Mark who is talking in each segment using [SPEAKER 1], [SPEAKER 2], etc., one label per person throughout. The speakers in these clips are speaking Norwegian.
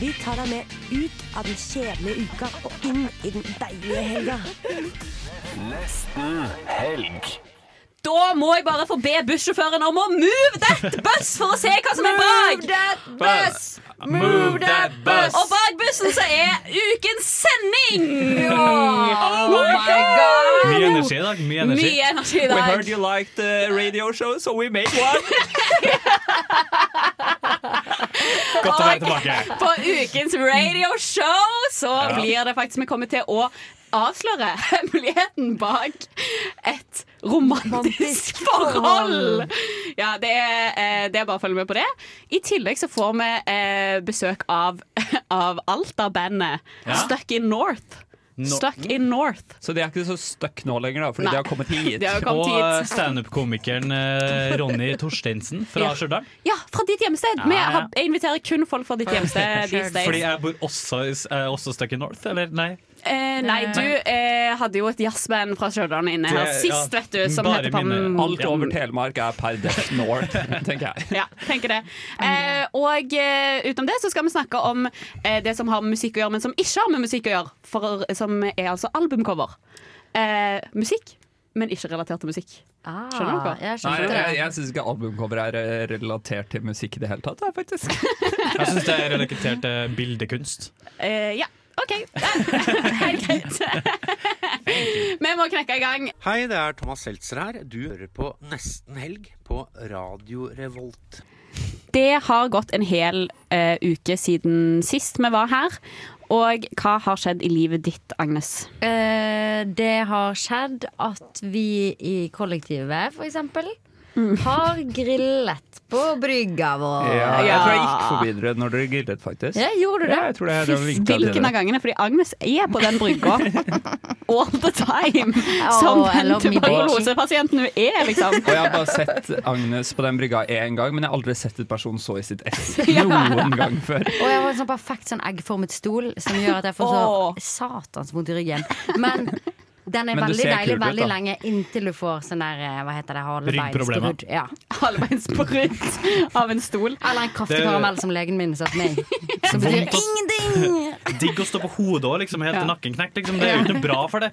[SPEAKER 1] Vi tar deg med ut av den kjedelige uka og inn i den deilige helga.
[SPEAKER 2] Da må jeg bare få be bussjåføren om å move that bus for å se hva som er bak.
[SPEAKER 3] Move that bus!
[SPEAKER 2] Og bak bussen så er ukens sending! Oh
[SPEAKER 3] Oh
[SPEAKER 4] Mye energi i dag. Mye energi.
[SPEAKER 2] Mye energi i
[SPEAKER 3] We heard
[SPEAKER 2] dag.
[SPEAKER 3] you liked the radio show, so we made one.
[SPEAKER 4] Godt å være tilbake.
[SPEAKER 2] På ukens radioshow så blir det faktisk Vi kommer til å avsløre hemmeligheten bak et romantisk forhold. Ja, det er, eh, det er bare å følge med på det. I tillegg så får vi eh, besøk av, av Alta-bandet Stuck in North. Stuck in North.
[SPEAKER 3] Så de er ikke så stuck nå lenger, da, fordi
[SPEAKER 2] Nei.
[SPEAKER 3] de har kommet hit.
[SPEAKER 2] De har kommet
[SPEAKER 4] Og
[SPEAKER 2] hit.
[SPEAKER 4] standup-komikeren eh, Ronny Torsteinsen fra
[SPEAKER 2] Ja.
[SPEAKER 4] Stjørdal.
[SPEAKER 2] Ja, fra ditt hjemsted.
[SPEAKER 4] Ja,
[SPEAKER 2] Vi
[SPEAKER 4] ja.
[SPEAKER 2] har, jeg inviterer kun folk fra ditt hjemsted. these days.
[SPEAKER 4] Fordi jeg bor også, er også stuck in north, eller? Nei.
[SPEAKER 2] Eh, nei, du eh, hadde jo et jazzband fra Stjørdal inne her
[SPEAKER 3] Det-
[SPEAKER 2] sist,
[SPEAKER 4] ja.
[SPEAKER 2] vet du. Som
[SPEAKER 4] Bare
[SPEAKER 2] heter Pam...
[SPEAKER 4] mine-
[SPEAKER 3] Alt over Telemark er per death north, tenker jeg.
[SPEAKER 2] Ja, tenker det. Eh, og eh, utenom det så skal vi snakke om eh, det som har med musikk å gjøre, men som ikke har med musikk å gjøre. For, som er altså albumcover. Eh, musikk, men ikke relatert til musikk. Skjønner dere?
[SPEAKER 3] Nei,
[SPEAKER 5] Jeg skjønner
[SPEAKER 3] jeg,
[SPEAKER 5] det.
[SPEAKER 3] jeg syns ikke albumcover er eh, relatert til musikk i det hele tatt. da, faktisk
[SPEAKER 4] Jeg syns det er relatert til bildekunst.
[SPEAKER 2] Eh, ja, OK. Helt greit. vi må knekke i gang.
[SPEAKER 6] Hei, det er Thomas Seltzer her. Du hører på Nesten Helg på Radio Revolt.
[SPEAKER 2] Det har gått en hel eh, uke siden sist vi var her. Og hva har skjedd i livet ditt, Agnes?
[SPEAKER 5] Eh, Det har skjedd at vi i kollektivet, for eksempel,
[SPEAKER 2] Mm.
[SPEAKER 5] har grillet på brygga vår.
[SPEAKER 3] ja, Jeg tror jeg gikk forbi dere når dere grillet, faktisk.
[SPEAKER 5] Ja, gjorde du det?
[SPEAKER 3] Ja, jeg tror det, det var viktig at
[SPEAKER 2] Hvilken
[SPEAKER 3] dere-
[SPEAKER 2] av gangene? Fordi Agnes er på den brygga all the time! Som
[SPEAKER 5] Oh, I
[SPEAKER 2] den
[SPEAKER 5] love me, bitch.
[SPEAKER 2] tuberkulosepasienten hun er, liksom.
[SPEAKER 3] Og jeg har bare sett Agnes på den brygga én gang, men jeg har aldri sett et person så i sitt ess noen gang før.
[SPEAKER 5] Og jeg har en sånn perfekt sånn eggformet stol som gjør at jeg får så
[SPEAKER 2] Åh.
[SPEAKER 5] satans vondt i ryggen. Men den er
[SPEAKER 3] Men du
[SPEAKER 5] veldig
[SPEAKER 3] ser
[SPEAKER 5] deilig
[SPEAKER 3] kul ut,
[SPEAKER 5] veldig
[SPEAKER 3] da.
[SPEAKER 5] lenge inntil du får sånn der eh, hva heter det,
[SPEAKER 4] Ryggproblemer.
[SPEAKER 5] halebeinsbrudd. Ja.
[SPEAKER 2] Halvveis på rundt av en stol.
[SPEAKER 5] Eller en kraftig
[SPEAKER 4] Det-
[SPEAKER 5] karamell som legen min satte meg i. Som betyr
[SPEAKER 4] Vondt å-
[SPEAKER 5] ingenting!
[SPEAKER 4] Digg å stå på hodet òg, liksom, helt til nakken knekker. Liksom. Det er jo ikke noe bra for det.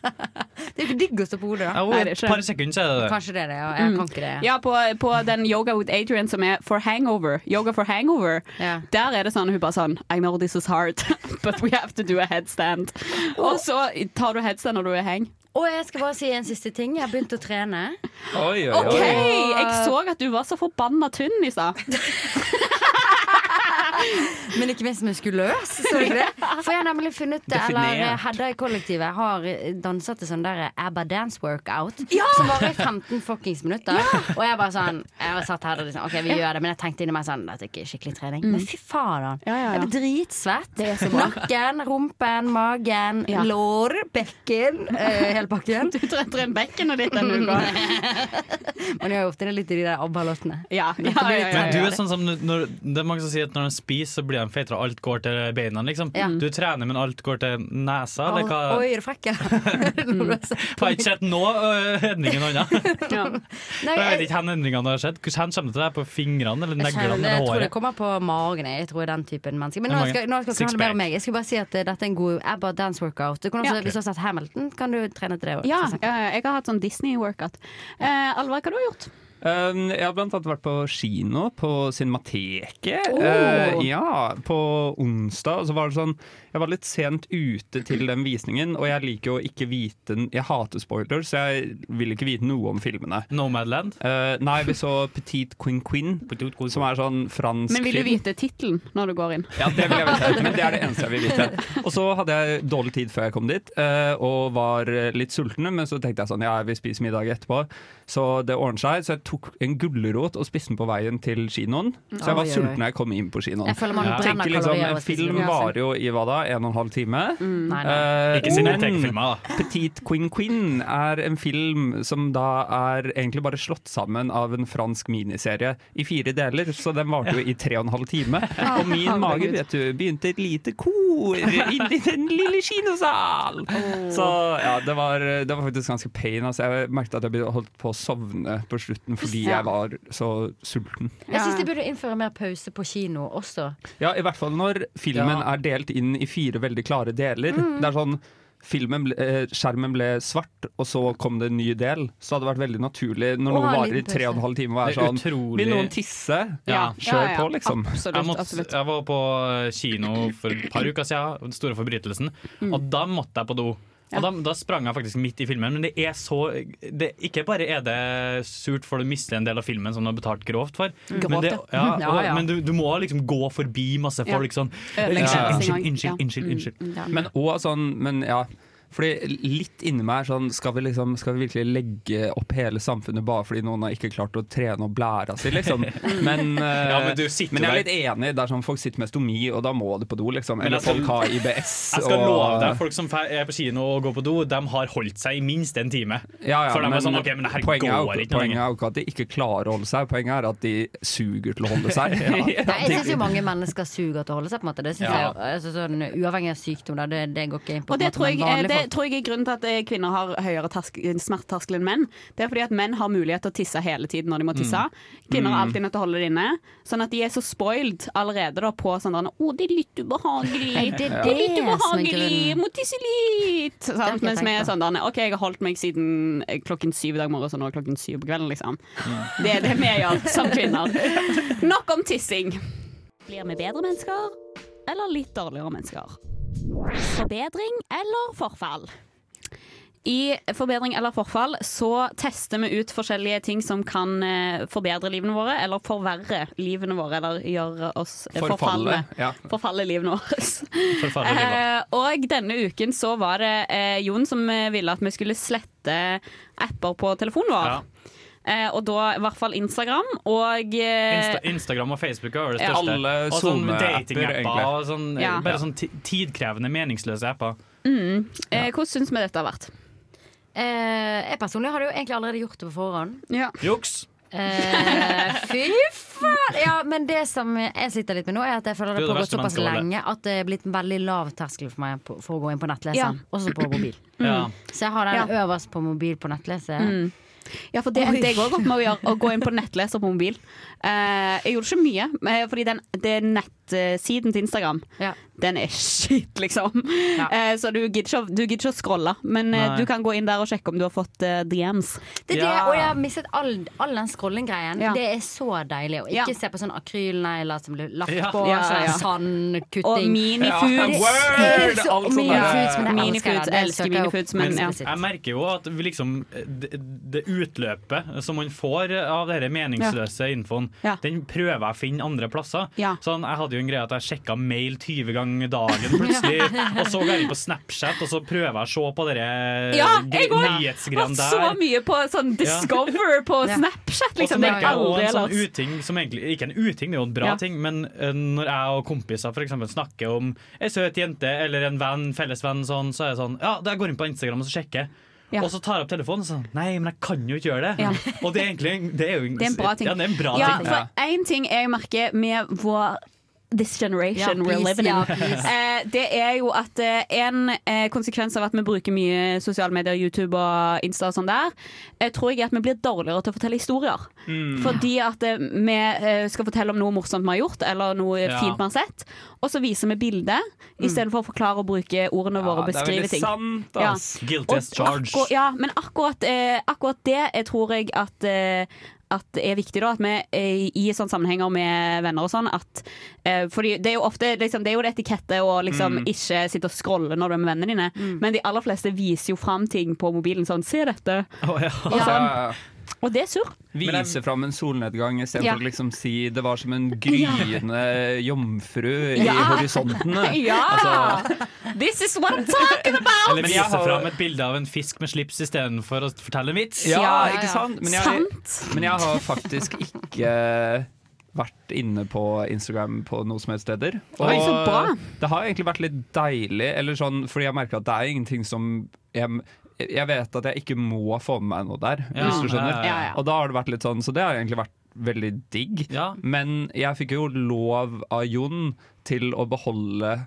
[SPEAKER 5] Det er jo ikke digg å stå på hodet, da.
[SPEAKER 4] Jo,
[SPEAKER 2] Nei, det er
[SPEAKER 4] et
[SPEAKER 2] ikke.
[SPEAKER 4] par sekunder, så er det det.
[SPEAKER 5] Kanskje det er det, ja. Jeg kan ikke det.
[SPEAKER 2] Mm. Ja, på, på den Yoga with Adrian som er for hangover. Yoga for hangover.
[SPEAKER 5] Ja.
[SPEAKER 2] Der er det sånn hun bare sånn I know this is hard, but we have to do a headstand. Og så tar du headstand når du er hang.
[SPEAKER 5] Og jeg skal bare si en siste ting. Jeg har begynt å trene.
[SPEAKER 3] Oi, oi, oi.
[SPEAKER 2] OK! Jeg så at du var så forbanna tynn i stad.
[SPEAKER 5] Men ikke minst muskuløs, så du ikke det? For jeg har nemlig funnet det, eller eh,
[SPEAKER 3] Definert.
[SPEAKER 5] Hedda i kollektivet har dansa til sånn der ABBA dance workout. Som varer i 15 fuckings minutter. Og jeg bare sånn Jeg har satt her og liksom OK, vi gjør det, men jeg tenkte inni meg sånn Dette er ikke skikkelig trening. Men fy faen.
[SPEAKER 2] Mm. Ja, ja, ja.
[SPEAKER 5] Jeg blir dritsvett.
[SPEAKER 2] er så bra.
[SPEAKER 5] Nakken, rumpen, magen,
[SPEAKER 2] Ja.
[SPEAKER 5] lår, bekken. eh, hele pakken.
[SPEAKER 2] Du trente inn bekkenet ditt denne uka.
[SPEAKER 5] Men jeg har jo ofte det litt i de der ABBA-låtene.
[SPEAKER 2] Ja, ja, ja, ja, ja,
[SPEAKER 4] Men du
[SPEAKER 2] ja.
[SPEAKER 4] er sånn som når, Det er mange som sier at når de spiser, så blir de feitere. Alt går til beina, liksom.
[SPEAKER 5] Ja.
[SPEAKER 4] Du trener, men alt går til nesa,
[SPEAKER 2] Ah,
[SPEAKER 5] Oi,
[SPEAKER 4] eller hva?
[SPEAKER 5] er du frekk, eller?
[SPEAKER 4] Har jeg ikke sett nå øh, endringen annet.
[SPEAKER 2] Ja.
[SPEAKER 5] Nei,
[SPEAKER 4] Jeg vet ikke hvor endringene har skjedd. Hvordan kommer det til deg? På fingrene eller
[SPEAKER 5] Jeg
[SPEAKER 4] neglene
[SPEAKER 5] kjenner det,
[SPEAKER 4] eller
[SPEAKER 5] Jeg tror det
[SPEAKER 4] håret?
[SPEAKER 5] kommer på magen. Jeg Jeg tror jeg er den typen menneske. Men nå
[SPEAKER 4] Magen.
[SPEAKER 5] skal, nå skal jeg ikke
[SPEAKER 4] Six
[SPEAKER 5] snakke mer om
[SPEAKER 4] pack.
[SPEAKER 5] meg. Jeg skal bare si at eh, dette er en god ABBA dance workout. Du kan også,
[SPEAKER 2] Ja.
[SPEAKER 5] Hvis du har sett Hamilton, kan du trene til det òg.
[SPEAKER 2] Ja, eh, jeg har hatt sånn Disney-workout. Eh, Alvar, hva har du gjort?
[SPEAKER 3] Um, jeg har blant annet vært på kino, på Cinemateket.
[SPEAKER 2] Oh.
[SPEAKER 3] Uh, ja, på onsdag. Og så var det sånn Jeg var litt sent ute til den visningen, og jeg liker jo ikke vite Jeg hater spoiler, så jeg vil ikke vite noe om filmene.
[SPEAKER 4] Nomadland?
[SPEAKER 3] Uh, nei, vi så Petite Queen Queen, som er sånn fransk
[SPEAKER 2] Men vil du
[SPEAKER 3] film.
[SPEAKER 2] vite tittelen når du går inn?
[SPEAKER 3] Ja, det vil jeg vite, men det er det eneste jeg vil vite. Og så hadde jeg dårlig tid før jeg kom dit, eh, og var eh, litt sulten, men så tenkte jeg sånn, ja, vi spiser middag etterpå. Så det ordner seg, så jeg tok en gulrot og spiste den på veien til kinoen. Så jeg
[SPEAKER 5] Oi,
[SPEAKER 3] var
[SPEAKER 5] oi,
[SPEAKER 3] sulten
[SPEAKER 5] oi.
[SPEAKER 3] da jeg kom inn på kinoen.
[SPEAKER 5] Jeg føler man
[SPEAKER 3] Ja.
[SPEAKER 5] brenner
[SPEAKER 3] Tenker liksom,
[SPEAKER 5] kalorier
[SPEAKER 3] En
[SPEAKER 5] og spiser
[SPEAKER 3] film
[SPEAKER 5] gulrot.
[SPEAKER 3] varer jo i hva da, en og en halv time?
[SPEAKER 5] Mm, nei,
[SPEAKER 3] Eh,
[SPEAKER 4] Ikke siden jeg
[SPEAKER 3] men
[SPEAKER 4] tenker filmer, da.
[SPEAKER 3] Petite Queen Queen er en film som da er egentlig bare slått sammen av en fransk miniserie i fire deler, så den varte jo i tre og en halv time. Og min mage vet du, begynte et lite kor inni den lille kinosal! Så ja, det var, det var faktisk ganske pain. Altså. Jeg merket at jeg ble- holdt på å sovne på slutten fordi
[SPEAKER 5] Ja.
[SPEAKER 3] jeg var så sulten.
[SPEAKER 5] Jeg syns de burde innføre mer pause på kino også.
[SPEAKER 3] Ja, i hvert fall når filmen
[SPEAKER 5] Ja.
[SPEAKER 3] er delt inn i fire veldig klare deler.
[SPEAKER 5] Mm.
[SPEAKER 3] Det er sånn Filmen ble, eh, skjermen ble svart, og så kom det en ny del. Så det hadde vært veldig naturlig når
[SPEAKER 4] Å
[SPEAKER 3] noe
[SPEAKER 4] ha en
[SPEAKER 3] varer i
[SPEAKER 4] liten
[SPEAKER 3] tre og en
[SPEAKER 4] pause.
[SPEAKER 3] halv time, å være
[SPEAKER 4] Det er
[SPEAKER 3] sånn
[SPEAKER 4] utrolig-
[SPEAKER 3] Vil noen tisse?
[SPEAKER 4] Ja.
[SPEAKER 3] Kjør
[SPEAKER 4] Ja, ja,
[SPEAKER 3] på, liksom.
[SPEAKER 4] jeg, måtte, jeg var på eh, kino for et par uker siden, Den store forbrytelsen,
[SPEAKER 7] Mm.
[SPEAKER 4] og da måtte jeg på do. Og da, da sprang jeg faktisk midt i filmen, men det er så det, Ikke bare er det surt for du mister en del av filmen som du har betalt grovt for, men,
[SPEAKER 7] Grovt,
[SPEAKER 4] det,
[SPEAKER 7] ja.
[SPEAKER 4] ja,
[SPEAKER 7] Ja, ja.
[SPEAKER 4] og, men du, du må liksom gå forbi masse
[SPEAKER 7] Ja.
[SPEAKER 4] folk sånn
[SPEAKER 7] Ødelegge
[SPEAKER 4] Unnskyld,
[SPEAKER 7] sjansen
[SPEAKER 4] unnskyld,
[SPEAKER 7] en gang.
[SPEAKER 4] unnskyld.
[SPEAKER 7] Ja.
[SPEAKER 4] unnskyld, unnskyld.
[SPEAKER 7] Mm, ja.
[SPEAKER 3] Men òg sånn Men ja. Fordi litt inni meg er sånn skal vi, liksom, skal vi virkelig legge opp hele samfunnet bare fordi noen har ikke klart å trene og blæra si, liksom? Men, eh,
[SPEAKER 4] Ja, men du sitter
[SPEAKER 3] men jeg er
[SPEAKER 4] der.
[SPEAKER 3] litt enig. Det er sånn folk sitter med stomi, og da må du på do, liksom.
[SPEAKER 4] Men
[SPEAKER 3] Eller
[SPEAKER 4] jeg skal-
[SPEAKER 3] folk har IBS.
[SPEAKER 4] Jeg skal
[SPEAKER 3] og-
[SPEAKER 4] love deg, folk som fer- er på kino og går på do, de har holdt seg i minst en time.
[SPEAKER 3] Ja, ja,
[SPEAKER 4] for de
[SPEAKER 3] men
[SPEAKER 4] er sånn, ok, men det her
[SPEAKER 3] poenget,
[SPEAKER 4] går
[SPEAKER 3] er jo,
[SPEAKER 4] ikke liksom. noe
[SPEAKER 3] poenget
[SPEAKER 4] lenger.
[SPEAKER 3] er jo ikke at de ikke klarer å holde seg, poenget er at de suger til å holde seg.
[SPEAKER 5] Nei, jeg syns jo mange mennesker suger til å holde seg, på en måte. Det synes
[SPEAKER 3] Ja.
[SPEAKER 5] jeg, altså, sånn, uavhengig av sykdom, da, det, det går ikke inn på.
[SPEAKER 2] Og
[SPEAKER 5] på en
[SPEAKER 2] det
[SPEAKER 5] måte,
[SPEAKER 2] tror, jeg,
[SPEAKER 5] men
[SPEAKER 2] eh,
[SPEAKER 5] vanlige
[SPEAKER 2] det
[SPEAKER 5] folk-
[SPEAKER 2] tror jeg er grunnen til at eh, kvinner har høyere tersk- smerteterskel enn menn. Det er fordi at menn har mulighet til å tisse hele tiden når de må tisse.
[SPEAKER 5] Mm.
[SPEAKER 2] Kvinner er
[SPEAKER 5] Mm.
[SPEAKER 2] alltid nødt til å holde det inne. Sånn at de er så spoiled allerede da på sånn der, 'Å, det er litt ubehagelig.
[SPEAKER 5] Nei, det er
[SPEAKER 2] Å,
[SPEAKER 5] det
[SPEAKER 2] litt
[SPEAKER 5] som er
[SPEAKER 2] ubehagelig.
[SPEAKER 5] grunnen.»
[SPEAKER 2] Jeg Må tisse litt.' Sant?
[SPEAKER 5] ikke
[SPEAKER 2] Mens vi
[SPEAKER 5] tenkt
[SPEAKER 2] er
[SPEAKER 5] på.
[SPEAKER 2] sånn der, 'OK, jeg har holdt meg siden eh, klokken syv i dag morges, og nå er klokken syv på kvelden', liksom.
[SPEAKER 5] Mm.
[SPEAKER 2] Det er det vi gjør som kvinner. Nok om tissing. Blir vi bedre mennesker, eller litt dårligere mennesker? Forbedring eller forfall? I Forbedring eller forfall så tester vi ut forskjellige ting som kan eh, forbedre livene våre, eller forverre livene våre, eller gjøre oss eh, forfallne.
[SPEAKER 3] Ja.
[SPEAKER 2] Forfalle livene våre.
[SPEAKER 4] Forfallet livet.
[SPEAKER 2] Eh, og denne uken så var det eh, Jon som eh, ville at vi skulle slette apper på telefonen vår. Eh, og da i hvert fall Instagram og eh,
[SPEAKER 4] Insta Instagram og Facebook er jo det
[SPEAKER 2] Ja.
[SPEAKER 4] største.
[SPEAKER 2] Alle
[SPEAKER 4] og sånn
[SPEAKER 3] SoMe-apper,
[SPEAKER 4] datingapper
[SPEAKER 3] egentlig.
[SPEAKER 4] og sånn,
[SPEAKER 2] Ja.
[SPEAKER 4] bare sånn ti- tidkrevende, meningsløse apper.
[SPEAKER 2] mm, eh, Hvordan syns vi dette har vært?
[SPEAKER 5] Eh, jeg personlig hadde jo egentlig allerede gjort det på forhånd.
[SPEAKER 4] Juks!
[SPEAKER 5] Eh, fy faen! Ja, men det som jeg sliter litt med nå, er at jeg føler
[SPEAKER 8] Du er
[SPEAKER 5] det
[SPEAKER 8] det
[SPEAKER 5] pågått
[SPEAKER 8] verste
[SPEAKER 5] såpass
[SPEAKER 8] mennesket av alle.
[SPEAKER 5] lenge at det er blitt en veldig lav terskel for meg på- for å gå inn på nettleseren,
[SPEAKER 2] Ja.
[SPEAKER 5] også på mobil.
[SPEAKER 2] Ja.
[SPEAKER 5] Så jeg har den øverst på mobil på nettleser.
[SPEAKER 2] Mm. Ja, for det
[SPEAKER 5] Oi.
[SPEAKER 2] endte jeg òg opp med å gjøre, å gå inn på nettleser på mobil. Eh, jeg gjorde ikke mye, eh, fordi den, det er nettsiden til Instagram. Den er shit, liksom. Eh, så du gidder ikke, å- du gidder ikke å scrolle, men eh,
[SPEAKER 5] Nei.
[SPEAKER 2] du kan gå inn der og sjekke om du har fått eh, DMs.
[SPEAKER 5] Det er det, og jeg har mistet all, all den scrolling-greien. Det er så deilig å ikke se på sånne akrylnegler som blir lagt
[SPEAKER 2] Ja.
[SPEAKER 5] på,
[SPEAKER 2] Ja, ja, ja.
[SPEAKER 5] sånn sandkutting.
[SPEAKER 2] Og minifoods.
[SPEAKER 5] Det-
[SPEAKER 2] Word,
[SPEAKER 5] det er så-
[SPEAKER 2] alt sånt der.
[SPEAKER 5] Minifoods, men jeg elsker
[SPEAKER 2] Minifoods,
[SPEAKER 5] det. Det
[SPEAKER 2] elsker
[SPEAKER 5] søker jeg opp
[SPEAKER 2] minifoods, men ja.
[SPEAKER 5] eksplisitt.
[SPEAKER 4] Jeg merker jo at vi liksom det, det utløpet som man får av denne meningsløse infoen, den prøver jeg å finne andre plasser. Sånn, jeg hadde jo en greie at jeg sjekka mail 20 ganger dagen plutselig, og så går jeg inn på Snapchat, og så prøver jeg å se på denne
[SPEAKER 2] Ja, jeg har
[SPEAKER 4] nyhetsgreiene
[SPEAKER 2] så
[SPEAKER 4] der.
[SPEAKER 2] mye på sånn Discover på
[SPEAKER 4] Ja.
[SPEAKER 2] Snapchat,
[SPEAKER 4] Og så
[SPEAKER 2] liksom. Det er
[SPEAKER 4] merker jeg også
[SPEAKER 2] aldri
[SPEAKER 4] en sånn
[SPEAKER 2] ellers.
[SPEAKER 4] uting som egentlig, Ikke en uting, det er jo en bra
[SPEAKER 2] Ja.
[SPEAKER 4] ting, men eh, når jeg og kompiser for eksempel snakker om ei søt jente eller en venn, fellesvenn, sånn, så er jeg sånn Ja, da jeg går inn på Instagram og så sjekker.
[SPEAKER 2] Ja.
[SPEAKER 4] Og så tar jeg opp telefonen og sånn Nei, men jeg kan jo ikke gjøre det. Og det er egentlig det er jo,
[SPEAKER 2] Det er en bra ting.
[SPEAKER 4] Ja, det er en bra
[SPEAKER 2] Ja,
[SPEAKER 4] ting.
[SPEAKER 2] for én ting jeg merker med vår This
[SPEAKER 5] Ja,
[SPEAKER 2] generation
[SPEAKER 5] please,
[SPEAKER 2] we're living in.
[SPEAKER 5] ja, please.
[SPEAKER 2] eh, det er jo at eh, en eh, konsekvens av at vi bruker mye sosiale medier, YouTube og Insta og sånn der, eh, tror jeg er at vi blir dårligere til å fortelle historier.
[SPEAKER 5] Mm.
[SPEAKER 2] Fordi at eh, vi eh, skal fortelle om noe morsomt vi har gjort, eller noe
[SPEAKER 5] Ja.
[SPEAKER 2] fint vi har sett, og så viser vi bildet, istedenfor å forklare og bruke ordene våre og
[SPEAKER 4] Mm. det er
[SPEAKER 2] beskrive
[SPEAKER 4] veldig
[SPEAKER 2] ting.
[SPEAKER 4] sant,
[SPEAKER 2] Ja.
[SPEAKER 4] ass. Guilty
[SPEAKER 2] Og
[SPEAKER 4] as charged.
[SPEAKER 2] akkur- ja, men akkurat, eh, akkurat det eh, tror jeg at eh, at det er viktig da, at vi eh, i sånne sammenhenger med venner og sånn at eh, Fordi det er jo ofte liksom, Det er jo det etikette å liksom
[SPEAKER 5] Mm.
[SPEAKER 2] ikke sitte og scrolle når du er med vennene dine, men de aller fleste viser jo fram ting på mobilen sånn 'Se dette'.
[SPEAKER 4] Å, ja.
[SPEAKER 2] Og sånn. Og det er surr.
[SPEAKER 3] Vise fram en solnedgang istedenfor
[SPEAKER 2] Ja.
[SPEAKER 3] å liksom si det var som en gryende jomfru i
[SPEAKER 2] Ja.
[SPEAKER 3] horisonten. eh.
[SPEAKER 2] Ja!
[SPEAKER 3] Altså,
[SPEAKER 2] This is what I'm talking about!
[SPEAKER 4] Eller vise
[SPEAKER 3] jeg har-
[SPEAKER 4] fram et bilde av en fisk med slips istedenfor å fortelle en vits.
[SPEAKER 3] ja, ikke sant? Men jeg, men jeg har faktisk ikke vært inne på Instagram på noe som helst steder.
[SPEAKER 9] Oi, så bra.
[SPEAKER 3] det har egentlig vært litt deilig, eller sånn, fordi jeg merker at det er ingenting som jeg, jeg vet at jeg ikke må få med meg noe der,
[SPEAKER 4] Ja.
[SPEAKER 3] hvis du skjønner.
[SPEAKER 4] Ja, ja, ja.
[SPEAKER 3] Og da har det vært litt sånn, så det har egentlig vært veldig digg. Men jeg fikk jo lov av Jon til å beholde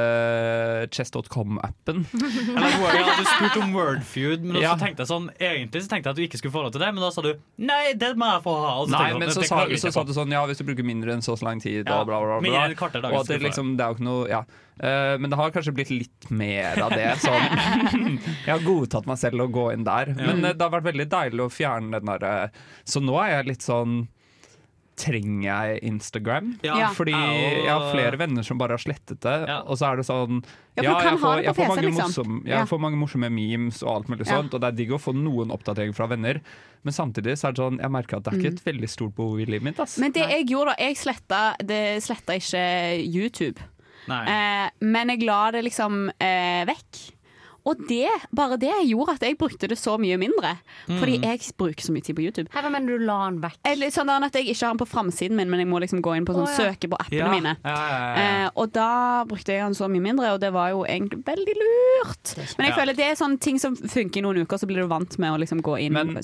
[SPEAKER 3] eh, chess.com-appen.
[SPEAKER 4] Eller Word- Jeg hadde spurt om Wordfeud, men
[SPEAKER 3] Ja.
[SPEAKER 4] så tenkte jeg sånn Egentlig så tenkte jeg at du ikke skulle få lov til det, men da sa du nei, det må jeg få ha. Og
[SPEAKER 3] Nei,
[SPEAKER 4] tenkte jeg
[SPEAKER 3] men
[SPEAKER 4] sånn,
[SPEAKER 3] så
[SPEAKER 4] det
[SPEAKER 3] sa,
[SPEAKER 4] klager jeg
[SPEAKER 3] så
[SPEAKER 4] ikke
[SPEAKER 3] sa
[SPEAKER 4] på.
[SPEAKER 3] du sånn Ja, hvis du bruker mindre enn så så lang tid
[SPEAKER 4] Ja,
[SPEAKER 3] og bla, bla, bla, bla.
[SPEAKER 4] mindre enn et kvarter dager
[SPEAKER 3] Og at
[SPEAKER 4] skal
[SPEAKER 3] det,
[SPEAKER 4] du få
[SPEAKER 3] liksom, det er jo ikke noe ja. Eh, Men det har kanskje blitt litt mer av det. Sånn. Jeg har godtatt meg selv å gå inn der. Men eh, det har vært veldig deilig å fjerne den derre Så nå er jeg litt sånn Trenger jeg Instagram?
[SPEAKER 9] Ja.
[SPEAKER 3] Fordi
[SPEAKER 9] Ja, og-
[SPEAKER 3] jeg har flere venner som bare har slettet det. Og så er det sånn
[SPEAKER 9] Ja, for du
[SPEAKER 3] Ja,
[SPEAKER 9] kan
[SPEAKER 3] jeg
[SPEAKER 9] ha
[SPEAKER 3] får,
[SPEAKER 9] det på
[SPEAKER 3] jeg får
[SPEAKER 9] PC-en,
[SPEAKER 3] mange
[SPEAKER 9] liksom.
[SPEAKER 3] morsomme-
[SPEAKER 9] Ja.
[SPEAKER 3] jeg får mange morsomme memes og alt mulig
[SPEAKER 9] Ja.
[SPEAKER 3] sånt, og det er digg å få noen oppdateringer fra venner. Men samtidig så er det sånn, jeg merker at det er
[SPEAKER 9] Mm.
[SPEAKER 3] ikke et veldig stort behov i livet mitt. Ass.
[SPEAKER 2] Men det jeg gjorde da, jeg sletta, det sletta ikke YouTube.
[SPEAKER 3] Nei.
[SPEAKER 2] Eh, men jeg la det liksom eh, vekk. Og det, bare det gjorde at jeg brukte det så mye mindre. Fordi
[SPEAKER 5] Mm.
[SPEAKER 2] jeg bruker så mye tid på YouTube.
[SPEAKER 5] Hva mener du la den vekk?
[SPEAKER 2] Eller sånn at jeg ikke har den på framsiden min, men jeg må liksom gå inn på sånn
[SPEAKER 5] Å, ja.
[SPEAKER 2] søke på appene
[SPEAKER 4] Ja.
[SPEAKER 2] mine.
[SPEAKER 4] Ja, ja, ja, ja.
[SPEAKER 2] Eh, og da brukte jeg den så mye mindre, og det var jo egentlig veldig lurt. Men jeg
[SPEAKER 3] Ja.
[SPEAKER 2] føler det er sånn ting som funker i noen uker, så blir du vant med å liksom gå inn. Men,
[SPEAKER 3] men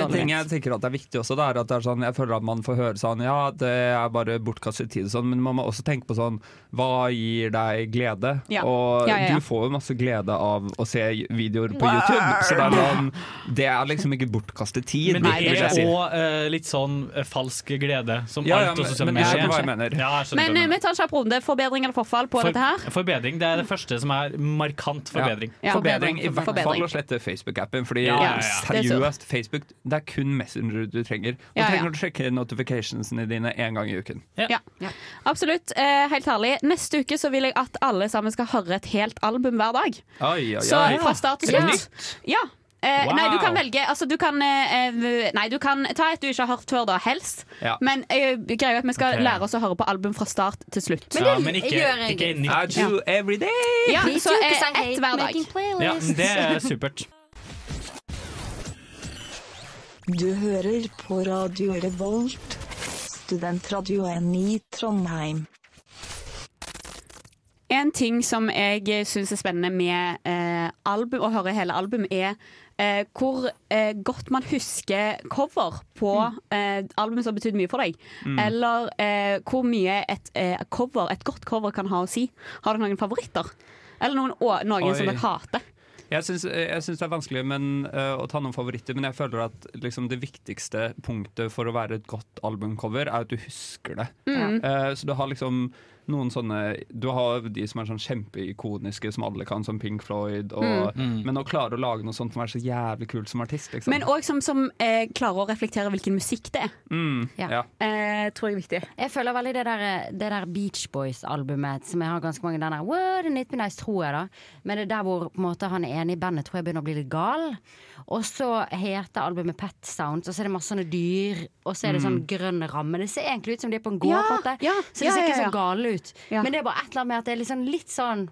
[SPEAKER 3] en ting jeg tenker at er viktig også, det er at det er sånn, jeg føler at man får høre sånn Ja, det er bare bortkastet tid og sånn, men man må også tenke på sånn Hva gir deg glede?
[SPEAKER 9] Ja.
[SPEAKER 3] Og
[SPEAKER 9] Ja, ja, ja.
[SPEAKER 3] du får jo masse glede av å se videoer på YouTube, så det er sånn Det er liksom ikke bortkastet tid.
[SPEAKER 4] Men det
[SPEAKER 3] vil jeg
[SPEAKER 4] er
[SPEAKER 3] si.
[SPEAKER 4] òg litt sånn eh, falsk glede, som
[SPEAKER 3] Ja, ja,
[SPEAKER 4] alt og
[SPEAKER 3] men-
[SPEAKER 4] sosiale
[SPEAKER 3] men jeg
[SPEAKER 4] medier.
[SPEAKER 3] skjønner hva jeg mener.
[SPEAKER 4] Ja, jeg skjønner
[SPEAKER 2] Men
[SPEAKER 4] hva
[SPEAKER 2] eh,
[SPEAKER 4] du
[SPEAKER 2] vi tar en kjapp runde. Forbedring eller forfall på
[SPEAKER 4] For-
[SPEAKER 2] dette her?
[SPEAKER 4] Forbedring. Det er det første som er markant forbedring.
[SPEAKER 2] Ja. Ja.
[SPEAKER 3] Forbedring, i hvert
[SPEAKER 2] Forbedring.
[SPEAKER 3] fall å slette Facebook-appen. Fordi
[SPEAKER 4] Ja, ja, ja.
[SPEAKER 3] seriøst, Facebook det er kun Messenger du trenger. Du
[SPEAKER 2] Ja, ja.
[SPEAKER 3] trenger å sjekke notificationsene dine én gang i uken.
[SPEAKER 2] Ja. Absolutt. Eh, helt ærlig. Neste uke så vil jeg at alle sammen skal høre et helt album hver dag.
[SPEAKER 3] Oi, oi,
[SPEAKER 2] Så
[SPEAKER 3] oi.
[SPEAKER 2] fra start til
[SPEAKER 3] Ja.
[SPEAKER 2] slutt. Ja. Eh,
[SPEAKER 9] Wow.
[SPEAKER 2] Nei, du kan velge. Altså, du kan, eh, eh, nei, du kan ta et du ikke har hørt før, da, helst.
[SPEAKER 3] Ja.
[SPEAKER 2] Men eh, greia er at vi skal
[SPEAKER 3] Ok.
[SPEAKER 2] lære oss å høre på album fra start til slutt.
[SPEAKER 3] Men det Ja, men ikke- gjør jeg. ikke nytt. I do every day.
[SPEAKER 2] Ja,
[SPEAKER 5] Please
[SPEAKER 2] så
[SPEAKER 5] do, 'cause
[SPEAKER 2] eh,
[SPEAKER 5] I
[SPEAKER 2] ett
[SPEAKER 5] hate
[SPEAKER 2] hver
[SPEAKER 5] making
[SPEAKER 2] dag.
[SPEAKER 4] Ja, det er supert.
[SPEAKER 7] Du hører på Radio Revolt, studentradioen i Trondheim.
[SPEAKER 2] En ting som jeg syns er spennende med eh, album, å høre hele album, er eh, hvor eh, godt man husker cover på eh, album som har betydd mye for deg.
[SPEAKER 9] Mm.
[SPEAKER 2] Eller eh, hvor mye et, eh, cover, et godt cover kan ha å si. Har dere noen favoritter? Eller noen, å, noen
[SPEAKER 3] Oi.
[SPEAKER 2] som dere hater?
[SPEAKER 3] Jeg syns, jeg syns det er vanskelig men, øh, å ta noen favoritter, men jeg føler at liksom, det viktigste punktet for å være et godt albumcover, er at du husker det.
[SPEAKER 9] Mm.
[SPEAKER 3] Eh, så du har liksom noen sånne Du har de som er sånn kjempeikoniske, som alle kan, som Pink Floyd,
[SPEAKER 2] Mm.
[SPEAKER 3] og,
[SPEAKER 2] Mm.
[SPEAKER 3] men å klare å lage noe sånt som er så jævlig kult som artist, liksom.
[SPEAKER 2] Men òg som, som eh, klarer å reflektere hvilken musikk det er.
[SPEAKER 3] mm, ja.
[SPEAKER 2] Eh, tror jeg er viktig.
[SPEAKER 5] Jeg føler veldig det der, det der Beach Boys-albumet, som jeg har ganske mange den der What a Night Be Nice, tror jeg, da. Men det er der hvor på en måte, han er enig i bandet, tror jeg begynner å bli litt gal. Og så heter albumet Pet Sounds, og så er det masse sånne dyr, og så er det
[SPEAKER 9] Mm.
[SPEAKER 5] sånn grønn ramme. Det ser egentlig ut som de er på en gård,
[SPEAKER 9] Ja,
[SPEAKER 5] på en måte.
[SPEAKER 9] ja,
[SPEAKER 5] så det ser
[SPEAKER 9] ja, ja,
[SPEAKER 5] ikke
[SPEAKER 9] ja.
[SPEAKER 5] så gale ut.
[SPEAKER 9] Ja.
[SPEAKER 5] Men det er bare et eller annet med at det er liksom litt sånn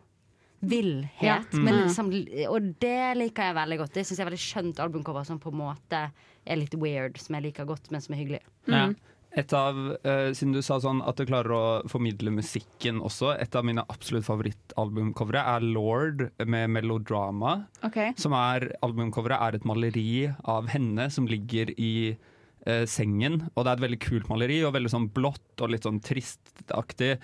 [SPEAKER 9] Ja.
[SPEAKER 5] Villhet.
[SPEAKER 9] Mm.
[SPEAKER 5] Men liksom- og det liker jeg veldig godt. Det syns jeg er veldig skjønt albumcover som på en måte er litt weird, som jeg liker godt, men som er hyggelig.
[SPEAKER 3] Ja. Et av, eh, Siden du sa sånn at du klarer å formidle musikken også, et av mine absolutt favorittalbumcovere er Lord med Melodrama. Som er, albumcoveret er et maleri av henne som ligger i eh, sengen. Og det er et veldig kult maleri, og veldig sånn blått og litt sånn tristaktig.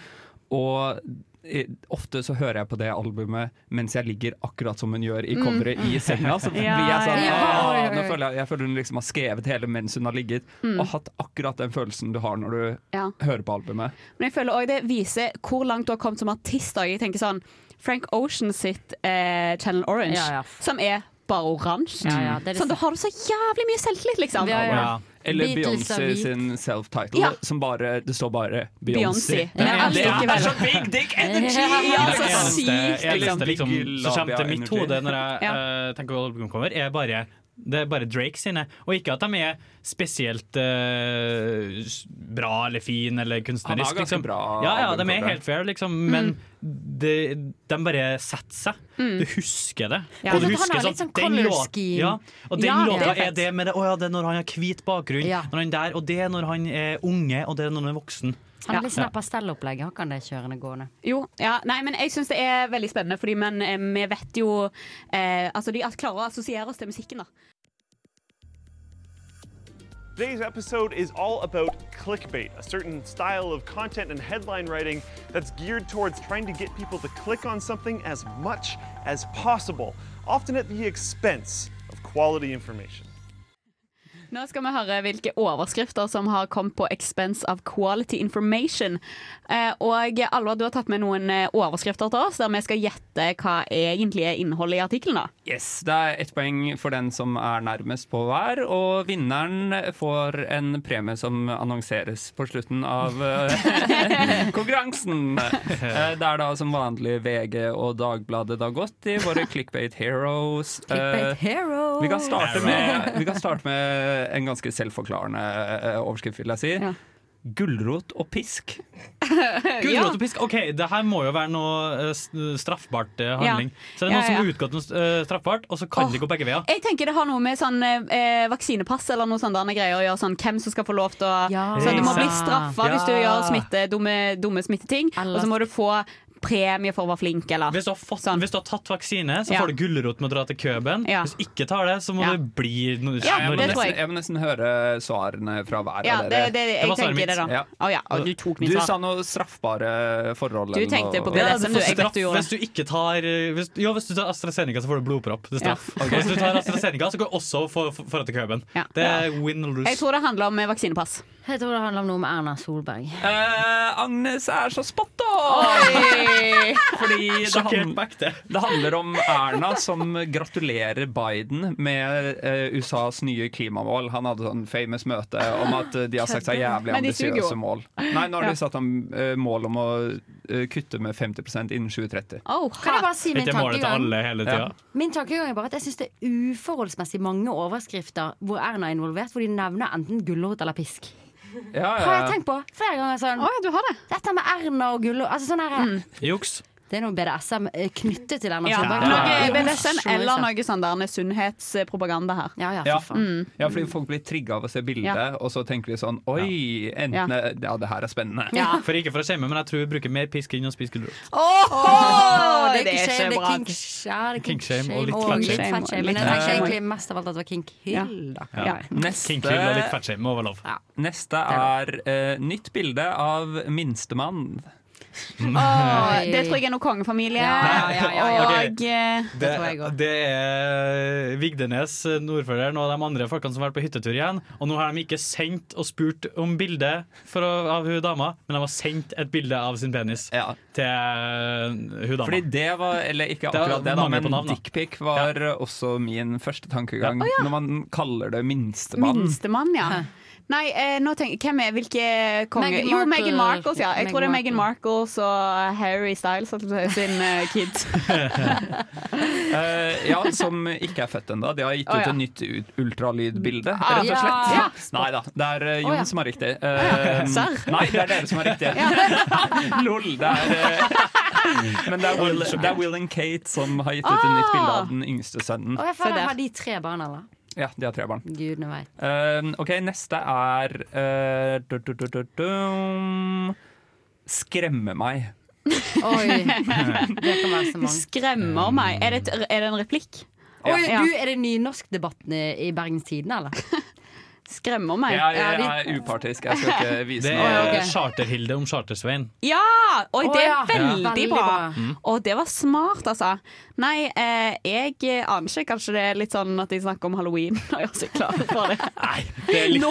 [SPEAKER 3] Og eh, ofte så hører jeg på det albumet mens jeg ligger akkurat som hun gjør i
[SPEAKER 9] Mm.
[SPEAKER 3] coveret i senga. Så
[SPEAKER 9] Ja,
[SPEAKER 3] blir jeg sånn
[SPEAKER 9] ja, ja, ja.
[SPEAKER 3] «Åh, nå føler jeg, jeg føler hun liksom har skrevet hele mens hun har ligget,
[SPEAKER 2] Mm.
[SPEAKER 3] og hatt akkurat den følelsen du har når du
[SPEAKER 2] Ja.
[SPEAKER 3] hører på albumet.
[SPEAKER 2] Men jeg føler også det viser hvor langt du har kommet som artist. da. Jeg tenker sånn Frank Ocean sitt eh, Channel Orange,
[SPEAKER 3] Ja, ja.
[SPEAKER 2] som er bare oransje.
[SPEAKER 3] Ja, ja, det er det
[SPEAKER 2] sånn, da har du så jævlig mye selvtillit, liksom.
[SPEAKER 3] Ja. Eller
[SPEAKER 2] Beatles og
[SPEAKER 3] Beyoncé
[SPEAKER 2] vi.
[SPEAKER 3] sin self-title,
[SPEAKER 2] Ja.
[SPEAKER 3] som bare Det står bare Beyoncé.
[SPEAKER 2] Beyoncé. Men allikevel.
[SPEAKER 3] big dick
[SPEAKER 2] Ja,
[SPEAKER 5] altså,
[SPEAKER 4] Det
[SPEAKER 2] så
[SPEAKER 4] eneste,
[SPEAKER 2] sykt,
[SPEAKER 4] eneste
[SPEAKER 2] liksom.
[SPEAKER 4] liksom, som kommer til mitt
[SPEAKER 3] Labia
[SPEAKER 4] hode når jeg
[SPEAKER 2] energy.
[SPEAKER 4] eh, tenker på albumet kommer, er bare Det er bare Drake sine. Og ikke at de er spesielt eh, s- bra eller fin eller kunstnerisk.
[SPEAKER 3] ganske
[SPEAKER 4] liksom. Ja,
[SPEAKER 3] bra
[SPEAKER 4] ja, de er
[SPEAKER 3] albumcover.
[SPEAKER 4] helt fair, liksom, men de, de bare setter seg.
[SPEAKER 5] Mm.
[SPEAKER 4] Du husker det.
[SPEAKER 5] Ja.
[SPEAKER 4] Og du
[SPEAKER 5] Altså, han
[SPEAKER 4] husker
[SPEAKER 5] har litt sånn
[SPEAKER 4] den
[SPEAKER 5] color
[SPEAKER 4] låt-
[SPEAKER 5] scheme.
[SPEAKER 4] Ja, og den
[SPEAKER 5] Ja, det er
[SPEAKER 4] låta er
[SPEAKER 5] fett.
[SPEAKER 4] det med det. Å ja, det er når han har hvit bakgrunn,
[SPEAKER 5] Ja.
[SPEAKER 4] når han der, og det er når han er unge, og det er når han er voksen.
[SPEAKER 5] Han er litt sånn
[SPEAKER 4] Ja.
[SPEAKER 5] her pastellopplegg. Har ikke han det kjørende gående?
[SPEAKER 2] Jo, ja, nei, men jeg syns det er veldig spennende, fordi men, eh, vi vet jo eh, Altså, de klarer å assosiere oss til musikken, da.
[SPEAKER 8] Today's episode is all about clickbait, a certain style of content and headline writing that's geared towards trying to get people to click on something as much as possible, often at the expense of quality information.
[SPEAKER 2] Nå skal vi høre hvilke overskrifter som har kommet på expense of quality information. Eh, og Alvar, du har tatt med noen eh, overskrifter til oss, der vi skal gjette hva egentlig er innholdet i artikkelen. da.
[SPEAKER 3] Yes, Det er ett poeng for den som er nærmest på hver, og vinneren får en premie som annonseres på slutten av eh, konkurransen. Eh, Det er da som vanlig VG og Dagbladet da gått i våre clickbait heroes. Eh,
[SPEAKER 9] Clickbait heroes.
[SPEAKER 3] Vi kan starte med, vi kan starte med en ganske selvforklarende eh, overskrift, vil jeg si. Gulrot og pisk.
[SPEAKER 4] Gulrot og pisk. OK, det her må jo være noe eh, s- straffbart eh, handling.
[SPEAKER 2] Ja.
[SPEAKER 4] Så det er noen
[SPEAKER 2] Ja, ja,
[SPEAKER 4] som har
[SPEAKER 2] ja.
[SPEAKER 4] utgått noe eh, straffbart, og så kan det gå begge veier.
[SPEAKER 2] Jeg tenker det har noe med sånn eh, vaksinepass eller noe sånt der greier å gjøre. Sånn, hvem som skal få lov til å Så du må bli straffa
[SPEAKER 4] Ja.
[SPEAKER 2] hvis du gjør smitte, dumme, dumme smitteting. Og så må du få premie for å være flink, eller
[SPEAKER 4] Hvis du har, fått, hvis du har tatt vaksine, så
[SPEAKER 2] Ja.
[SPEAKER 4] får du gulrot med å dra til Køben.
[SPEAKER 2] Ja.
[SPEAKER 4] Hvis du ikke tar det, så må
[SPEAKER 2] Ja.
[SPEAKER 4] det bli noe
[SPEAKER 3] jeg, må
[SPEAKER 4] Norge.
[SPEAKER 3] nesten, jeg må nesten høre svarene fra hver
[SPEAKER 2] Ja,
[SPEAKER 3] av
[SPEAKER 2] det-
[SPEAKER 3] dere.
[SPEAKER 2] det- jeg Det var svaret tenker det da. mitt. Å ja, og du tok mitt svar.
[SPEAKER 3] sa noe straffbare forhold.
[SPEAKER 2] Du tenkte på
[SPEAKER 4] Ja,
[SPEAKER 2] BDSM, du.
[SPEAKER 4] du får
[SPEAKER 2] Jeg vet
[SPEAKER 4] straff
[SPEAKER 2] du gjorde
[SPEAKER 4] hvis du ikke tar eh, hvis, Ja, hvis du tar AstraZeneca, så får du blodpropp. Det er straff.
[SPEAKER 2] Ja.
[SPEAKER 4] Og Hvis du tar AstraZeneca, så går du også for, for, for til Køben. Det er win or lose.
[SPEAKER 2] Jeg tror det handler om eh, vaksinepass.
[SPEAKER 5] Jeg tror det handler om noe med Erna Solberg.
[SPEAKER 3] Eh, Agnes er så spot
[SPEAKER 5] Oi!
[SPEAKER 3] Fordi det, hand- det handler om Erna som gratulerer Biden med eh, USAs nye klimamål. Han hadde sånn famous møte om at eh, de har satt seg jævlig
[SPEAKER 10] Men de suger jo.
[SPEAKER 3] ambisiøse mål. Nei, nå har
[SPEAKER 10] Ja.
[SPEAKER 3] de satt om, eh, mål om å eh, kutte med 50 innen 2030.
[SPEAKER 5] kan jeg bare si min tankegang?
[SPEAKER 4] hele
[SPEAKER 3] tiden.
[SPEAKER 5] Min tankegang er bare at jeg syns det er uforholdsmessig mange overskrifter hvor Erna er involvert, hvor de nevner enten gulrot eller pisk.
[SPEAKER 3] Ja,
[SPEAKER 5] Har jeg tenkt på flere ganger sånn Dette med Erna og gulrot altså, sånn her,
[SPEAKER 4] Juks.
[SPEAKER 5] Det er noe BDSM eh, knyttet til Erna
[SPEAKER 2] Ja.
[SPEAKER 5] Solberg.
[SPEAKER 2] Noe
[SPEAKER 5] Det er
[SPEAKER 2] BDSM
[SPEAKER 5] så
[SPEAKER 2] eller
[SPEAKER 5] morsomt.
[SPEAKER 2] noe sånn der med sunnhetspropaganda her.
[SPEAKER 3] Ja.
[SPEAKER 2] Mm.
[SPEAKER 3] ja, fordi folk blir trigga av å se bildet,
[SPEAKER 2] Ja.
[SPEAKER 3] og så tenker de sånn Oi, enten
[SPEAKER 2] Ja.
[SPEAKER 3] ja. det her er spennende.
[SPEAKER 2] Ja.
[SPEAKER 4] For ikke for å skjemme, men jeg tror vi bruker mer pisk enn å spise gulrot.
[SPEAKER 5] Åh,
[SPEAKER 2] det er ikke bra.
[SPEAKER 5] kink, ja, det er
[SPEAKER 4] Kink shame og litt
[SPEAKER 5] og
[SPEAKER 4] fat
[SPEAKER 5] litt
[SPEAKER 4] shame.
[SPEAKER 5] fat shame. Men jeg
[SPEAKER 4] Litt
[SPEAKER 5] tenker
[SPEAKER 4] fat shame.
[SPEAKER 5] egentlig mest av alt at det var kink hill. da.
[SPEAKER 3] Ja. Neste-
[SPEAKER 4] King Krill og litt fettskje. Må være lov.
[SPEAKER 3] Neste er eh, nytt bilde av minstemann.
[SPEAKER 2] Åh, det tror jeg er noe kongefamilie.
[SPEAKER 4] Ja, ja, ja, ja.
[SPEAKER 2] Og eh,
[SPEAKER 4] Det, det er Vigdenes, eh, nordføreren, og de andre folkene som har vært på hyttetur igjen. Og nå har de ikke sendt og spurt om bilde for å, av hun dama, men de har sendt et bilde av sin penis til eh, hun dama.
[SPEAKER 3] Fordi det var, eller ikke
[SPEAKER 4] Det var
[SPEAKER 3] akkurat det, da,
[SPEAKER 4] mangel på navn,
[SPEAKER 3] men
[SPEAKER 4] da.
[SPEAKER 3] dickpic var også min første tankegang.
[SPEAKER 2] Ja. Å, ja.
[SPEAKER 3] Når man kaller det minstemann.
[SPEAKER 2] Minstemann, ja. Nei, eh, nå tenk, hvem er hvilke konge?
[SPEAKER 5] Meghan
[SPEAKER 2] Jo,
[SPEAKER 5] Markle.
[SPEAKER 2] Meghan Markles, ja. Jeg
[SPEAKER 5] Meghan
[SPEAKER 2] tror det er Meghan Markles og Harry Styles holdt jeg på å si, sin eh, kid.
[SPEAKER 3] Eh, ja, som ikke er født ennå. De har gitt
[SPEAKER 2] Å,
[SPEAKER 3] ut
[SPEAKER 2] ja.
[SPEAKER 3] et nytt ut- ultralydbilde,
[SPEAKER 2] Ah,
[SPEAKER 3] rett og slett.
[SPEAKER 2] ja.
[SPEAKER 3] Nei da, det er eh,
[SPEAKER 2] Å,
[SPEAKER 3] Jon
[SPEAKER 2] ja.
[SPEAKER 3] som har riktig. Eh,
[SPEAKER 2] Serr?
[SPEAKER 3] nei, det er dere som har riktig. Lol, det er eh, Men det er, Will, det er Will and Kate som har gitt ut
[SPEAKER 2] Ah.
[SPEAKER 3] et nytt bilde av den yngste sønnen.
[SPEAKER 5] Og jeg føler jeg har de tre barn, eller?
[SPEAKER 3] Ja, de har tre barn.
[SPEAKER 5] Gudene veit.
[SPEAKER 3] Eh, ok, neste er eh, du, du, du, du, du, Skremme meg.
[SPEAKER 5] Oi. Det kan være
[SPEAKER 2] Det
[SPEAKER 5] så mange.
[SPEAKER 2] skremmer meg. Er det, et, er det en replikk?
[SPEAKER 5] Oi,
[SPEAKER 2] Ja.
[SPEAKER 5] du, Er det nynorskdebatten i i Bergens Tidende, eller?
[SPEAKER 2] Skremmer meg.
[SPEAKER 3] Jeg, jeg, er upartisk, jeg skal ikke vise
[SPEAKER 4] Det
[SPEAKER 3] noe.
[SPEAKER 4] er Charterhilde om Chartersvein.
[SPEAKER 2] Ja! Oi,
[SPEAKER 4] Å,
[SPEAKER 2] det
[SPEAKER 4] ja.
[SPEAKER 2] er veldig,
[SPEAKER 4] Veldig
[SPEAKER 2] bra.
[SPEAKER 4] bra. Mm.
[SPEAKER 2] Og det var smart, altså. Nei, eh, jeg aner ikke. Kanskje det er litt sånn at jeg snakker om halloween og gjør seg klar for det.
[SPEAKER 3] Det er litt-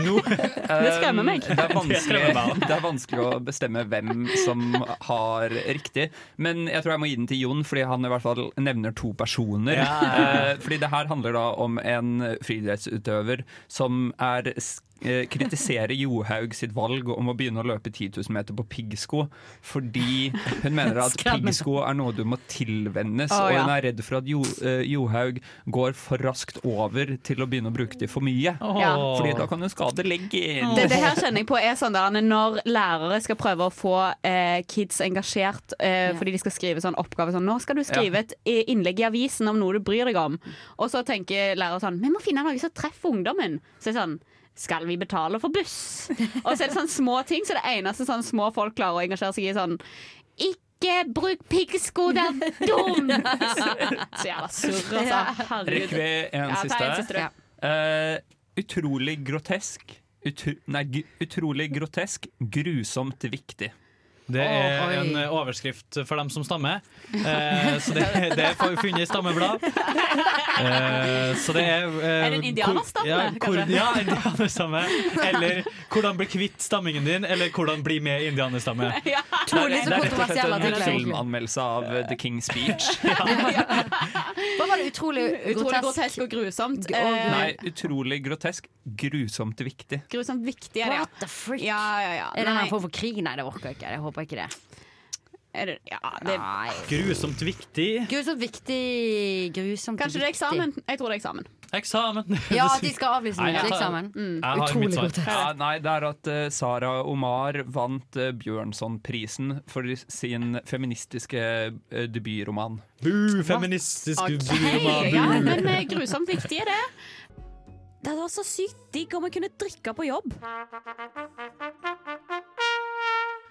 [SPEAKER 2] Nå!
[SPEAKER 3] Eh,
[SPEAKER 2] skremmer meg.
[SPEAKER 3] Det er, vanskelig,
[SPEAKER 4] Det skremmer meg.
[SPEAKER 3] det er vanskelig å bestemme hvem som har riktig. Men jeg tror jeg må gi den til Jon, fordi han i hvert fall nevner to personer.
[SPEAKER 4] Ja.
[SPEAKER 3] Eh, Fordi det her handler da om en friidrettsutøver som er s- eh, kritisere Johaug sitt valg om å begynne å løpe 10 000 meter på piggsko, fordi hun mener at
[SPEAKER 10] Skremmende.
[SPEAKER 3] piggsko er noe du må tilvennes,
[SPEAKER 10] Å,
[SPEAKER 3] og
[SPEAKER 10] ja.
[SPEAKER 3] hun er redd for at jo, eh, Johaug går for raskt over til å begynne å bruke de for mye.
[SPEAKER 2] Ja.
[SPEAKER 3] Fordi da kan hun skade leggen.
[SPEAKER 2] Det, det her kjenner jeg på er sånn der, når lærere skal prøve å få eh, kids engasjert eh, fordi de skal skrive sånn oppgave sånn, 'Nå skal du
[SPEAKER 3] Ja.
[SPEAKER 2] skrive et i- innlegg i avisen om noe du bryr deg om.' Og så tenker lærere sånn 'Vi må finne noe som treffer ungdommen.' Så er det sånn skal vi betale for buss? Og så er det sånn små ting, så det eneste sånn små folk klarer å engasjere seg i sånn Ikke bruk piggsko, det er dumt! Så jævla surr, altså. Herregud.
[SPEAKER 3] Rekker vi en
[SPEAKER 2] Ja, ta
[SPEAKER 3] siste?
[SPEAKER 2] en siste, du. Ja.
[SPEAKER 3] Eh, utrolig grotesk. Utro, nei, gu- utrolig grotesk, grusomt viktig.
[SPEAKER 4] Det er en eh, overskrift for dem som stammer. Eh, så det, det er fu- funnet i stammeblad. Eh, så det er eh,
[SPEAKER 2] Er det en indianerstamme,
[SPEAKER 4] hvor- Ja, hvor,
[SPEAKER 2] kanskje?
[SPEAKER 4] ja, indianerstamme. Eller hvordan bli kvitt stammingen din, eller hvordan bli med i indianerstamme.
[SPEAKER 2] Ja.
[SPEAKER 3] Det er- det er rett og slett
[SPEAKER 9] kontroversielle
[SPEAKER 3] en
[SPEAKER 9] titler.
[SPEAKER 3] filmanmeldelse av eh, The King's Speech.
[SPEAKER 9] Hva var det utrolig
[SPEAKER 2] Utrolig
[SPEAKER 9] grotesk?
[SPEAKER 2] grotesk og grusomt. Eh,
[SPEAKER 3] Nei, utrolig grotesk, grusomt viktig.
[SPEAKER 2] Grusomt sånn viktig er det.
[SPEAKER 5] What the freak?
[SPEAKER 2] Ja, ja, ja.
[SPEAKER 5] Er det
[SPEAKER 2] Nei.
[SPEAKER 5] en form for krig? Nei, det orker jeg ikke. Jeg håper ikke det.
[SPEAKER 2] Er det, ja, det
[SPEAKER 5] Nei.
[SPEAKER 4] Grusomt viktig.
[SPEAKER 5] Grusomt viktig. Grusomt
[SPEAKER 2] Kanskje det er eksamen? Jeg tror det er eksamen.
[SPEAKER 4] Eksamen.
[SPEAKER 5] Ja, at de skal avlyse
[SPEAKER 3] Nei, jeg tar-
[SPEAKER 5] eksamen.
[SPEAKER 4] Mm.
[SPEAKER 3] Jeg har mitt svar. Ja, nei, det er at eh, Sara Omar vant eh, Bjørnson-prisen for sin feministiske eh, debutroman.
[SPEAKER 4] Bu, feministisk
[SPEAKER 2] Ok, ja, men eh, grusomt viktig er det.
[SPEAKER 11] Det hadde vært så sykt digg om jeg kunne drikke på jobb.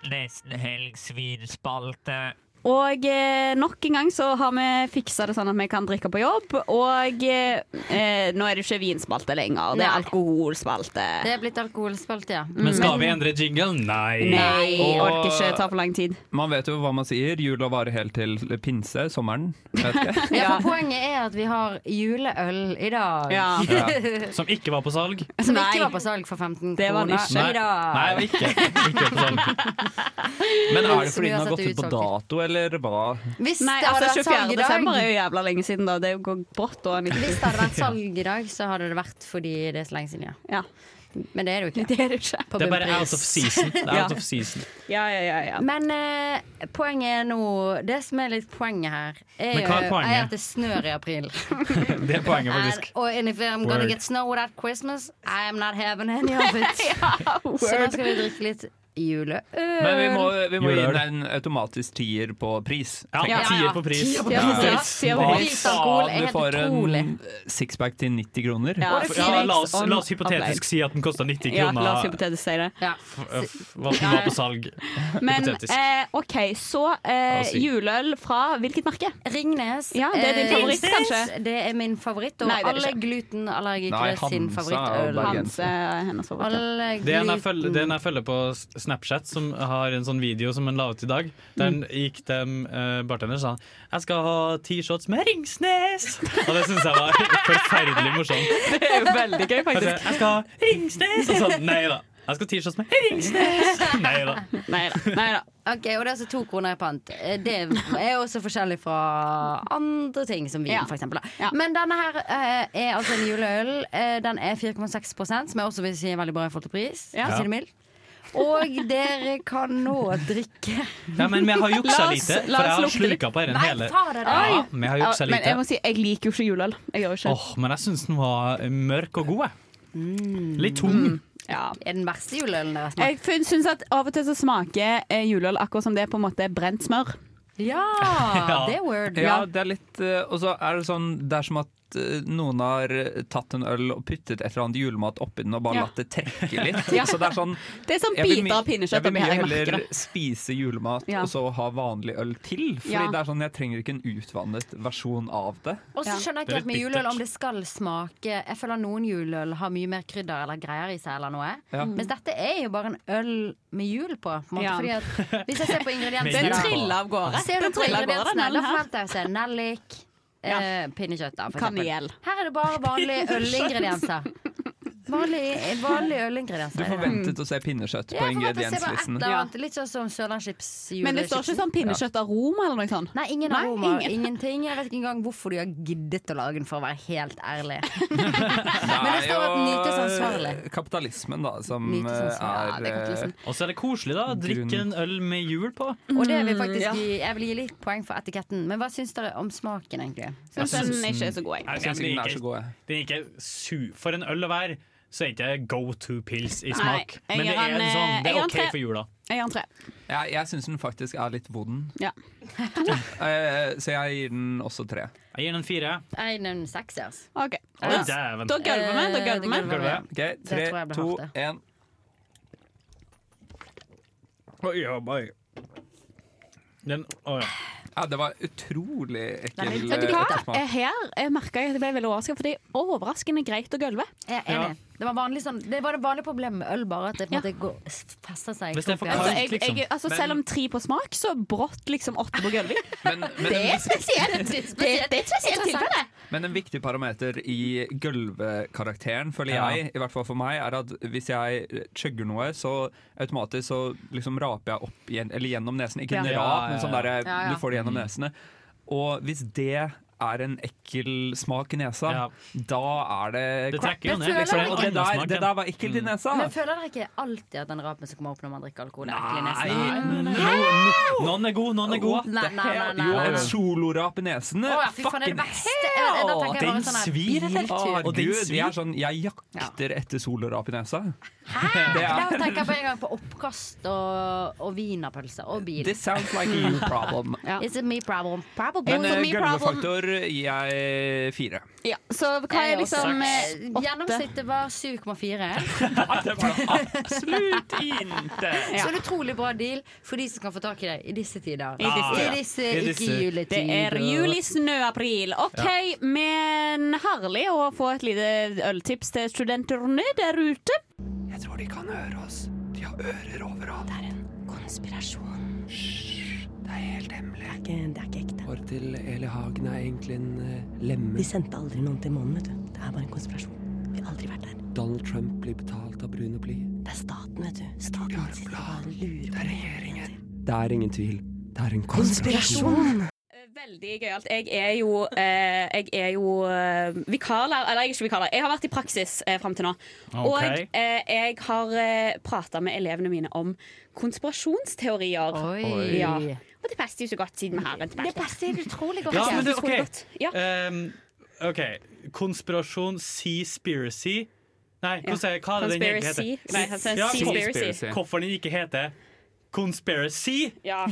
[SPEAKER 12] Nesten helg svinspalte.
[SPEAKER 2] Og eh, nok en gang så har vi fiksa det sånn at vi kan drikke på jobb. Og eh, eh, nå er det ikke vinspalte lenger, det er
[SPEAKER 5] Nei.
[SPEAKER 2] alkoholspalte.
[SPEAKER 5] Det er blitt alkoholspalt, ja.
[SPEAKER 4] Men skal vi endre jingle? Nei.
[SPEAKER 2] Nei, orker ikke, tar for lang tid.
[SPEAKER 3] Man vet jo hva man sier. Jula varer helt til pinse, sommeren. Vet ikke.
[SPEAKER 5] Ja, for poenget er at vi har juleøl i dag.
[SPEAKER 4] Ja. Som ikke var på salg.
[SPEAKER 5] Som ikke var på salg for 15
[SPEAKER 4] Det var
[SPEAKER 5] kroner
[SPEAKER 4] nisje.
[SPEAKER 5] i dag.
[SPEAKER 4] Nei, det var ikke, ikke på salg.
[SPEAKER 3] Men er det
[SPEAKER 5] Så
[SPEAKER 3] fordi
[SPEAKER 5] vi
[SPEAKER 3] den
[SPEAKER 5] har
[SPEAKER 3] har
[SPEAKER 5] satt
[SPEAKER 3] gått
[SPEAKER 5] det
[SPEAKER 3] ut på
[SPEAKER 5] utsolgt.
[SPEAKER 3] dato, eller hva?
[SPEAKER 5] Hvis
[SPEAKER 2] Nei,
[SPEAKER 5] det hadde
[SPEAKER 2] altså
[SPEAKER 5] vært salg
[SPEAKER 2] 24.
[SPEAKER 5] i dag-
[SPEAKER 2] desember er jo jævla lenge siden, da. Det går brått. liksom. da, en uke.
[SPEAKER 5] Hvis det hadde vært salg i dag, så hadde det vært fordi det er så lenge siden, ja. Men det er det jo ikke.
[SPEAKER 2] Det er, det ikke.
[SPEAKER 5] På
[SPEAKER 4] Det er bare
[SPEAKER 5] bunnpris.
[SPEAKER 4] out of season. Det er
[SPEAKER 5] Ja.
[SPEAKER 4] out of season.
[SPEAKER 2] Ja, ja, ja, ja.
[SPEAKER 5] Men eh, poenget er nå Det som er litt poenget her, er,
[SPEAKER 4] Men hva er
[SPEAKER 5] jo-
[SPEAKER 4] poenget?
[SPEAKER 5] er at det snør i april.
[SPEAKER 4] Det er poenget, faktisk.
[SPEAKER 5] And, or, and if I'm gonna
[SPEAKER 4] Word.
[SPEAKER 5] get snow at Christmas, I am not having any of it. så nå skal vi drikke litt juleøl.
[SPEAKER 3] Men vi må, vi må gi
[SPEAKER 4] Gjør det.
[SPEAKER 3] den en automatisk tier på pris.
[SPEAKER 4] Ja,
[SPEAKER 3] tenker jeg.
[SPEAKER 4] tier Ja, ja. på pris. Tier på
[SPEAKER 3] Ja.
[SPEAKER 4] pris, ja. Tier på pris.
[SPEAKER 3] Hva
[SPEAKER 4] Alkohol er
[SPEAKER 3] faen, du
[SPEAKER 4] helt
[SPEAKER 3] får
[SPEAKER 4] utrolig.
[SPEAKER 3] en sixpack til 90 kroner.
[SPEAKER 4] Ja, la, oss, la oss hypotetisk si at den kosta 90
[SPEAKER 2] Ja,
[SPEAKER 4] kroner.
[SPEAKER 2] la oss hypotetisk si det.
[SPEAKER 4] F- Hva som var på salg.
[SPEAKER 2] Men
[SPEAKER 4] hypotetisk.
[SPEAKER 2] eh, OK, så
[SPEAKER 4] La
[SPEAKER 2] eh,
[SPEAKER 4] oss si.
[SPEAKER 2] juleøl fra hvilket merke?
[SPEAKER 5] Ringnes.
[SPEAKER 2] Ja, det er din
[SPEAKER 5] Eh,
[SPEAKER 2] favoritt, kanskje?
[SPEAKER 5] Det er min favoritt, og
[SPEAKER 2] Nei, det er det
[SPEAKER 5] alle
[SPEAKER 2] ikke.
[SPEAKER 5] glutenallergikere
[SPEAKER 4] Nei,
[SPEAKER 5] sin
[SPEAKER 4] Hansa er
[SPEAKER 5] favorittøl.
[SPEAKER 4] jo bergenser.
[SPEAKER 2] er eh, hennes
[SPEAKER 5] Alle
[SPEAKER 4] Det er en jeg
[SPEAKER 5] gluten-
[SPEAKER 4] følger, det er en jeg følger på S- Snapchat, som har en sånn video som han la ut i dag. Der
[SPEAKER 2] Mm.
[SPEAKER 4] han gikk til uh, bartenderen og sa Jeg skal ha ti shots med Ringsnes! Og det syns jeg var forferdelig morsomt. Altså,
[SPEAKER 2] Det er jo veldig gøy,
[SPEAKER 4] Jeg, sa,
[SPEAKER 2] faktisk.
[SPEAKER 4] jeg skal ha Ringsnes! Og sånn, nei da. Jeg skal ha ti shots med Ringsnes! Nei da.
[SPEAKER 2] Nei da. Nei da.
[SPEAKER 5] Ok, Og det er altså to kroner i pant. Eh, Det er også forskjellig fra andre ting, som vin,
[SPEAKER 2] Ja.
[SPEAKER 5] for eksempel. da. Men denne her eh, er altså en juleøl. Eh, Den er 4,6 som jeg også vil si er veldig bra i forhold til pris. for å
[SPEAKER 4] Ja.
[SPEAKER 5] Si det mildt. Og dere kan nå drikke
[SPEAKER 4] Ja, men vi har juksa
[SPEAKER 5] La oss-
[SPEAKER 4] lite, for
[SPEAKER 5] la oss
[SPEAKER 4] jeg har
[SPEAKER 5] lukte litt.
[SPEAKER 4] sluka på den
[SPEAKER 5] Nei,
[SPEAKER 4] hele.
[SPEAKER 5] fader, nei.
[SPEAKER 4] Ja, vi har juksa
[SPEAKER 2] Men
[SPEAKER 4] lite.
[SPEAKER 2] jeg må si, jeg liker jo ikke juleøl. Jeg gjør jo ikke
[SPEAKER 4] Åh, men jeg syns den var mørk og god, jeg.
[SPEAKER 2] Mm.
[SPEAKER 4] Litt tung.
[SPEAKER 2] Ja.
[SPEAKER 5] Er den verste juleølen dere har
[SPEAKER 2] Jeg
[SPEAKER 5] smakt?
[SPEAKER 2] fin- syns at av og til så smaker eh, juleøl akkurat som det er på en måte brent smør.
[SPEAKER 5] Ja, det er word.
[SPEAKER 3] Ja, det er litt eh, Og så er det sånn Det er som at eh, noen har eh, tatt en øl og puttet et eller annet julemat oppi den og bare
[SPEAKER 2] Ja.
[SPEAKER 3] latt det trekke litt.
[SPEAKER 2] Ja.
[SPEAKER 3] Så det er sånn
[SPEAKER 2] Det er sånn
[SPEAKER 3] jeg vil
[SPEAKER 2] biter
[SPEAKER 3] mye-
[SPEAKER 2] av pinnekjøtt
[SPEAKER 3] Jeg vil
[SPEAKER 2] oppi
[SPEAKER 3] mye
[SPEAKER 2] her, jeg merker
[SPEAKER 3] heller
[SPEAKER 2] det.
[SPEAKER 3] spise julemat
[SPEAKER 2] Ja.
[SPEAKER 3] og så ha vanlig øl til. Fordi
[SPEAKER 5] Ja.
[SPEAKER 3] det er sånn jeg trenger ikke en utvannet versjon av det.
[SPEAKER 5] Og så skjønner jeg ikke helt med juleøl om det skal smake Jeg føler noen juleøl har mye mer krydder eller greier i seg eller noe.
[SPEAKER 3] Ja.
[SPEAKER 5] Mens dette er jo bare en øl med jul på. på en måte,
[SPEAKER 2] Mm. Ja.
[SPEAKER 5] Fordi at Hvis jeg ser på ingrediensene
[SPEAKER 2] Den
[SPEAKER 5] da-
[SPEAKER 2] triller av gårde.
[SPEAKER 5] Ser du
[SPEAKER 2] Den
[SPEAKER 5] på
[SPEAKER 2] triller av gårde, den
[SPEAKER 5] ingrediensene, da
[SPEAKER 2] ølen her.
[SPEAKER 5] forventer jeg å se nellik, eh, pinnekjøtt da, for eksempel.
[SPEAKER 2] Kanel.
[SPEAKER 5] Her er det bare vanlige ølingredienser. Vanlige, vanlige
[SPEAKER 3] Du
[SPEAKER 5] ølingredienser.
[SPEAKER 3] forventet å se pinnekjøtt på ingredienslisten.
[SPEAKER 5] Litt sånn som sørlandschips
[SPEAKER 2] Men det står ikke sånn pinnekjøttaroma eller noe sånt?
[SPEAKER 5] Nei, ingen aroma.
[SPEAKER 2] ingen.
[SPEAKER 5] Ingenting. Jeg vet ikke engang hvorfor de har giddet å lage den, for å være helt ærlig.
[SPEAKER 3] Men
[SPEAKER 5] det står at nytelsesansvarlig.
[SPEAKER 3] eh, Kapitalismen, da, som eh, er
[SPEAKER 5] Nytelsesansvarlig, ja,
[SPEAKER 3] eh,
[SPEAKER 5] det er kapitalismen.
[SPEAKER 4] Og så er det koselig, da. Drikke en øl med hjul på.
[SPEAKER 2] Mm,
[SPEAKER 5] Og det vil faktisk
[SPEAKER 4] Ja.
[SPEAKER 5] gi, jeg vil gi litt poeng for etiketten. Men hva syns dere om smaken, egentlig?
[SPEAKER 4] Jeg synes- Jeg synes
[SPEAKER 3] den er
[SPEAKER 4] ikke-
[SPEAKER 3] så god, jeg.
[SPEAKER 4] Den er ikke su... For en øl å være, så er ikke go to pills i
[SPEAKER 2] Nei,
[SPEAKER 4] smak.
[SPEAKER 2] jeg
[SPEAKER 4] Men det
[SPEAKER 2] gir
[SPEAKER 4] er,
[SPEAKER 2] han, eh,
[SPEAKER 4] en
[SPEAKER 2] jeg
[SPEAKER 4] sånn, det
[SPEAKER 2] gir
[SPEAKER 4] er
[SPEAKER 2] han
[SPEAKER 4] OK
[SPEAKER 2] tre.
[SPEAKER 4] for jula.
[SPEAKER 2] Jeg gir den tre.
[SPEAKER 3] Ja, jeg syns den faktisk er litt vond,
[SPEAKER 2] Ja.
[SPEAKER 3] Eh, så jeg gir den også tre.
[SPEAKER 4] Jeg gir den fire.
[SPEAKER 5] Nei, den seks, ja. altså.
[SPEAKER 2] Ok.
[SPEAKER 3] Å,
[SPEAKER 2] Da-
[SPEAKER 3] dæven.
[SPEAKER 2] Da gulver vi. Da gulver vi.
[SPEAKER 3] Ok, tre, to, én. Oi, oi, oi.
[SPEAKER 4] Den, å, ja.
[SPEAKER 3] ja, det var utrolig ekkel eh,
[SPEAKER 2] Vet du hva? Eh,
[SPEAKER 3] ettersmak.
[SPEAKER 2] Her jeg merka jeg at jeg ble veldig overraska, for det er overraskende greit å gølve.
[SPEAKER 5] Jeg er enig. Det var, vanlig, sånn, det var det vanlige problemet med øl, bare at det på en måte går- fester seg. i
[SPEAKER 3] Hvis det er for
[SPEAKER 5] kroppen.
[SPEAKER 3] kaldt,
[SPEAKER 2] Jeg, jeg, altså,
[SPEAKER 3] liksom. Men-
[SPEAKER 2] selv om tre på smak, så brått liksom åtte på gulving.
[SPEAKER 3] men-
[SPEAKER 2] det er spesielt! Det, det er et spesielt tilfelle.
[SPEAKER 3] Men en viktig parameter i gulvekarakteren, føler
[SPEAKER 4] Ja.
[SPEAKER 3] jeg, i hvert fall for meg, er at hvis jeg chugger noe, så automatisk så liksom raper jeg opp igjen, eller gjennom nesen. Ikke
[SPEAKER 4] Ja.
[SPEAKER 3] en
[SPEAKER 4] Ja,
[SPEAKER 3] rap,
[SPEAKER 4] ja,
[SPEAKER 3] men sånn
[SPEAKER 4] ja.
[SPEAKER 3] der,
[SPEAKER 4] Ja, ja. Mm.
[SPEAKER 3] du får det gjennom nesene. Og hvis det er en ekkel smak i nesa, da er det
[SPEAKER 4] Det trekker jo
[SPEAKER 3] crap.
[SPEAKER 4] ned, Men liksom. føler
[SPEAKER 3] Og det
[SPEAKER 4] jeg-
[SPEAKER 3] der, det der var ekkelt i nesa.
[SPEAKER 5] Men føler dere ikke alltid at den rapen som kommer opp når man drikker alkohol, er ekkel i
[SPEAKER 3] Nei,
[SPEAKER 5] nesen?
[SPEAKER 3] no- no- noen er god, noen er god.
[SPEAKER 5] Nei, nei, nei, nei,
[SPEAKER 3] Jo,
[SPEAKER 5] nei.
[SPEAKER 3] en solorap i nesen.
[SPEAKER 5] Å, ja, fy faen, det er det verste. Jeg- jeg- da tenker jeg bare
[SPEAKER 3] Den
[SPEAKER 5] sånn her
[SPEAKER 3] svir helt.
[SPEAKER 5] biltur.
[SPEAKER 3] Og den svir. Jeg, er sånn, jeg jakter etter solorap i nesa. Det
[SPEAKER 5] Da
[SPEAKER 3] er
[SPEAKER 5] tenker jeg på en gang på oppkast og, og wienerpølser og bil.
[SPEAKER 3] This sounds like a you problem.
[SPEAKER 5] It's a me problem. Probably.
[SPEAKER 3] Men eh, gulvefaktor gir jeg fire.
[SPEAKER 2] Ja, så hva
[SPEAKER 5] Jeg
[SPEAKER 2] er liksom
[SPEAKER 5] også.
[SPEAKER 2] eh, åtte?
[SPEAKER 5] Gjennomsnittet var 7,4.
[SPEAKER 3] Absolutt inte!
[SPEAKER 5] Så en utrolig bra deal for de som kan få tak i det i disse tider.
[SPEAKER 2] I disse tider.
[SPEAKER 5] I disse
[SPEAKER 2] I disse- Det
[SPEAKER 5] ikke-juletider.
[SPEAKER 2] er juli, snø, april. OK, men herlig å få et lite øltips til studentene der ute.
[SPEAKER 3] Jeg tror de kan høre oss. De har ører overalt.
[SPEAKER 1] Det er en konspirasjon.
[SPEAKER 3] Det er helt hemmelig.
[SPEAKER 1] Det er ikke ekte.
[SPEAKER 3] Hår til Eli Hagen er egentlig en lemme.
[SPEAKER 1] Vi sendte aldri noen til månen, vet du. Det er bare en konspirasjon. Vi har aldri vært der.
[SPEAKER 3] Donald Trump blir betalt av brune bly.
[SPEAKER 1] Det er staten, vet du. Staten sitter bare og lurer på regjeringen.
[SPEAKER 3] Det er ingen tvil. Det er en
[SPEAKER 1] Konspirasjon!
[SPEAKER 2] Eh, Veldig gøyalt. Jeg er jo, eh, jeg er jo eh, vikarlærer Eller jeg er ikke vikarlærer. Jeg har vært i praksis eh, fram til nå. Og
[SPEAKER 4] Ok.
[SPEAKER 2] eh, jeg har eh, prata med elevene mine om konspirasjonsteorier.
[SPEAKER 4] Oi.
[SPEAKER 2] Ja. Og det passer jo så godt, siden vi har en tilbake. Det passer utrolig
[SPEAKER 4] Ja, men det,
[SPEAKER 2] utrolig
[SPEAKER 4] ok.
[SPEAKER 2] godt. Ja.
[SPEAKER 4] Ehm, OK. Konspirasjon, seaspiracy Nei,
[SPEAKER 2] Ja.
[SPEAKER 4] hvordan sier jeg- hva er det den egentlig heter?
[SPEAKER 2] Conspiracy. Nei, han sier
[SPEAKER 4] Ja, kon-
[SPEAKER 2] seaspiracy.
[SPEAKER 4] Hvorfor den ikke heter Conspiracy
[SPEAKER 2] Ja.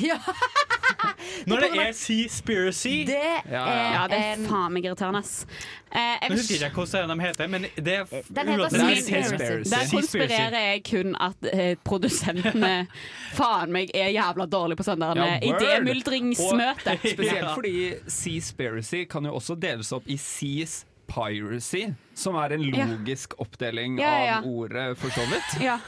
[SPEAKER 4] når det er Seaspiracy?
[SPEAKER 2] Det er,
[SPEAKER 4] Ja, ja.
[SPEAKER 2] ja, det er faen meg irriterende. ass. Eh, jeg
[SPEAKER 4] Jeg husker
[SPEAKER 2] vil-
[SPEAKER 4] ikke hvordan de heter, men det er
[SPEAKER 2] Den heter Seaspiracy. Der konspirerer jeg kun at eh, produsentene faen meg er jævla dårlige på sånn der ja, idémyldringsmøte.
[SPEAKER 3] Og Spesielt fordi Seaspiracy kan jo også deles opp i Seas Piracy, som er en
[SPEAKER 2] Ja.
[SPEAKER 3] logisk oppdeling
[SPEAKER 2] Ja, ja, ja.
[SPEAKER 3] av ordet, for så vidt.
[SPEAKER 2] Ja.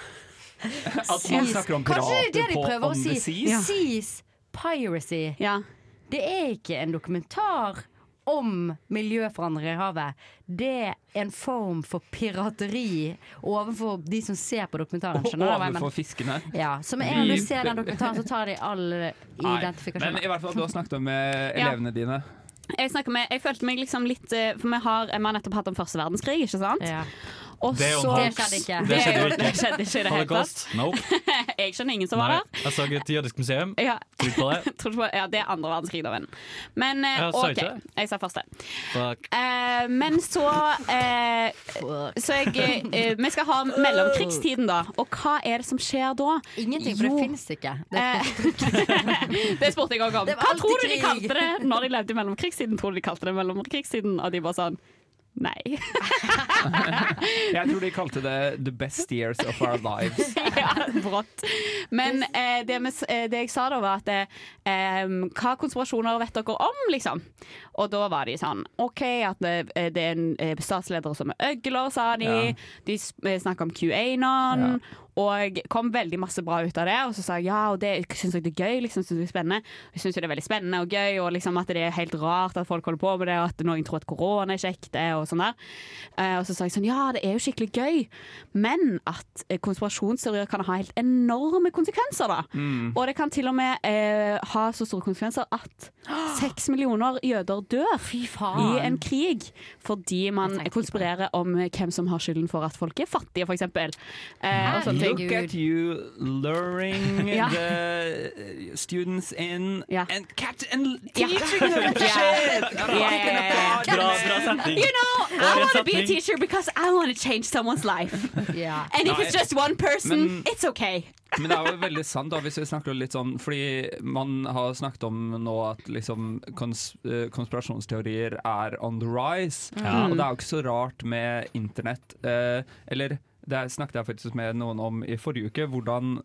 [SPEAKER 3] At man snakker om
[SPEAKER 5] Kanskje det er det
[SPEAKER 3] pirater
[SPEAKER 5] de
[SPEAKER 3] på
[SPEAKER 5] prøver
[SPEAKER 3] On
[SPEAKER 5] å
[SPEAKER 3] the
[SPEAKER 5] si.
[SPEAKER 3] Seas.
[SPEAKER 5] Seas piracy. Det er ikke en dokumentar om miljøforandringer i havet. Det er en form for pirateri overfor de som ser på dokumentaren.
[SPEAKER 3] Og
[SPEAKER 5] Skjønner du hva jeg
[SPEAKER 3] overfor
[SPEAKER 5] mener?
[SPEAKER 3] fiskene.
[SPEAKER 5] Ja, så med en gang du ser den dokumentaren, så tar de all
[SPEAKER 3] Nei,
[SPEAKER 5] identifikasjon.
[SPEAKER 3] Men i hvert fall du har snakket med
[SPEAKER 2] Ja.
[SPEAKER 3] elevene dine.
[SPEAKER 2] Jeg, snakker med, jeg følte meg liksom litt eh, For vi har, vi har nettopp hatt om første verdenskrig, ikke sant? Og
[SPEAKER 4] Det er jo en
[SPEAKER 2] så-
[SPEAKER 4] hoax. Det skjedde jo ikke.
[SPEAKER 2] Det skjedde ikke i det hele tatt.
[SPEAKER 4] Holocaust? Nope.
[SPEAKER 2] Jeg skjønner ingen som var
[SPEAKER 4] Nei.
[SPEAKER 2] der.
[SPEAKER 4] Jeg så et jødisk museum.
[SPEAKER 2] Ja.
[SPEAKER 4] Tror du på det?
[SPEAKER 2] Tror ikke på- ja, det er andre verdenskrig, da, venn. Men eh,
[SPEAKER 4] Ja, sa jeg
[SPEAKER 2] OK.
[SPEAKER 4] ikke det?
[SPEAKER 2] Jeg sa første.
[SPEAKER 4] Fuck.
[SPEAKER 2] Eh, men så eh, Så jeg eh, Vi skal ha mellomkrigstiden, da. Og hva er det som skjer da?
[SPEAKER 5] Ingenting, for det finnes ikke. Det er
[SPEAKER 2] Eh, det spurte jeg òg om.
[SPEAKER 5] Det var
[SPEAKER 2] Hva
[SPEAKER 5] alltid
[SPEAKER 2] tror du de
[SPEAKER 5] krig.
[SPEAKER 2] kalte det når de levde i mellomkrigstiden? Tror du de kalte det mellomkrigstiden? Og de bare sånn Nei.
[SPEAKER 3] Jeg tror de kalte det 'the best years of our lives'.
[SPEAKER 2] ja, brått. Men eh, det, med, s- eh, det jeg sa da, var at eh, em, Hva konspirasjoner vet dere om, liksom? Og da var de sånn OK, at det, eh, det er en eh, statsleder som er øgler, sa de.
[SPEAKER 4] Ja.
[SPEAKER 2] De s- eh, snakker om QAnon. Og kom veldig masse bra ut av det. Og så sa jeg ja, og det syns jeg det er gøy. Liksom, synes jeg, det er spennende. jeg syns jo det er veldig spennende og gøy, og liksom at det er helt rart at folk holder på med det, og at noen tror at korona er kjekt, det, og sånn der. Eh, og så sa jeg sånn ja, det er jo skikkelig gøy, men at eh, konspirasjonsteorier kan ha helt enorme konsekvenser, da.
[SPEAKER 10] Mm.
[SPEAKER 2] Og det kan til og med eh, ha så store konsekvenser at seks millioner jøder dør i en krig fordi man konspirerer om hvem som har skylden for at folk er fattige, f.eks. Eh, og sånne ting.
[SPEAKER 3] Look at you luring
[SPEAKER 2] Ja.
[SPEAKER 3] the eh, students in and catch and
[SPEAKER 2] Ja.
[SPEAKER 3] teaching them
[SPEAKER 2] Ja.
[SPEAKER 3] shit!
[SPEAKER 2] Ja, ja, ja, ja.
[SPEAKER 3] Bra, bra setning.
[SPEAKER 2] You know, I
[SPEAKER 3] Årets
[SPEAKER 2] want to be a
[SPEAKER 3] setning.
[SPEAKER 2] teacher because I want to change someone's life.
[SPEAKER 3] Eh,
[SPEAKER 2] And if
[SPEAKER 3] Nei.
[SPEAKER 2] it's just one person,
[SPEAKER 3] Men-
[SPEAKER 2] it's okay.
[SPEAKER 3] Men det er jo veldig sant, da, hvis vi snakker litt sånn Fordi man har snakket om nå at liksom kons eh, konspirasjonsteorier er on the rise.
[SPEAKER 10] Ja.
[SPEAKER 3] Og det er jo ikke så rart med internett. eh, eller det snakket jeg faktisk med noen om i forrige uke. Hvordan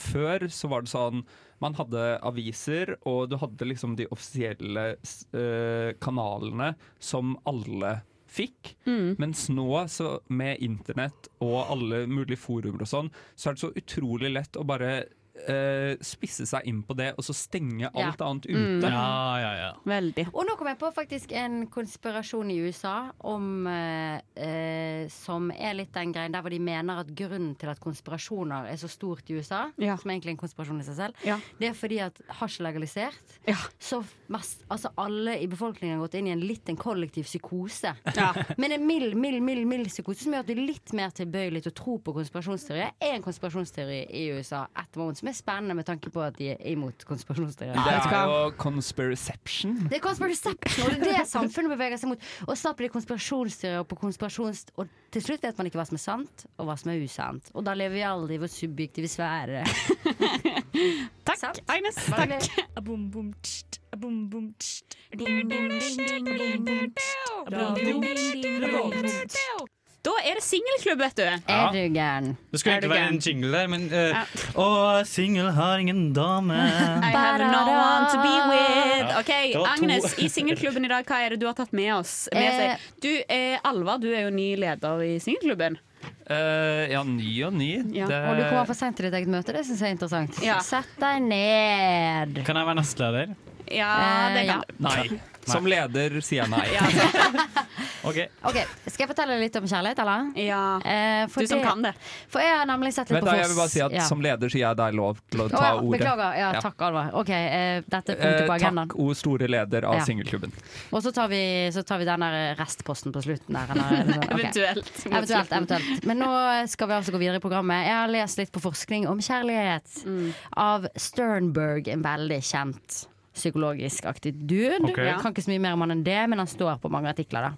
[SPEAKER 3] før så var det sånn man hadde aviser, og du hadde liksom de offisielle s- eh, kanalene som alle fikk.
[SPEAKER 5] Mm.
[SPEAKER 3] Mens nå, så med internett og alle mulige forumer og sånn, så er det så utrolig lett å bare eh, spisse seg inn på det, og så stenge
[SPEAKER 5] Ja.
[SPEAKER 3] alt annet
[SPEAKER 5] Mm.
[SPEAKER 3] ute.
[SPEAKER 5] Ja,
[SPEAKER 4] ja.
[SPEAKER 2] Veldig.
[SPEAKER 5] Og nå kom jeg på faktisk en konspirasjon i USA om, eh, eh, som er litt den greien der hvor de mener at grunnen til at konspirasjoner er så stort i USA,
[SPEAKER 2] Ja.
[SPEAKER 5] som egentlig er en konspirasjon i seg selv,
[SPEAKER 2] Ja.
[SPEAKER 5] det er fordi at hasj er legalisert. Så mass, altså alle i befolkningen har gått inn i en litt en kollektiv psykose. Men en mild, mild, mild, mild psykose som gjør at du er litt mer tilbøyelig til å tro på konspirasjonsteorier, er en konspirasjonsteori i USA etter moment, som er spennende med tanke på at de er imot konspirasjonsteorier.
[SPEAKER 3] Det er jo conspiraception.
[SPEAKER 5] Det er conspiraception, og det er det samfunnet beveger seg mot. Og snart blir det konspirasjonsteorier på konspirasjons... Og til slutt vet man ikke hva som er sant, og hva som er usant. Og da lever vi alle i vår subjektive sfære.
[SPEAKER 2] Takk, Agnes.
[SPEAKER 5] Takk.
[SPEAKER 2] Da er det singelklubb, vet du.
[SPEAKER 4] Ja.
[SPEAKER 5] Er du gæren?
[SPEAKER 4] Det skulle
[SPEAKER 2] Er du
[SPEAKER 4] egentlig være
[SPEAKER 2] gæren?
[SPEAKER 4] en jingle der, men eh, Å, singel har ingen dame.
[SPEAKER 2] I have no one to be with.
[SPEAKER 4] Ja.
[SPEAKER 2] Ok,
[SPEAKER 4] Det var to.
[SPEAKER 2] Agnes, i singelklubben i dag, hva er det du har tatt med oss? Med
[SPEAKER 4] Eh.
[SPEAKER 2] seg? Du, eh, Alvar, du er jo ny leder i singelklubben.
[SPEAKER 3] Eh, ja, ny og ny.
[SPEAKER 2] Ja,
[SPEAKER 3] Det-
[SPEAKER 5] Og du kommer for seint til ditt eget møte, det syns jeg er interessant.
[SPEAKER 2] Ja.
[SPEAKER 5] Sett deg ned.
[SPEAKER 4] Kan jeg være nestleder?
[SPEAKER 5] Eh,
[SPEAKER 2] Ja, det kan du.
[SPEAKER 3] Nei. Som leder sier jeg nei.
[SPEAKER 4] OK.
[SPEAKER 5] Ok, Skal jeg fortelle litt om kjærlighet, eller? Eh, for
[SPEAKER 2] Du som kan det.
[SPEAKER 5] For jeg har nemlig sett litt
[SPEAKER 3] Vent
[SPEAKER 5] på
[SPEAKER 3] da,
[SPEAKER 5] Foss.
[SPEAKER 3] jeg vil bare si at
[SPEAKER 5] Ja.
[SPEAKER 3] Som leder sier jeg deg lov til å
[SPEAKER 5] Å,
[SPEAKER 3] ta
[SPEAKER 5] ja,
[SPEAKER 3] ordet.
[SPEAKER 5] Beklager. Ja,
[SPEAKER 3] Ja.
[SPEAKER 5] takk, Alvar. Ok, eh, dette er
[SPEAKER 3] Eh,
[SPEAKER 5] punktet på agendaen.
[SPEAKER 3] takk, o store leder av
[SPEAKER 5] Ja.
[SPEAKER 3] singelklubben.
[SPEAKER 5] Og så tar vi, så tar vi den der restposten på slutten der. Eller, eller sånn. Ok.
[SPEAKER 2] Eventuelt.
[SPEAKER 5] Eventuelt, eventuelt. Men nå skal vi altså gå videre i programmet. Jeg har lest litt på forskning om kjærlighet
[SPEAKER 2] Mm.
[SPEAKER 5] av Sternberg, en veldig kjent psykologisk aktig dude.
[SPEAKER 10] Ok.
[SPEAKER 5] Jeg Kan ikke så mye mer om han enn det, men han står på mange artikler, da.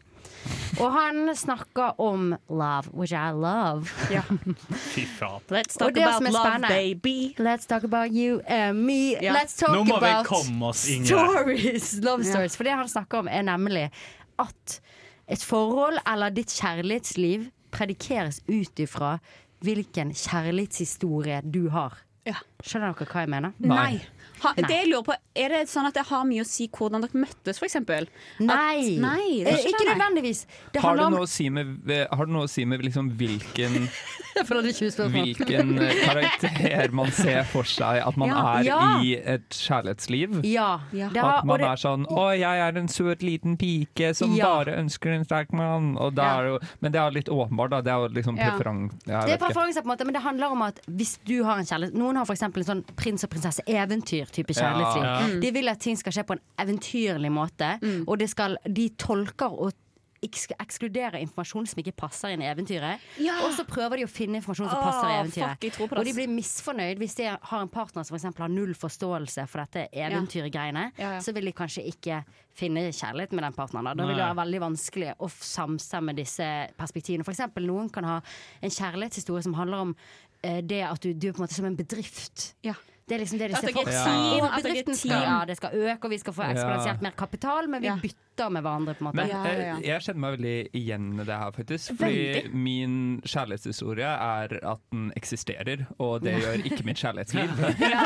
[SPEAKER 5] Og han snakker om love, which I love.
[SPEAKER 4] Fy faen.
[SPEAKER 2] Let's talk
[SPEAKER 5] Og det
[SPEAKER 2] about
[SPEAKER 5] som er
[SPEAKER 2] love,
[SPEAKER 5] spennende-
[SPEAKER 2] baby.
[SPEAKER 5] Let's talk about you and me.
[SPEAKER 2] Ja.
[SPEAKER 5] Let's talk
[SPEAKER 4] Nå må vi
[SPEAKER 5] about
[SPEAKER 4] komme oss, Ingrid.
[SPEAKER 5] stories. Love
[SPEAKER 4] Ja.
[SPEAKER 5] stories. For det han snakker om, er nemlig at et forhold eller ditt kjærlighetsliv predikeres ut ifra hvilken kjærlighetshistorie du har. Skjønner dere hva jeg mener?
[SPEAKER 2] Nei. Ha,
[SPEAKER 5] Nei.
[SPEAKER 2] det jeg lurer på, Er det sånn at det har mye å si hvordan dere møttes, f.eks.?
[SPEAKER 5] Nei.
[SPEAKER 2] nei
[SPEAKER 5] Eh, ikke nødvendigvis.
[SPEAKER 3] Har det noe å si med, har det noe å si med liksom hvilken,
[SPEAKER 5] Jeg føler det ikke er spørsmål.
[SPEAKER 3] hvilken eh, karakter man ser for seg at man
[SPEAKER 5] Ja.
[SPEAKER 3] er
[SPEAKER 5] Ja.
[SPEAKER 3] i et kjærlighetsliv?
[SPEAKER 5] Ja. Det har-
[SPEAKER 3] At
[SPEAKER 5] og
[SPEAKER 3] man
[SPEAKER 5] det-
[SPEAKER 3] er sånn 'Å, jeg er en søt liten pike som
[SPEAKER 5] Ja.
[SPEAKER 3] bare ønsker en sterk mann'. Og da er det jo, men det er jo litt åpenbart, da. Det er jo liksom
[SPEAKER 5] Ja.
[SPEAKER 3] preferanse.
[SPEAKER 5] Det er preferanser på en måte, men det handler om at hvis du har en kjærlighet Noen har for eksempel en sånn prins og prinsesse eventyr-type kjærlighetsliv.
[SPEAKER 10] Ja, ja.
[SPEAKER 5] De vil at ting skal skje på en eventyrlig måte,
[SPEAKER 10] Mm.
[SPEAKER 5] og det skal, de tolker og eks- ekskluderer informasjon som ikke passer inn i eventyret.
[SPEAKER 10] Ja.
[SPEAKER 5] Og så prøver de å finne informasjon som
[SPEAKER 10] Åh,
[SPEAKER 5] passer i
[SPEAKER 10] fuck, jeg
[SPEAKER 5] eventyret.
[SPEAKER 10] tror på det,
[SPEAKER 5] og de
[SPEAKER 10] ass.
[SPEAKER 5] blir misfornøyd hvis de har en partner som for eksempel har null forståelse for dette eventyrgreiene.
[SPEAKER 10] Ja, ja.
[SPEAKER 5] Så vil de kanskje ikke finne kjærlighet med den partneren. Da, da vil det
[SPEAKER 10] Nei.
[SPEAKER 5] være veldig vanskelig å f- samstemme disse perspektivene. For eksempel, noen kan ha en kjærlighetshistorie som handler om eh, det at du, du er på en måte som en bedrift. Det er liksom det de
[SPEAKER 2] At
[SPEAKER 5] ser
[SPEAKER 2] dere er
[SPEAKER 5] for
[SPEAKER 2] et
[SPEAKER 5] seg.
[SPEAKER 2] team,
[SPEAKER 5] Og
[SPEAKER 2] at dere er et
[SPEAKER 5] bedriften skal,
[SPEAKER 2] team.
[SPEAKER 5] ja, det skal øke, og vi skal få
[SPEAKER 3] Ja.
[SPEAKER 5] eksponentielt mer kapital, men vi bytter med hverandre, på en måte.
[SPEAKER 3] Men eh, jeg kjenner meg veldig igjen i det her, faktisk. Fordi
[SPEAKER 5] Veldig.
[SPEAKER 3] min kjærlighetshistorie er at den eksisterer, og det gjør ikke mitt kjærlighetsliv.
[SPEAKER 2] Ja,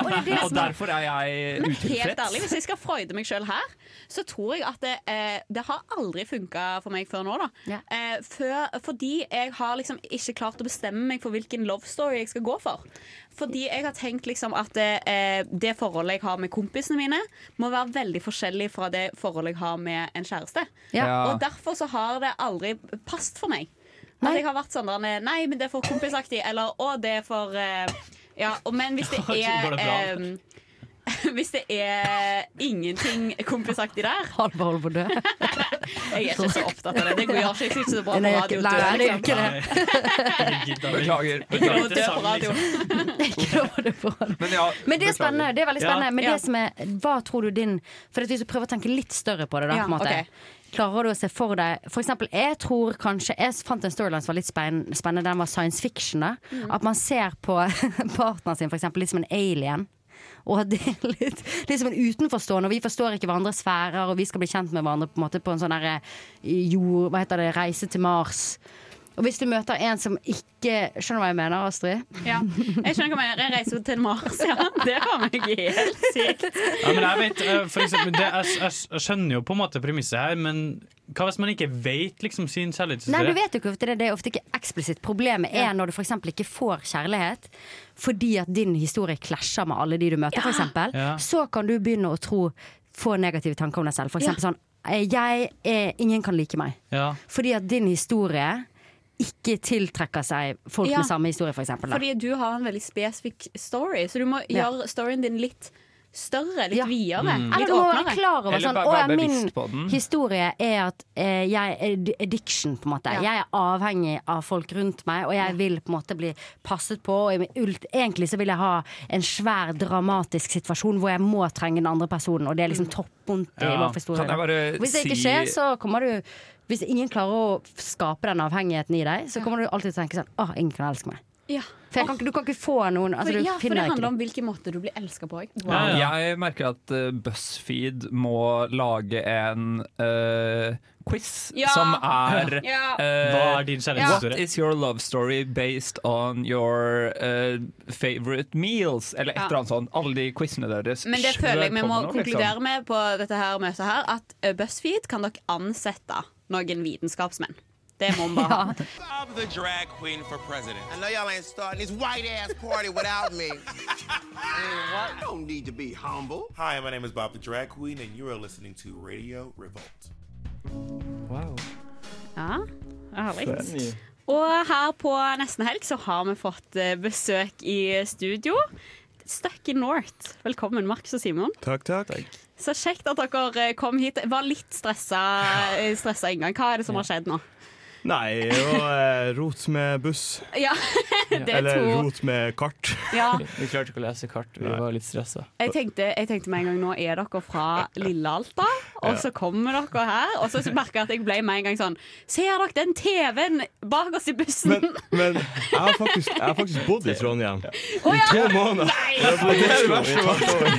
[SPEAKER 2] og det er det
[SPEAKER 3] og
[SPEAKER 2] som er-
[SPEAKER 3] derfor er jeg
[SPEAKER 2] Men helt ærlig, hvis
[SPEAKER 3] utilfreds.
[SPEAKER 2] jeg skal freude meg sjøl her, så tror jeg at det, eh, det har aldri funka for meg før nå. Da. Eh, før, fordi jeg har liksom ikke klart å bestemme meg for hvilken love story jeg skal gå for. Fordi jeg har tenkt liksom at eh, det forholdet jeg har med kompisene mine, må være veldig forskjellig fra det forholdet jeg har med en kjæreste.
[SPEAKER 10] Ja.
[SPEAKER 2] Og derfor så har det aldri passet for meg. At jeg har vært sånn der, Nei, men det er for kompisaktig. Eller å, det er for eh, Ja, og, men hvis det
[SPEAKER 10] Går
[SPEAKER 2] er
[SPEAKER 10] det bra?
[SPEAKER 2] eh, hvis det er ingenting kompisaktig der
[SPEAKER 5] Halvor holder på å dø.
[SPEAKER 2] Jeg er ikke så opptatt av det. Det går gjør ikke jeg synes det er bra på
[SPEAKER 5] Nei,
[SPEAKER 2] radio.
[SPEAKER 5] nei,
[SPEAKER 2] dø,
[SPEAKER 5] det gjør
[SPEAKER 2] liksom.
[SPEAKER 3] Beklager.
[SPEAKER 2] Ikke lov å dø på radio.
[SPEAKER 3] Men ja,
[SPEAKER 5] Men det er
[SPEAKER 3] beklager.
[SPEAKER 5] spennende. det er veldig spennende Men
[SPEAKER 2] Ja.
[SPEAKER 5] det som er, hva tror du din For at Hvis du prøver å tenke litt større på det, da,
[SPEAKER 2] Ja,
[SPEAKER 5] på en måte,
[SPEAKER 2] ok.
[SPEAKER 5] klarer du å se for deg For eksempel, jeg tror kanskje Jeg fant en storyline som var litt spenn- spennende. Den var science fiction. da
[SPEAKER 10] Mm.
[SPEAKER 5] At man ser på partneren sin for eksempel, litt som en alien. Og at det er litt, litt som en utenforstående, og vi forstår ikke hverandres sfærer, og vi skal bli kjent med hverandre på en måte på en sånn derre jord... Hva heter det? Reise til Mars. Og hvis du møter en som ikke Skjønner du hva jeg mener, Astrid?
[SPEAKER 2] Ja. Jeg skjønner hva jeg mener. Jeg reiser til Mars, ja. Det var meg helt sykt.
[SPEAKER 4] Ja, men jeg, vet, eh, for eksempel, det, jeg, jeg, jeg skjønner jo på en måte premisset her, men hva hvis man ikke vet liksom, sin
[SPEAKER 5] Nei, du
[SPEAKER 4] kjærlighetshistorie?
[SPEAKER 5] vet jo ikke ofte det. Det er ofte ikke eksplisitt. Problemet er når du f.eks. ikke får kjærlighet fordi at din historie klasjer med alle de du møter, for f.eks.
[SPEAKER 10] Ja.
[SPEAKER 5] Så kan du begynne å tro få negative tanker om deg selv. For eksempel sånn eh, Jeg er Ingen kan like meg.
[SPEAKER 4] Ja.
[SPEAKER 5] Fordi at din historie ikke tiltrekker seg folk
[SPEAKER 2] Ja.
[SPEAKER 5] med samme historie, for eksempel. da.
[SPEAKER 2] Fordi du har en veldig spesifikk story, så du må
[SPEAKER 5] Ja.
[SPEAKER 2] gjøre storyen din litt større, litt videre.
[SPEAKER 5] Mm.
[SPEAKER 2] Litt
[SPEAKER 5] Eller du må være
[SPEAKER 2] åpnere.
[SPEAKER 5] klar over sånn, «Å, ja, min historie er at eh, jeg er d- addiction, på en måte.
[SPEAKER 10] Ja.
[SPEAKER 5] Jeg er avhengig av folk rundt meg, og jeg vil på en måte bli passet på. Og i min ult, egentlig så vil jeg ha en svær, dramatisk situasjon hvor jeg må trenge den andre personen, og det er liksom
[SPEAKER 2] Mm.
[SPEAKER 5] toppvondt i
[SPEAKER 3] Ja.
[SPEAKER 5] vår historie.
[SPEAKER 3] Kan jeg bare
[SPEAKER 5] hvis det ikke
[SPEAKER 3] si-
[SPEAKER 5] skjer, så kommer du Hvis ingen klarer å f- skape den avhengigheten i deg, så kommer du alltid til å tenke sånn Å, ingen kan elske meg.
[SPEAKER 2] Ja.
[SPEAKER 5] For jeg kan, ikke- du kan ikke få noen
[SPEAKER 2] For,
[SPEAKER 5] altså, du
[SPEAKER 2] ja, for
[SPEAKER 5] finner
[SPEAKER 2] det
[SPEAKER 5] ikke
[SPEAKER 2] handler om hvilken måte du blir elska på. Wow.
[SPEAKER 3] Jeg merker at eh, BuzzFeed må lage en eh, quiz
[SPEAKER 2] Ja.
[SPEAKER 3] som er
[SPEAKER 2] Ja.
[SPEAKER 3] eh,
[SPEAKER 4] Hva er din kjærlighetshistorie?
[SPEAKER 3] What is your love story based on your eh, favorite meals? Eller et
[SPEAKER 2] Ja.
[SPEAKER 3] eller annet sånt. Alle de quizene deres.
[SPEAKER 2] Men det føler jeg vi må
[SPEAKER 3] Kjør på med noe, liksom.
[SPEAKER 2] konkludere med på dette her møtet her, at eh, BuzzFeed kan dere ansette noen vitenskapsmenn. Det må vi bare ha.
[SPEAKER 13] I'm the drag queen for president. I know y'all ain't starting this white ass party without me. I don't need to be humble.
[SPEAKER 14] Hi, my name is Bob the Drag Queen, and you are listening to Radio Revolt.
[SPEAKER 3] Wow.
[SPEAKER 2] Ja, herlig.
[SPEAKER 14] Funny.
[SPEAKER 2] Og her på Nesten Helg så har vi fått eh, besøk i studio. Stuck in North. Velkommen, Markus og Simon.
[SPEAKER 15] Takk, takk. takk.
[SPEAKER 2] Så kjekt at dere eh, kom hit. Jeg Var litt stressa, eh, stressa inngang. Hva er det som har skjedd nå?
[SPEAKER 15] Nei, og eh, rot med buss.
[SPEAKER 2] Ja, det er
[SPEAKER 15] Eller
[SPEAKER 2] to
[SPEAKER 15] rot med kart.
[SPEAKER 2] Ja.
[SPEAKER 16] Vi klarte ikke å lese kart, vi var litt stressa.
[SPEAKER 2] Jeg tenkte, jeg tenkte med en gang nå er dere fra Lille Alta, og
[SPEAKER 16] Ja.
[SPEAKER 2] så kommer dere her. Og så merker jeg at jeg ble med en gang sånn Ser dere den TV-en bak oss i bussen?
[SPEAKER 15] Men jeg har faktisk, jeg har faktisk bodd i Trondheim
[SPEAKER 2] Å,
[SPEAKER 15] i
[SPEAKER 2] ja!
[SPEAKER 15] to måneder.
[SPEAKER 2] Nei!
[SPEAKER 15] Jeg har bodd i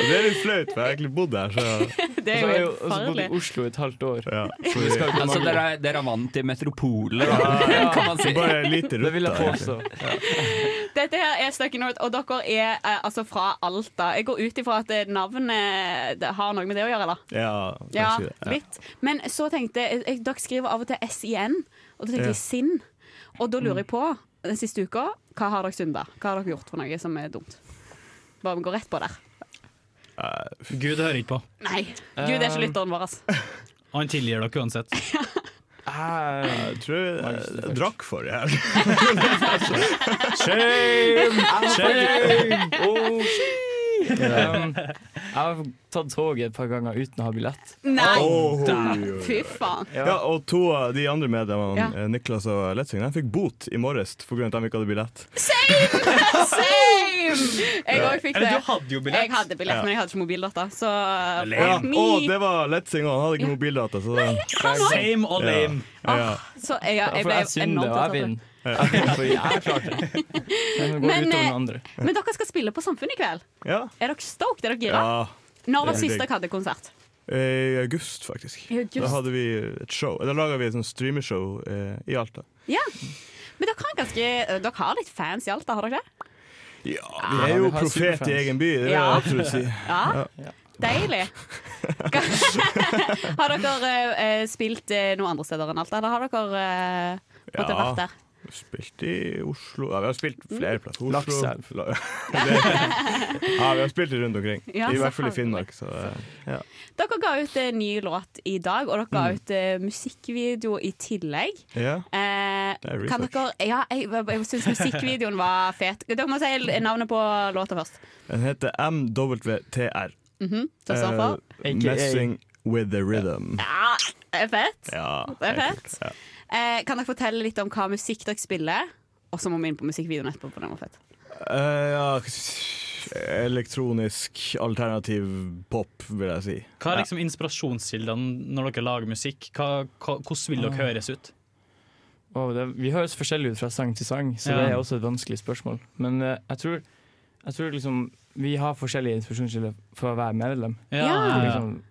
[SPEAKER 16] Det er det verste
[SPEAKER 15] Oslo i et halvt år. Og det er litt flaut, for jeg har egentlig bodd der. Så.
[SPEAKER 2] Det er jo helt
[SPEAKER 16] Og så bodde
[SPEAKER 2] farlig.
[SPEAKER 16] i Oslo i et halvt år.
[SPEAKER 15] så vi skal ikke
[SPEAKER 3] altså,
[SPEAKER 15] mange-
[SPEAKER 3] dere, er, dere er vant til metropoler,
[SPEAKER 15] Ja,
[SPEAKER 3] da,
[SPEAKER 15] ja.
[SPEAKER 3] kan man si.
[SPEAKER 15] Bare lite
[SPEAKER 16] Det vil jeg
[SPEAKER 15] rutter,
[SPEAKER 16] påstå.
[SPEAKER 2] Dette her er Stuck in North, og dere er eh, altså fra Alta. Jeg går ut ifra at eh, navnet det har noe med det å gjøre, eller?
[SPEAKER 15] Ja, jeg
[SPEAKER 2] Ja,
[SPEAKER 15] sier det. Ja.
[SPEAKER 2] litt. Men så tenkte jeg, jeg Dere skriver av og til SIN, og da tenkte
[SPEAKER 15] Ja. Mm.
[SPEAKER 2] jeg sinn. Og da lurer jeg på, den siste uka, hva har dere synda? Hva har dere gjort for noe som er dumt? Bare vi går rett på der.
[SPEAKER 4] Gud hører ikke på.
[SPEAKER 2] Nei. Gud det er ikke
[SPEAKER 15] Eh.
[SPEAKER 4] Um,
[SPEAKER 2] lytteren vår, altså.
[SPEAKER 4] Han tilgir dere uansett.
[SPEAKER 15] Jeg tror jeg, jeg drakk forrige helg.
[SPEAKER 16] Shame! Shame!
[SPEAKER 15] Shame!
[SPEAKER 16] Oh, shame!
[SPEAKER 15] Ja.
[SPEAKER 16] Um, jeg har tatt toget et par ganger uten å ha billett.
[SPEAKER 2] Nei!
[SPEAKER 15] Oh.
[SPEAKER 2] Fy faen.
[SPEAKER 15] Ja, og to av de andre medlemmene,
[SPEAKER 2] Ja.
[SPEAKER 15] eh, Niklas og Lettving, de fikk bot i morges pga. at de ikke hadde billett.
[SPEAKER 2] Same! Same! Jeg òg fikk det.
[SPEAKER 15] Eller du hadde jo billett.
[SPEAKER 2] Jeg hadde billett,
[SPEAKER 15] Ja.
[SPEAKER 2] men jeg hadde ikke mobildata. Så eh,
[SPEAKER 15] Ja.
[SPEAKER 2] fuck me.
[SPEAKER 15] Og det var Lettsing òg, han hadde ikke mobildata. Så det...
[SPEAKER 2] han også. Same
[SPEAKER 4] og
[SPEAKER 15] Ja.
[SPEAKER 4] lame.
[SPEAKER 15] Ja.
[SPEAKER 2] Så jeg, jeg ble enormt opptatt av det.
[SPEAKER 15] Ja, for jeg klarte det.
[SPEAKER 16] Jeg må gå
[SPEAKER 2] Men,
[SPEAKER 16] utover med
[SPEAKER 2] eh,
[SPEAKER 16] andre.
[SPEAKER 2] Men dere skal spille på Samfunnet i kveld.
[SPEAKER 15] Ja.
[SPEAKER 2] Er dere stoked? Er dere gira?
[SPEAKER 15] Ja.
[SPEAKER 2] Når var
[SPEAKER 15] Det er
[SPEAKER 2] sist
[SPEAKER 15] digg.
[SPEAKER 2] dere hadde konsert?
[SPEAKER 15] I august, faktisk.
[SPEAKER 2] I august.
[SPEAKER 15] Da hadde vi et show. Da laga vi et sånt streamershow eh, i Alta.
[SPEAKER 2] Ja. Men dere har, ganske, eh, dere har litt fans i Alta, har dere det?
[SPEAKER 15] Ja,
[SPEAKER 16] Ja,
[SPEAKER 15] vi er
[SPEAKER 16] vi
[SPEAKER 15] jo
[SPEAKER 16] har
[SPEAKER 15] profet i
[SPEAKER 16] superfans.
[SPEAKER 15] egen by, det vil jeg
[SPEAKER 16] Ja.
[SPEAKER 15] absolutt si.
[SPEAKER 2] Ja. Deilig. har dere eh, eh, spilt eh, noe andre steder enn Alta, eller har dere uh,
[SPEAKER 15] Ja.
[SPEAKER 2] måttet vært der?
[SPEAKER 15] Spilt i Oslo Ja, vi har spilt
[SPEAKER 2] Mm.
[SPEAKER 15] flere plasser. Oslo.
[SPEAKER 16] Lakselv.
[SPEAKER 15] La- Det- ja, vi har spilt rundt omkring.
[SPEAKER 2] Ja,
[SPEAKER 15] I
[SPEAKER 2] så
[SPEAKER 15] hvert fall i
[SPEAKER 2] herlig.
[SPEAKER 15] Finnmark. Så, eh, ja.
[SPEAKER 2] Dere ga ut en ny låt i dag, og dere ga
[SPEAKER 15] Mm.
[SPEAKER 2] ut eh, musikkvideo i tillegg.
[SPEAKER 15] ja.
[SPEAKER 2] Eh,
[SPEAKER 15] Det er
[SPEAKER 2] kan
[SPEAKER 15] research.
[SPEAKER 2] dere Ja, jeg, jeg syns musikkvideoen var fet. Dere må si navnet på låta først.
[SPEAKER 15] Den heter MWTR.
[SPEAKER 2] Mhm, Det står for
[SPEAKER 15] Eh, Messing with the rhythm.
[SPEAKER 2] Ja, det er Eh, fett.
[SPEAKER 15] Ja,
[SPEAKER 2] Det er
[SPEAKER 15] helt
[SPEAKER 2] fett.
[SPEAKER 15] kult, ja.
[SPEAKER 2] Eh, kan dere fortelle litt om hva musikk dere spiller? Og så må vi inn på musikkvideoen etterpå. For den var fett.
[SPEAKER 15] Eh, ja Elektronisk alternativ pop, vil jeg si.
[SPEAKER 4] Hva er liksom inspirasjonskildene når dere lager musikk? Hva, hva, hvordan
[SPEAKER 3] Ah.
[SPEAKER 4] vil dere høres ut?
[SPEAKER 16] Å, det, vi høres forskjellig ut fra sang til sang, så
[SPEAKER 4] Ja.
[SPEAKER 16] det er også et vanskelig spørsmål. Men eh, jeg tror, jeg tror liksom vi har forskjellige inspirasjonskilder for å være medlem.
[SPEAKER 4] Ja. Ja.
[SPEAKER 16] Liksom,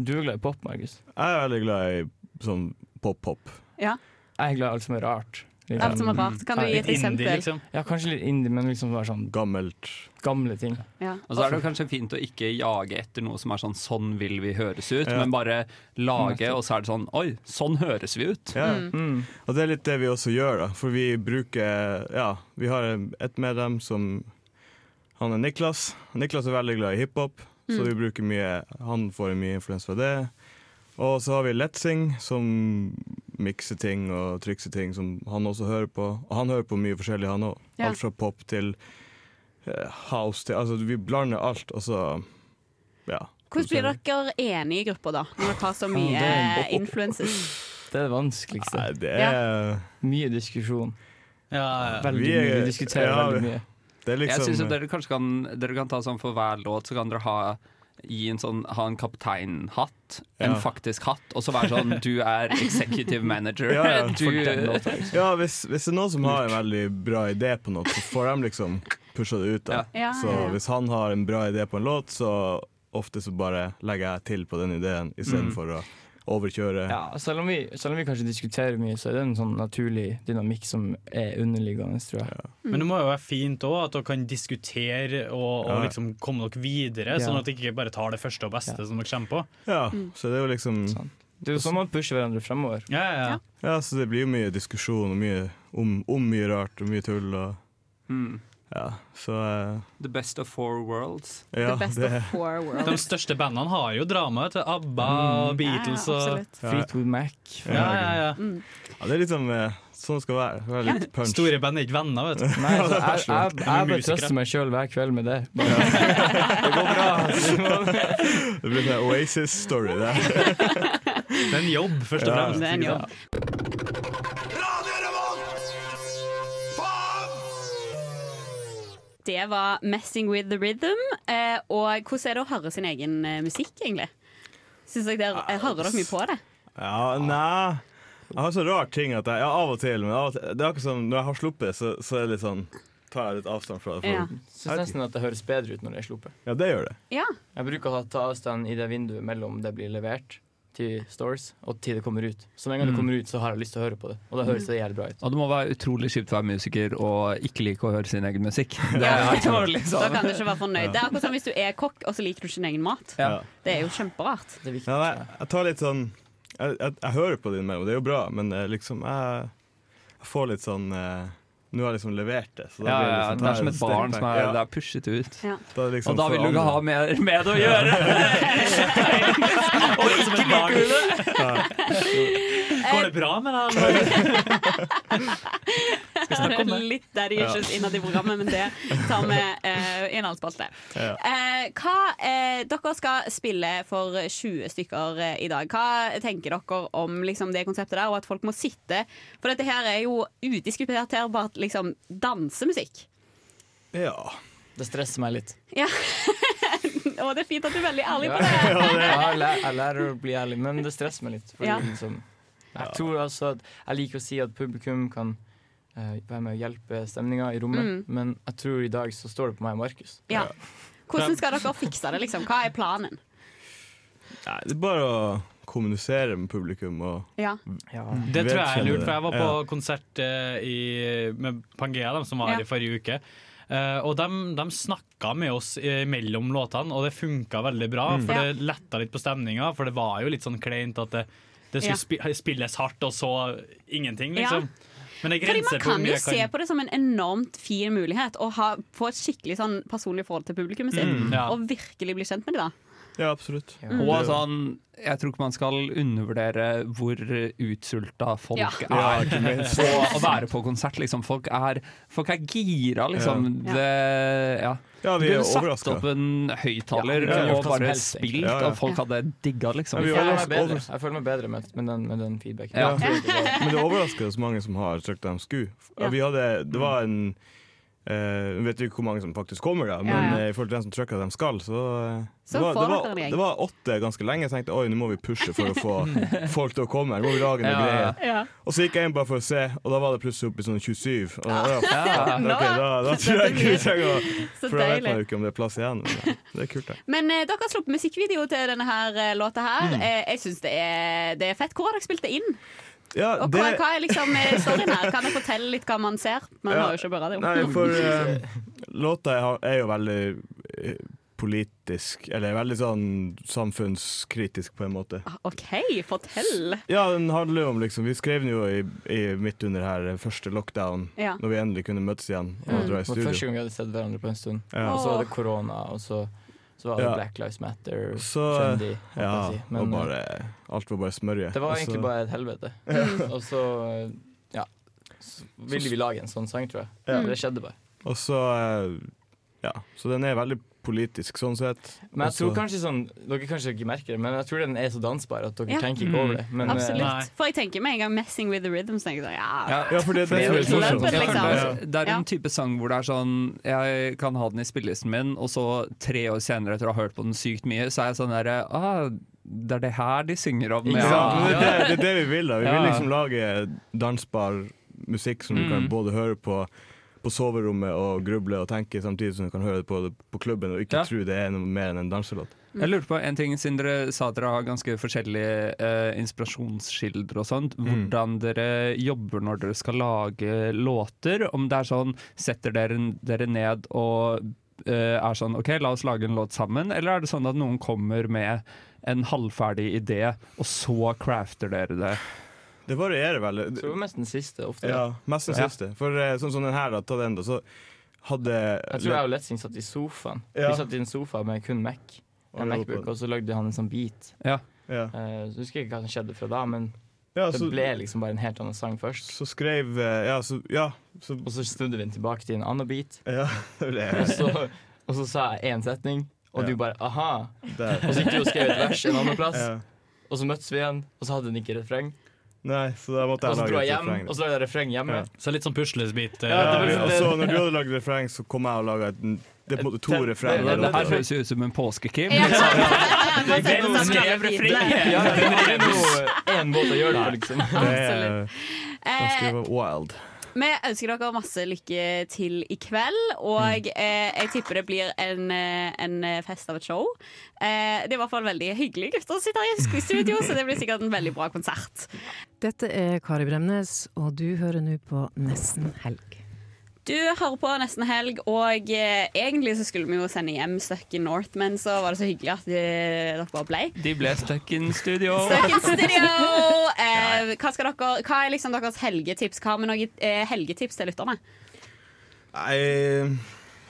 [SPEAKER 16] du er glad i pop, Markus.
[SPEAKER 15] Jeg er veldig glad i sånn pop-pop.
[SPEAKER 2] Ja.
[SPEAKER 16] Jeg er glad i alt som er rart.
[SPEAKER 2] Alt som er rart. Kan du
[SPEAKER 16] Ja,
[SPEAKER 2] gi et
[SPEAKER 16] litt
[SPEAKER 2] eksempel?
[SPEAKER 16] indie, liksom? Ja, kanskje litt indie, men liksom bare sånn
[SPEAKER 15] Gammelt.
[SPEAKER 16] Gamle ting.
[SPEAKER 2] Ja.
[SPEAKER 3] Og så er det jo kanskje fint å ikke jage etter noe som er sånn 'sånn vil vi høres ut', men bare lage, og så er det sånn 'oi, sånn høres vi ut'.
[SPEAKER 15] Ja.
[SPEAKER 2] Mm.
[SPEAKER 3] Mm.
[SPEAKER 15] Og det er litt det vi også gjør, da. For vi bruker Ja, vi har et medlem som Han er Niklas. Niklas er veldig glad i hiphop, så
[SPEAKER 14] Mm.
[SPEAKER 15] vi bruker mye Han får mye influens fra det. Og så har vi Letzing, som mikser ting og trikser ting som han også hører på. Og han hører på mye forskjellig, han òg.
[SPEAKER 2] Ja.
[SPEAKER 15] Alt fra pop til eh, house til Altså, vi blander alt, og så Ja.
[SPEAKER 2] Hvordan blir dere enige i gruppa, da? Når dere har så mye
[SPEAKER 15] Det er en-
[SPEAKER 2] influences?
[SPEAKER 16] Det er det vanskeligste.
[SPEAKER 15] Det er
[SPEAKER 16] Mye diskusjon. Veldig
[SPEAKER 3] Vi
[SPEAKER 16] mye.
[SPEAKER 3] er-
[SPEAKER 16] Vi diskuterer
[SPEAKER 3] ja,
[SPEAKER 16] veldig mye.
[SPEAKER 15] liksom
[SPEAKER 4] Liksom,
[SPEAKER 3] Jeg
[SPEAKER 4] eh,
[SPEAKER 3] synes jo dere kanskje kan Dere kan ta sånn for hver låt, så kan dere ha Gi en sånn, ha en kapteinhatt, en
[SPEAKER 15] Ja.
[SPEAKER 3] faktisk hatt, og så være sånn Du er executive manager.
[SPEAKER 15] Ja, ja,
[SPEAKER 3] du,
[SPEAKER 15] for den låta, liksom. ja hvis, hvis det er noen som har en veldig bra idé på noe, så får de liksom pusha det ut. Da.
[SPEAKER 3] Ja. Ja,
[SPEAKER 15] Så
[SPEAKER 3] ja, ja.
[SPEAKER 15] hvis han har en bra idé på en låt, så ofte så bare legger jeg til på den ideen
[SPEAKER 16] Mm.
[SPEAKER 15] istedenfor å overkjøre.
[SPEAKER 16] Ja, selv, om vi, selv om vi kanskje diskuterer mye, så er det en sånn naturlig dynamikk som er underliggende, tror jeg.
[SPEAKER 4] Men det må jo være fint òg at dere kan diskutere og, og
[SPEAKER 15] Ja.
[SPEAKER 4] liksom komme dere videre,
[SPEAKER 16] Ja.
[SPEAKER 4] sånn at dere ikke bare tar det første og beste som dere kommer på.
[SPEAKER 15] Ja, så det er jo liksom
[SPEAKER 16] Det er jo sånn man pusher hverandre fremover.
[SPEAKER 4] Ja, ja, ja.
[SPEAKER 15] Ja, så det blir jo mye diskusjon og mye, om, om mye rart og mye tull og
[SPEAKER 3] Mm.
[SPEAKER 15] Ja, så eh,
[SPEAKER 3] The best of four worlds.
[SPEAKER 15] Ja, The best of det-
[SPEAKER 2] four worlds.
[SPEAKER 4] De største bandene har jo drama. Vet du. ABBA
[SPEAKER 16] Mm.
[SPEAKER 4] og Beatles og
[SPEAKER 16] Fleetwood Mac.
[SPEAKER 4] Ja, ja, ja.
[SPEAKER 15] Ja, det er liksom eh, sånn det skal være. Det skal være litt punch.
[SPEAKER 4] Store band er ikke venner, vet du.
[SPEAKER 16] Nei, altså, jeg, jeg, jeg, bare trøster meg sjøl hver kveld med det. Bare, det går bra.
[SPEAKER 15] Det blir en Oasis-story, det.
[SPEAKER 4] Det er en jobb, først og
[SPEAKER 15] Ja.
[SPEAKER 4] fremst.
[SPEAKER 15] Det er en jobb.
[SPEAKER 2] Det var 'Messing with the Rhythm'. Eh, og hvordan er det å høre sin egen eh, musikk, egentlig? Syns dere dere eh, hører dere mye på det?
[SPEAKER 15] Ja, nei Jeg har så rar ting at jeg ja, Av og til, men av og til, det er akkurat som når jeg har sluppet, så, så er det litt sånn tar jeg litt avstand fra det. for-
[SPEAKER 2] Ja.
[SPEAKER 16] Syns nesten at det høres bedre ut når det er sluppet.
[SPEAKER 15] Ja, det gjør det.
[SPEAKER 2] Ja.
[SPEAKER 16] Jeg bruker å ta avstand i det vinduet mellom det blir levert til stores, og til det kommer ut. Så med en gang det
[SPEAKER 3] Mm.
[SPEAKER 16] kommer ut, så har jeg lyst til å høre på det. Og da høres det jævlig bra ut.
[SPEAKER 3] Og det må være utrolig kjipt å være musiker og ikke like å høre sin egen musikk. Det
[SPEAKER 2] Ja.
[SPEAKER 3] er jo liksom
[SPEAKER 2] Da kan du ikke være fornøyd. Det er akkurat som hvis du er kokk, og så liker du ikke din egen mat.
[SPEAKER 15] Ja.
[SPEAKER 2] Det er jo kjemperart.
[SPEAKER 15] Ja, nei, jeg tar litt sånn Jeg, jeg, jeg hører på det innimellom, det er jo bra, men eh, liksom jeg, jeg får litt sånn eh, Nå har jeg liksom levert det. så da
[SPEAKER 3] Ja,
[SPEAKER 15] blir
[SPEAKER 3] ja,
[SPEAKER 15] liksom-
[SPEAKER 3] det er som
[SPEAKER 15] da
[SPEAKER 3] et barn som er,
[SPEAKER 15] Ja.
[SPEAKER 3] det er pushet ut.
[SPEAKER 2] Ja.
[SPEAKER 15] Da er det liksom
[SPEAKER 3] og da
[SPEAKER 15] for
[SPEAKER 3] vil du ikke
[SPEAKER 15] andre.
[SPEAKER 3] ha mer med det å gjøre! og ikke liker du det!
[SPEAKER 4] Går det bra med deg? eller?
[SPEAKER 2] Det
[SPEAKER 4] snakke om
[SPEAKER 2] er
[SPEAKER 4] det?
[SPEAKER 2] litt daddy issues
[SPEAKER 4] Ja.
[SPEAKER 2] innad i programmet, men det tar vi eh, i en annen spalte.
[SPEAKER 4] Ja.
[SPEAKER 2] Eh, hva, eh, dere skal spille for 20 stykker eh, i dag. Hva tenker dere om liksom, det konseptet der, og at folk må sitte For dette her er jo udiskuterbart liksom, dansemusikk.
[SPEAKER 15] Ja.
[SPEAKER 16] Det stresser meg litt.
[SPEAKER 2] Ja. og det er fint at du er veldig ærlig
[SPEAKER 16] Ja,
[SPEAKER 2] på det.
[SPEAKER 16] jeg, lærer, jeg lærer å bli ærlig, men det stresser meg litt. Fordi
[SPEAKER 2] Ja.
[SPEAKER 16] liksom, jeg tror altså at jeg liker å si at publikum kan eh, være med å hjelpe stemninga i rommet,
[SPEAKER 2] Mm.
[SPEAKER 16] men jeg tror i dag så står det på meg og Markus.
[SPEAKER 2] Ja. Hvordan skal dere fikse det? liksom? Hva er planen?
[SPEAKER 15] Nei, det er bare å kommunisere med publikum og
[SPEAKER 2] Ja. Mm.
[SPEAKER 4] Det tror jeg er lurt, for jeg var på
[SPEAKER 15] Ja.
[SPEAKER 4] konsert eh, i, med Pangea, de som var
[SPEAKER 2] Ja.
[SPEAKER 4] her i forrige uke. Eh, og de, de snakka med oss eh, mellom låtene, og det funka veldig bra.
[SPEAKER 16] Mm.
[SPEAKER 4] For
[SPEAKER 16] Ja.
[SPEAKER 4] det letta litt på stemninga, for det var jo litt sånn kleint at det, det skulle spi- spilles hardt, og så ingenting,
[SPEAKER 2] Ja.
[SPEAKER 4] liksom. Men det er
[SPEAKER 2] Fordi Man
[SPEAKER 4] grenser for hvor
[SPEAKER 2] kan
[SPEAKER 4] mye
[SPEAKER 2] jo
[SPEAKER 4] jeg
[SPEAKER 2] se på det som en enormt fin mulighet å ha, få et skikkelig sånn personlig forhold til publikummet sitt.
[SPEAKER 3] Mm, ja.
[SPEAKER 2] Og virkelig bli kjent med det. da
[SPEAKER 15] Ja, absolutt.
[SPEAKER 2] Ja.
[SPEAKER 3] Og sånn, jeg tror ikke man skal undervurdere hvor utsulta folk
[SPEAKER 2] Ja.
[SPEAKER 15] Ja,
[SPEAKER 3] er
[SPEAKER 15] ikke minst.
[SPEAKER 3] på å være på konsert. Liksom. Folk, er, folk er gira, liksom.
[SPEAKER 15] Ja.
[SPEAKER 3] Det, ja.
[SPEAKER 15] Ja, vi
[SPEAKER 3] Du
[SPEAKER 15] er
[SPEAKER 3] kunne satt
[SPEAKER 15] overrasket.
[SPEAKER 3] opp en
[SPEAKER 16] Ja,
[SPEAKER 3] høyttaler
[SPEAKER 16] vi kunne gjort
[SPEAKER 3] og
[SPEAKER 16] hva som
[SPEAKER 3] bare
[SPEAKER 16] helst, egentlig.
[SPEAKER 3] spilt,
[SPEAKER 16] Ja, ja.
[SPEAKER 3] og folk hadde digga, liksom.
[SPEAKER 16] jeg, føler meg bedre. jeg føler meg bedre med, med, den, med den feedbacken.
[SPEAKER 15] Ja.
[SPEAKER 16] Jeg tror ikke
[SPEAKER 2] Mm.
[SPEAKER 16] det-
[SPEAKER 15] Men det overrasker oss mange som har søkt dem SKU.
[SPEAKER 16] Ja. Mm.
[SPEAKER 15] Vi hadde, det var en eh, vet jo ikke hvor mange som faktisk kommer, da, men
[SPEAKER 16] Ja, ja.
[SPEAKER 15] eh, i forhold til dem som trykker dem skal, så, eh,
[SPEAKER 16] Så
[SPEAKER 15] det, var,
[SPEAKER 16] får
[SPEAKER 15] det, var,
[SPEAKER 16] dere en gjeng.
[SPEAKER 15] det var åtte ganske lenge. Jeg tenkte oi, nå må vi pushe for å få folk til å komme. Her må vi lage noe
[SPEAKER 16] Ja, ja.
[SPEAKER 15] greier. Og så gikk jeg inn bare for å se, og da var det plutselig oppe i sånn 27. Og, da-
[SPEAKER 2] Ja.
[SPEAKER 15] ok, da, da tror jeg ikke vi trenger å
[SPEAKER 2] Så
[SPEAKER 15] For da vet
[SPEAKER 2] deilig.
[SPEAKER 15] man jo ikke om det er plass igjen. Men ja, det er kult, det.
[SPEAKER 2] Men eh, dere har sluppet musikkvideo til denne her eh, låta her.
[SPEAKER 15] Mm.
[SPEAKER 2] Eh, jeg syns det, er- det er fett. Hvor har dere spilt det inn?
[SPEAKER 15] Ja,
[SPEAKER 2] Og hva, hva er liksom eh, storyen her? Kan dere fortelle litt hva man ser? Man
[SPEAKER 15] Ja.
[SPEAKER 2] har jo ikke på radio.
[SPEAKER 15] Nei, for eh, låta jeg har- er jo veldig eh, politisk, eller veldig sånn samfunnskritisk på en måte.
[SPEAKER 2] Ah, OK, fortell.
[SPEAKER 15] Ja, den handler jo om liksom Vi skrev den jo i, i midt under her eh, første lockdown,
[SPEAKER 2] Ja.
[SPEAKER 15] når vi endelig kunne møtes igjen og
[SPEAKER 16] Det
[SPEAKER 15] dra
[SPEAKER 16] var
[SPEAKER 15] i
[SPEAKER 16] Mm. første
[SPEAKER 15] studio.
[SPEAKER 16] gang vi hadde sett hverandre på en stund.
[SPEAKER 15] Ja.
[SPEAKER 16] Og så var det korona, og så, så var det
[SPEAKER 15] Ja.
[SPEAKER 16] Black Lives Matter.
[SPEAKER 15] Så
[SPEAKER 16] trendy,
[SPEAKER 15] eh,
[SPEAKER 16] holdt jeg å
[SPEAKER 15] ja,
[SPEAKER 16] si.
[SPEAKER 15] og
[SPEAKER 16] Men, eh,
[SPEAKER 15] bare, alt var bare smørje.
[SPEAKER 16] Det var
[SPEAKER 15] Og så-
[SPEAKER 16] egentlig bare et helvete. Og så eh, ja, så ville vi lage en sånn sang, tror jeg.
[SPEAKER 15] Ja.
[SPEAKER 16] Det skjedde bare.
[SPEAKER 15] Og så eh, Ja, så den er veldig politisk sånn sett.
[SPEAKER 16] Men jeg
[SPEAKER 15] Og så-
[SPEAKER 16] tror kanskje sånn Dere kanskje ikke merker det, men jeg tror den er så dansbar at dere
[SPEAKER 2] Ja.
[SPEAKER 16] tenker ikke
[SPEAKER 15] Mm.
[SPEAKER 16] over det. Men, eh,
[SPEAKER 2] Absolutt. For jeg tenker med en gang 'Messing with the Rhythm'. Så tenker jeg, sånn, ja.
[SPEAKER 3] Fordi
[SPEAKER 2] jo klubben, liksom.
[SPEAKER 3] Det, det er en type sang hvor det er sånn Jeg kan ha den i spillelisten min, og så tre år senere etter å ha hørt på den sykt mye, så er jeg sånn derre ah, Det er det her de synger om.
[SPEAKER 15] Ikke
[SPEAKER 3] ja.
[SPEAKER 15] sant? Men Det, er det, det er det vi vil. da Vi
[SPEAKER 3] Ja.
[SPEAKER 15] vil liksom lage dansbar musikk som du kan
[SPEAKER 3] Mm.
[SPEAKER 15] både høre på på soverommet og gruble og tenke, samtidig som du kan høre det på, på klubben og ikke tro det er noe mer enn en danselåt.
[SPEAKER 3] Jeg lurte på en ting, siden dere sa at dere har ganske forskjellige eh, inspirasjonskilder og sånt. Hvordan dere jobber når dere skal lage låter. Om det er sånn, setter dere dere ned og eh, er sånn OK, la oss lage en låt sammen. Eller er det sånn at noen kommer med en halvferdig idé, og så crafter dere det?
[SPEAKER 15] Det varierer veldig.
[SPEAKER 16] Så det var mest den siste ofte.
[SPEAKER 15] Ja, mest den
[SPEAKER 16] Ja.
[SPEAKER 15] siste. For eh, sånn som den her, da, ta den, da, så hadde
[SPEAKER 16] Jeg tror jeg og Letzing satt i sofaen.
[SPEAKER 15] Ja.
[SPEAKER 16] Vi satt i en sofa med kun Mac. En
[SPEAKER 15] Og lå på
[SPEAKER 16] Macbook,
[SPEAKER 15] den.
[SPEAKER 16] og så lagde han en sånn beat.
[SPEAKER 3] Ja.
[SPEAKER 16] Eh, så husker jeg ikke hva som skjedde fra da, men
[SPEAKER 15] Ja,
[SPEAKER 16] det
[SPEAKER 15] så-
[SPEAKER 16] ble liksom bare en helt annen sang først.
[SPEAKER 15] Så skrev eh, Ja, så, ja så,
[SPEAKER 16] Og så snudde vi den tilbake til en annen beat.
[SPEAKER 15] det ble-
[SPEAKER 16] og, så, og så sa jeg én setning, og
[SPEAKER 15] Ja.
[SPEAKER 16] du bare aha.
[SPEAKER 15] Der.
[SPEAKER 16] Og så gikk du og skrev et vers en annen plass,
[SPEAKER 15] Ja.
[SPEAKER 16] og så møttes vi igjen, og så hadde den ikke refreng.
[SPEAKER 15] Nei, så da måtte
[SPEAKER 16] Og
[SPEAKER 15] jeg
[SPEAKER 16] så dro
[SPEAKER 15] lage
[SPEAKER 16] jeg
[SPEAKER 15] et
[SPEAKER 16] hjem,
[SPEAKER 15] refreng, da.
[SPEAKER 16] og så lagde jeg refreng hjemme.
[SPEAKER 15] Ja.
[SPEAKER 4] Så litt sånn puslesbit. eh,
[SPEAKER 15] Ja,
[SPEAKER 4] det-
[SPEAKER 15] og så når du hadde lagd refreng, så kom jeg og laga Det er på en måte to refrenger.
[SPEAKER 3] Det, det her
[SPEAKER 15] da.
[SPEAKER 3] høres jo ut som en påskekrim.
[SPEAKER 15] Ja.
[SPEAKER 3] liksom.
[SPEAKER 15] Det er
[SPEAKER 2] sånn,
[SPEAKER 3] Hvem skrev refrenget?
[SPEAKER 16] Ja, det er jo en måte å gjøre det på, liksom.
[SPEAKER 15] Absolutt.
[SPEAKER 2] Eh,
[SPEAKER 15] wild.
[SPEAKER 2] Vi ønsker dere masse lykke til i kveld, og eh, jeg tipper det blir en, eh, en fest av et show. Eh, det er i hvert fall veldig hyggelig gutter som sitter i studio, så det blir sikkert en veldig bra konsert.
[SPEAKER 10] Dette er Kari Bremnes, og du hører nå på Nesten helg.
[SPEAKER 2] Du hører på Nesten Helg, og eh, egentlig så skulle vi jo sende hjem Stuck in North, men så var det så hyggelig at eh, dere bare ble.
[SPEAKER 3] De ble stuck in studio.
[SPEAKER 2] Stuck in studio! Eh, hva, skal dere, hva er liksom deres helgetips? Hva har vi noen eh, helgetips til lytterne?
[SPEAKER 15] Nei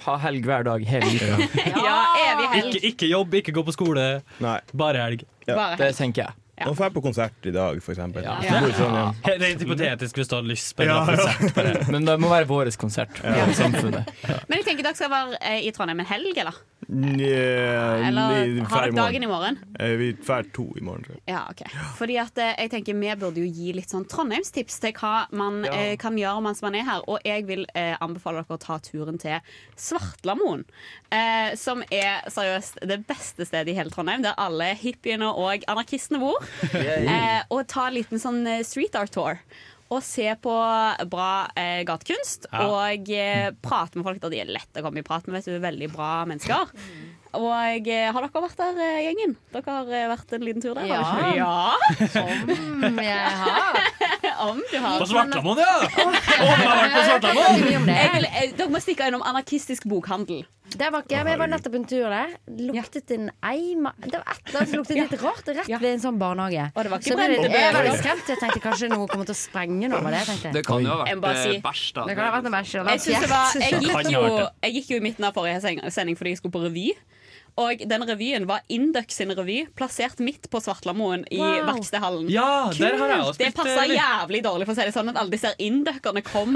[SPEAKER 16] Ha helg hver dag hele uka.
[SPEAKER 2] Ja, evig helg.
[SPEAKER 4] Ikke, ikke jobb, ikke gå på skole. Bare helg.
[SPEAKER 2] Bare helg.
[SPEAKER 16] tenker jeg. sånn,
[SPEAKER 15] Nå får jeg på konsert i dag, for eksempel.
[SPEAKER 4] Ja.
[SPEAKER 15] Jeg bor i Trondheim.
[SPEAKER 4] Rent hypotetisk hvis du hadde lyst på en
[SPEAKER 15] Ja,
[SPEAKER 4] eller annen
[SPEAKER 15] ja.
[SPEAKER 4] konsert. Bare.
[SPEAKER 16] Men det må være vår konsert for samfunnet.
[SPEAKER 2] Men jeg tenker dere skal være eh, i Trondheim en helg, eller?
[SPEAKER 15] Nja,
[SPEAKER 2] Eller
[SPEAKER 15] vi
[SPEAKER 2] har
[SPEAKER 15] drar
[SPEAKER 2] dere dagen i morgen?
[SPEAKER 15] Eh, Vi drar to i morgen, tror jeg.
[SPEAKER 2] Ja, ok Fordi at eh, jeg tenker Vi burde jo gi litt sånn Trondheimstips til hva man eh, kan gjøre mens man er her. Og jeg vil eh, anbefale dere å ta turen til Svartlamoen. Eh, som er seriøst det beste stedet i hele Trondheim, der alle hippiene og anarkistene bor.
[SPEAKER 16] Yay.
[SPEAKER 2] Eh, og ta en liten sånn eh, street art tour. å se på bra eh, gatekunst
[SPEAKER 3] Ja.
[SPEAKER 2] og eh, prate med folk der de er lett å komme i prat med. Vet du, veldig bra mennesker. Og eh, har dere vært der, eh, gjengen? Dere har eh, vært en liten tur der? har dere ikke?
[SPEAKER 5] Ja. Som Mm, jeg har.
[SPEAKER 2] Om du har.
[SPEAKER 3] På Svartlamoen, ja!
[SPEAKER 2] Jeg vil- eh, Dere må stikke innom anarkistisk bokhandel.
[SPEAKER 5] Der var ikke jeg, men jeg var nettopp en tur der. Luktet en eim Det var et eller annet som luktet litt rart rett ved en sånn barnehage.
[SPEAKER 2] Og det var ikke
[SPEAKER 5] Så jeg ble-
[SPEAKER 2] brente
[SPEAKER 5] jeg var
[SPEAKER 2] bøker.
[SPEAKER 5] litt skremt. Jeg tenkte kanskje noe kommer til å sprenge noe med det. tenkte jeg.
[SPEAKER 17] Det kan jo ha
[SPEAKER 2] Jeg må bare
[SPEAKER 17] vært
[SPEAKER 2] si-
[SPEAKER 17] eh, bæsj, da.
[SPEAKER 5] Det kan ha vært en bæsj. eller
[SPEAKER 2] Jeg, synes det var, jeg,
[SPEAKER 17] Kan
[SPEAKER 2] gikk
[SPEAKER 17] ha
[SPEAKER 2] jo,
[SPEAKER 17] vært det.
[SPEAKER 2] jeg gikk jo i midten av forrige seng- sending fordi jeg skulle på revy. Og den revyen var Indux sin revy, plassert midt på Svartlamoen i
[SPEAKER 3] Wow.
[SPEAKER 2] Verkstedhallen.
[SPEAKER 3] Ja, der har jeg også
[SPEAKER 2] det
[SPEAKER 3] spilt,
[SPEAKER 2] passa
[SPEAKER 3] eller?
[SPEAKER 2] jævlig dårlig, for å si det sånn, at alle disse indøkerne kom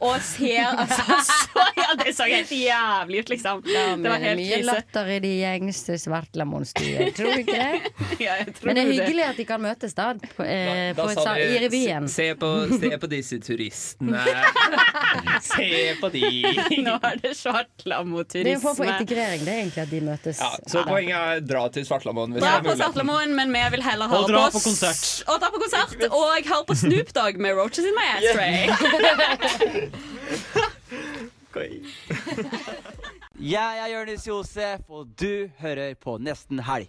[SPEAKER 2] og ser altså, så, ja, Det så helt jævlig ut, liksom. Det var helt
[SPEAKER 5] mye
[SPEAKER 2] krise.
[SPEAKER 5] latter i de gjengste svartlamonstuer. Tror du ikke det?
[SPEAKER 2] Ja, jeg tror
[SPEAKER 5] Men det er hyggelig at de kan møtes da, på, eh, på et, sa- i revyen.
[SPEAKER 18] Se, se, på, se på disse turistene. Se på de.
[SPEAKER 2] Nå er det
[SPEAKER 5] Det er en form for
[SPEAKER 2] svartlamoturisme.
[SPEAKER 5] integrering, det er egentlig, at de møtes.
[SPEAKER 18] Ja, så
[SPEAKER 5] Ja.
[SPEAKER 18] poenget er dra til Svartlamoen. hvis
[SPEAKER 2] Dra
[SPEAKER 18] det er
[SPEAKER 2] på
[SPEAKER 18] muligheten.
[SPEAKER 2] Svartlamoen, men vi vil heller
[SPEAKER 18] Og
[SPEAKER 2] høre
[SPEAKER 18] dra
[SPEAKER 2] på,
[SPEAKER 18] på konsert.
[SPEAKER 2] Og dra på konsert Og høre på Snoop Dogg med Roaches in my ashtray.
[SPEAKER 13] Jeg er Jonis Josef, og du hører på Nesten Helg.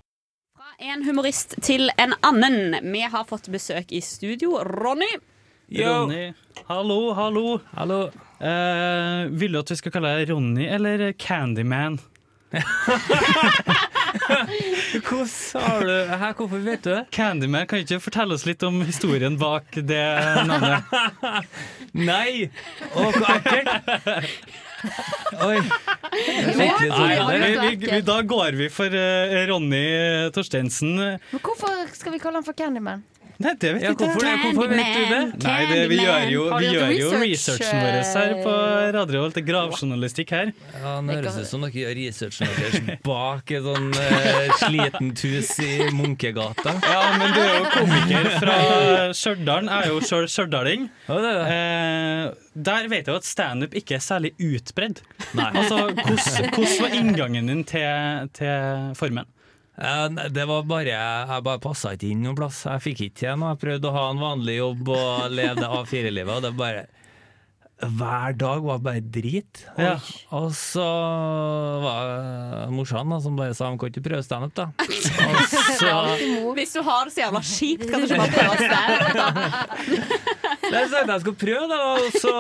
[SPEAKER 2] En humorist til en annen. Vi har fått besøk i studio. Ronny.
[SPEAKER 3] Ronny. Hallo, hallo. Eh, vil du at vi skal kalle deg Ronny eller Candyman? Hvordan har du her, Hvorfor vet du det? Candyman, kan du ikke fortelle oss litt om historien bak det navnet? Nei! Å, hvor ekkelt! Oi.
[SPEAKER 5] det var
[SPEAKER 3] Nei,
[SPEAKER 5] ekkelt.
[SPEAKER 3] vi, vi, vi, da går vi for eh, Ronny Torstensen.
[SPEAKER 5] Men hvorfor skal vi kalle han for Candyman?
[SPEAKER 3] Nei, det vet jeg ikke.
[SPEAKER 5] hvorfor det? Hvorfor vet du det?
[SPEAKER 3] Nei, det, vi gjør jo,
[SPEAKER 5] Har
[SPEAKER 3] vi
[SPEAKER 5] du gjort
[SPEAKER 3] gjør jo
[SPEAKER 5] research,
[SPEAKER 3] researchen vår her på
[SPEAKER 5] eh?
[SPEAKER 3] Radio Revolt. Det er gravjournalistikk her.
[SPEAKER 4] Ja, nå
[SPEAKER 3] Det
[SPEAKER 4] høres
[SPEAKER 3] kan-
[SPEAKER 4] det ut som dere gjør researchen deres bak et sånn eh, slitent hus i Munkegata.
[SPEAKER 3] Ja, men du er jo komiker fra Stjørdal. Jeg er jo sjøl stjørdaling. Eh, der vet jeg jo at standup ikke er særlig utbredd.
[SPEAKER 4] Nei.
[SPEAKER 3] Altså, hvordan hvordan var inngangen din til, til Formen?
[SPEAKER 4] Eh, nei, Det var bare Jeg bare passa ikke inn noen plass. Jeg fikk ikke til noe. Jeg prøvde å ha en vanlig jobb og leve det A4-livet, og det bare Hver dag var bare drit. Og, og så var morsan da, som bare sa hun kan ikke prøve standup, da. Og så
[SPEAKER 2] Hvis du har det så jævla kjipt, kan du ikke bare prøve å stemme.
[SPEAKER 4] Nei, så tenkte jeg skulle prøve, da, og så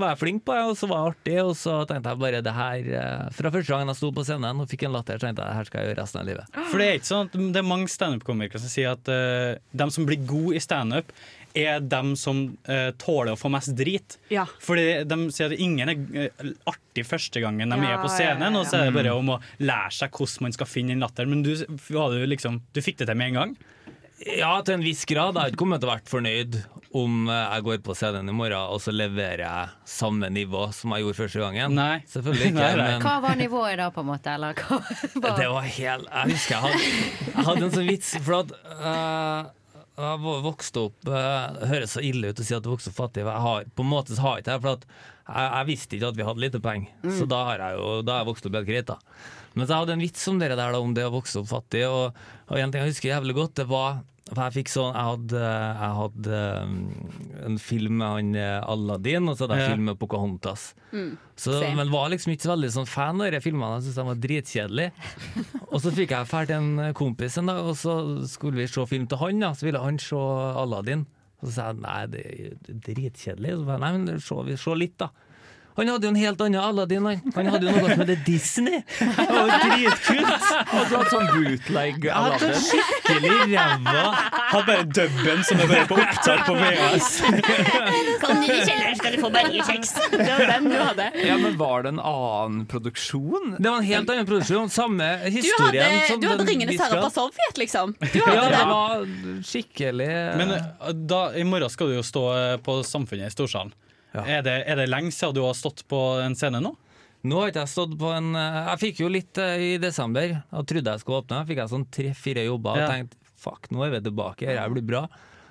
[SPEAKER 4] var jeg flink på det, og så var det artig. Og så tenkte jeg bare det her eh, Fra første gangen jeg sto på scenen og fikk en latter, så tenkte jeg det her skal jeg gjøre resten av livet.
[SPEAKER 3] For det er ikke sånn at det er mange standup-komikere som sier at eh, de som blir gode i standup, er dem som eh, tåler å få mest drit.
[SPEAKER 2] Ja.
[SPEAKER 3] Fordi de sier at ingen er eh, artig første gangen de
[SPEAKER 4] Ja,
[SPEAKER 3] er på scenen,
[SPEAKER 4] ja, ja, ja.
[SPEAKER 3] og så er det bare om å lære seg hvordan man skal finne den latteren. Men du, var det jo liksom, du fikk det til med en gang.
[SPEAKER 4] Ja, til en viss grad. Jeg har ikke kommet til å vært fornøyd om eh, jeg går på scenen i morgen og så leverer jeg samme nivå som jeg gjorde første gangen. Nei. Selvfølgelig ikke.
[SPEAKER 3] Nei, nei.
[SPEAKER 5] Hva var nivået da, på en måte? Eller hva var
[SPEAKER 4] Det var helt Jeg husker jeg hadde, jeg hadde en sånn vits For at eh, jeg vo- vokste opp eh, Det høres så ille ut å si at du vokste opp fattig men jeg har, På en måte så har jeg ikke det For at jeg, jeg visste ikke at vi hadde lite penger Så
[SPEAKER 19] Mm.
[SPEAKER 4] da har jeg jo Da har jeg vokst opp helt greit da Men så jeg hadde en vits om dere der da Om det å vokse opp fattig Og, og en ting jeg husker jævlig godt Det var for jeg fikk sånn, jeg hadde, jeg hadde eh, en film med han eh, Aladdin, og så hadde jeg
[SPEAKER 3] Ja.
[SPEAKER 4] film med Pocahontas.
[SPEAKER 3] Mm.
[SPEAKER 4] Så,
[SPEAKER 3] Same.
[SPEAKER 4] men var liksom ikke så veldig sånn fan av de filmene. Jeg syntes de var dritkjedelige. Og så fikk jeg ferd til en kompis en dag, og så skulle vi se film til han. Da. Så ville han se Aladdin. Og så sa jeg nei, det er dritkjedelig. Så sa jeg, nei, men se, vi- se litt, da. Han hadde jo en helt annen Aladdin, han. Han hadde jo noe som heter Disney. Det var jo dritkult!
[SPEAKER 3] Og du hadde sånn bootleg
[SPEAKER 4] Jeg hadde en skikkelig ræva
[SPEAKER 3] Hadde bare dubben som er bare på opptak på VHS.
[SPEAKER 2] Kom ned i kjelleren, skal du få bergekjeks. Sånn Det var den du hadde.
[SPEAKER 17] Ja, men var det en annen produksjon?
[SPEAKER 4] Det var en helt annen produksjon. Samme
[SPEAKER 2] Du
[SPEAKER 4] historien
[SPEAKER 2] hadde,
[SPEAKER 4] som
[SPEAKER 2] du hadde
[SPEAKER 4] den
[SPEAKER 2] 'Ringenes herre'
[SPEAKER 4] viska.
[SPEAKER 2] fra Sovjet, liksom. Du hadde
[SPEAKER 4] Ja, det
[SPEAKER 2] det.
[SPEAKER 4] var skikkelig
[SPEAKER 3] Men eh, da, i morgen skal du jo stå eh, på Samfunnet i Storsalen. Er, det, er det lenge siden du har stått på en scene nå?
[SPEAKER 4] Nå har ikke jeg stått på en eh, Jeg fikk jo litt eh, i desember og trodde jeg skulle åpne. Jeg fikk jeg sånn tre-fire jobber
[SPEAKER 3] Ja.
[SPEAKER 4] og tenkte fuck, nå er vi tilbake, dette blir bra.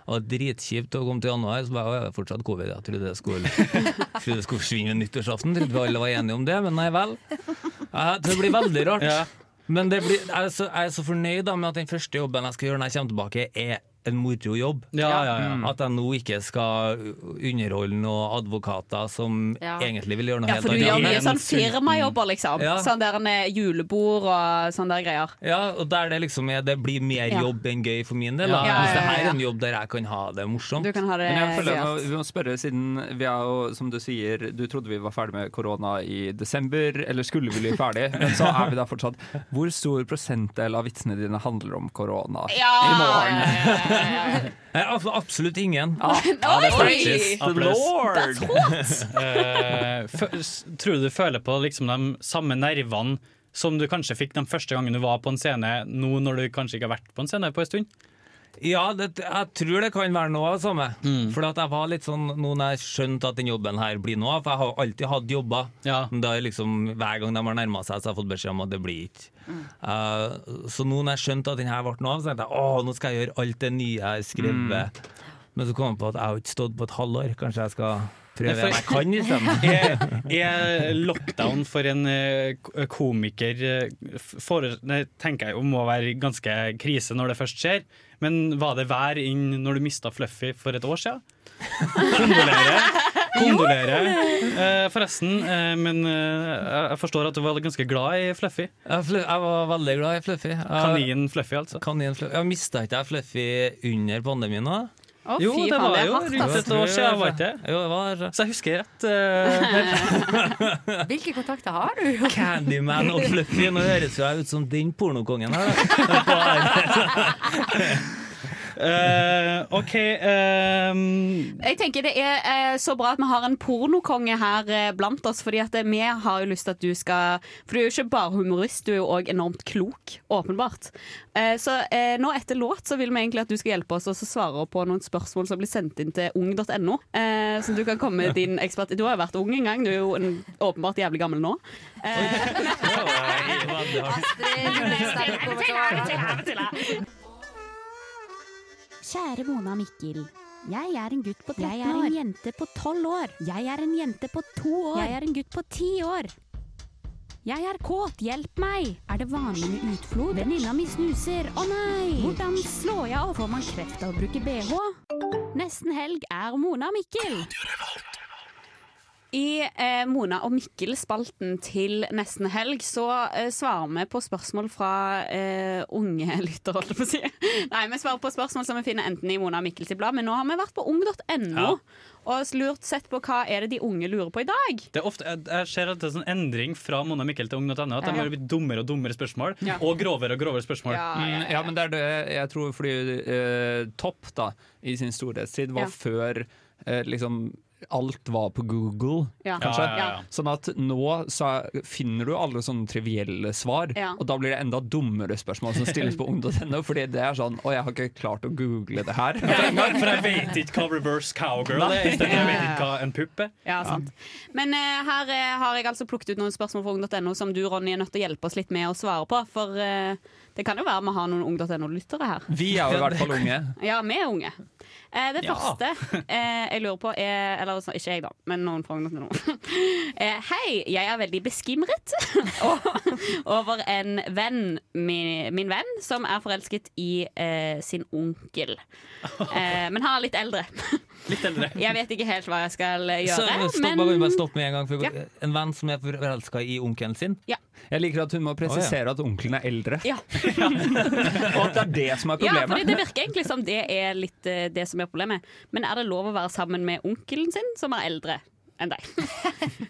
[SPEAKER 4] Og det var dritkjipt å komme til januar, så bare, «Å, er det fortsatt covid. Jeg trodde det skulle, trodde det skulle forsvinne ved nyttårsaften, trodde vi alle var enige om det, men nei vel. Eh, Det blir veldig rart. Men det blir, jeg, er Mm. så, jeg er så fornøyd da, med at den første jobben jeg skal gjøre når jeg kommer tilbake, er
[SPEAKER 20] en moro jobb.
[SPEAKER 3] Ja, ja, ja.
[SPEAKER 20] At jeg nå ikke skal underholde noen advokater som
[SPEAKER 2] Ja.
[SPEAKER 20] egentlig vil gjøre noe
[SPEAKER 2] Ja,
[SPEAKER 20] helt
[SPEAKER 2] for du gjør
[SPEAKER 20] annet.
[SPEAKER 2] mye sånn firmajobber, liksom.
[SPEAKER 20] Ja.
[SPEAKER 2] Sånn der en eh, julebord og sånne der greier.
[SPEAKER 20] Ja, og der det liksom er, det blir mer
[SPEAKER 2] Ja.
[SPEAKER 20] jobb enn gøy for min del. da.
[SPEAKER 2] Ja, ja,
[SPEAKER 20] Hvis det her
[SPEAKER 2] ja,
[SPEAKER 20] er
[SPEAKER 2] ja.
[SPEAKER 20] en jobb der jeg kan ha det morsomt.
[SPEAKER 2] Du kan ha det altså.
[SPEAKER 20] Men
[SPEAKER 4] Jeg føler
[SPEAKER 2] gøyalt.
[SPEAKER 4] nå, Vi må spørre, siden vi er jo, som du sier, du trodde vi var ferdig med korona i desember, eller skulle vi bli ferdig, men så er vi da fortsatt. Hvor stor prosentdel av vitsene dine handler om korona i morgen?
[SPEAKER 20] Nei, abs- Absolutt ingen.
[SPEAKER 3] Praise the Lord. Eh, fø- s- Tror du du føler på liksom de samme nervene som du kanskje fikk de første gangen du var på en scene, nå når du kanskje ikke har vært på en scene på en stund?
[SPEAKER 20] Ja, det, jeg tror det kan være noe av det samme.
[SPEAKER 3] Mm.
[SPEAKER 20] For at jeg var litt sånn nå når jeg skjønte at den jobben her blir noe av, for jeg har jo alltid hatt jobber. Men da er liksom, hver gang de har nærma seg, så har jeg fått beskjed om at det blir ikke. Eh, så nå når jeg skjønte at den her ble noe av, så tenkte jeg å, nå skal jeg gjøre alt det nye jeg har skrevet. Men så kom jeg på at jeg har ikke stått på et halvår, kanskje jeg skal prøve det jeg kan isteden.
[SPEAKER 3] er, er lockdown for en eh, k- komiker eh, f- for, nei, tenker jeg jo må være ganske krise når det først skjer. Men var det vær inn når du mista Fluffy for et år siden? Kondolerer. Kondolerer. Eh, forresten, eh, men eh, jeg forstår at du var ganske glad i Fluffy.
[SPEAKER 20] Jeg, fl- jeg var veldig glad i Fluffy. Jeg,
[SPEAKER 3] Kanin Fluffy, altså.
[SPEAKER 20] Kanin Fluffy. Jeg mista ikke jeg Fluffy under pandemien da?
[SPEAKER 2] Å,
[SPEAKER 3] jo,
[SPEAKER 2] fy
[SPEAKER 3] det
[SPEAKER 2] faen,
[SPEAKER 3] var
[SPEAKER 2] det er
[SPEAKER 3] jo
[SPEAKER 2] hardt,
[SPEAKER 3] rundt
[SPEAKER 2] ass.
[SPEAKER 3] et år siden, var ikke det?
[SPEAKER 20] Jo, det var
[SPEAKER 3] Så jeg husker rett. eh,
[SPEAKER 5] Hvilke kontakter har du?
[SPEAKER 20] Candyman og Fluffy. Nå høres jo jeg ut som den pornokongen her. da.
[SPEAKER 3] eh, OK eh,
[SPEAKER 2] Jeg tenker Det er eh, så bra at vi har en pornokonge her eh, blant oss. Fordi at eh, vi har jo lyst til at du skal For du er jo ikke bare humorist, du er jo òg enormt klok. Åpenbart. Eh, så eh, nå etter låt så vil vi egentlig at du skal hjelpe oss og så svare på noen spørsmål som blir sendt inn til ung.no. Eh, så du kan komme med din ekspert Du har jo vært ung en gang, du er jo en, åpenbart jævlig gammel nå.
[SPEAKER 21] Kjære Mona Mikkel. Jeg er en gutt på 13 år.
[SPEAKER 22] Jeg er en
[SPEAKER 21] jente på 12 år. Jeg er en jente på 2 år. Jeg er en gutt på 10 år. Jeg er kåt, hjelp meg! Er det vanlig med utflod? Venninna mi snuser, å nei! Hvordan slår jeg av? Får man kreft av å bruke bh? Nesten helg er Mona Mikkel.
[SPEAKER 2] I eh, Mona og Mikkel-spalten til nesten helg så eh, svarer vi på spørsmål fra eh, unge lyttere, holdt jeg på å si. Nei, vi svarer på spørsmål som vi finner enten i Mona og Mikkels blad, men nå har vi vært på ung.no
[SPEAKER 3] Ja.
[SPEAKER 2] og lurt sett på hva er det de unge lurer på i dag.
[SPEAKER 3] Det er ofte, jeg, jeg ser at det er sånn endring fra Mona Mikkel til ung.no. At
[SPEAKER 2] Ja,
[SPEAKER 3] de
[SPEAKER 2] ja.
[SPEAKER 3] har blitt dummere og dummere spørsmål,
[SPEAKER 2] Ja.
[SPEAKER 3] og grovere og grovere spørsmål.
[SPEAKER 4] Mm, ja, men det er det jeg tror fordi eh, Topp da, i sin storhetstid var
[SPEAKER 2] Ja.
[SPEAKER 4] før eh, liksom Alt var på Google,
[SPEAKER 2] Ja.
[SPEAKER 4] kanskje.
[SPEAKER 2] Ja, ja, ja.
[SPEAKER 4] Sånn at nå så er- finner du alle sånne trivielle svar,
[SPEAKER 2] Ja.
[SPEAKER 4] og da blir det enda dummere spørsmål som stilles på ung.no, fordi det er sånn Å, jeg har ikke klart å google det her.
[SPEAKER 3] For jeg vet ikke hva reverse cowgirl er, i stedet for jeg vet ikke hva en pupp er.
[SPEAKER 2] Ja, sant. Men eh, her eh, har jeg altså plukket ut noen spørsmål fra ung.no som du, Ronny, er nødt til å hjelpe oss litt med å svare på. For eh, det kan jo være vi har noen ung.no-lyttere her.
[SPEAKER 4] Vi er jo i hvert fall unge.
[SPEAKER 2] Ja, vi er unge. Eh, det
[SPEAKER 4] Ja.
[SPEAKER 2] første eh, jeg lurer på er Eller altså, ikke jeg, da, men noen fra ungdommen. Eh, hei, jeg er veldig beskimret o- over en venn, min, min venn, som er forelsket i eh, sin onkel. Eh, men han er litt eldre.
[SPEAKER 3] Litt eldre.
[SPEAKER 2] Jeg vet ikke helt hva jeg skal eh,
[SPEAKER 20] Så,
[SPEAKER 2] gjøre,
[SPEAKER 20] stopp,
[SPEAKER 2] men
[SPEAKER 20] bare, bare stopp med en gang. For,
[SPEAKER 2] Ja.
[SPEAKER 20] En venn som er forelska i onkelen sin.
[SPEAKER 4] Jeg liker at hun må presisere at onkelen er eldre.
[SPEAKER 2] Ja.
[SPEAKER 4] og at det er det som er
[SPEAKER 2] ja, fordi
[SPEAKER 4] problemet.
[SPEAKER 2] Det virker egentlig som det er litt eh, det som er problemet. Men er det lov å være sammen med onkelen sin, som er eldre enn deg?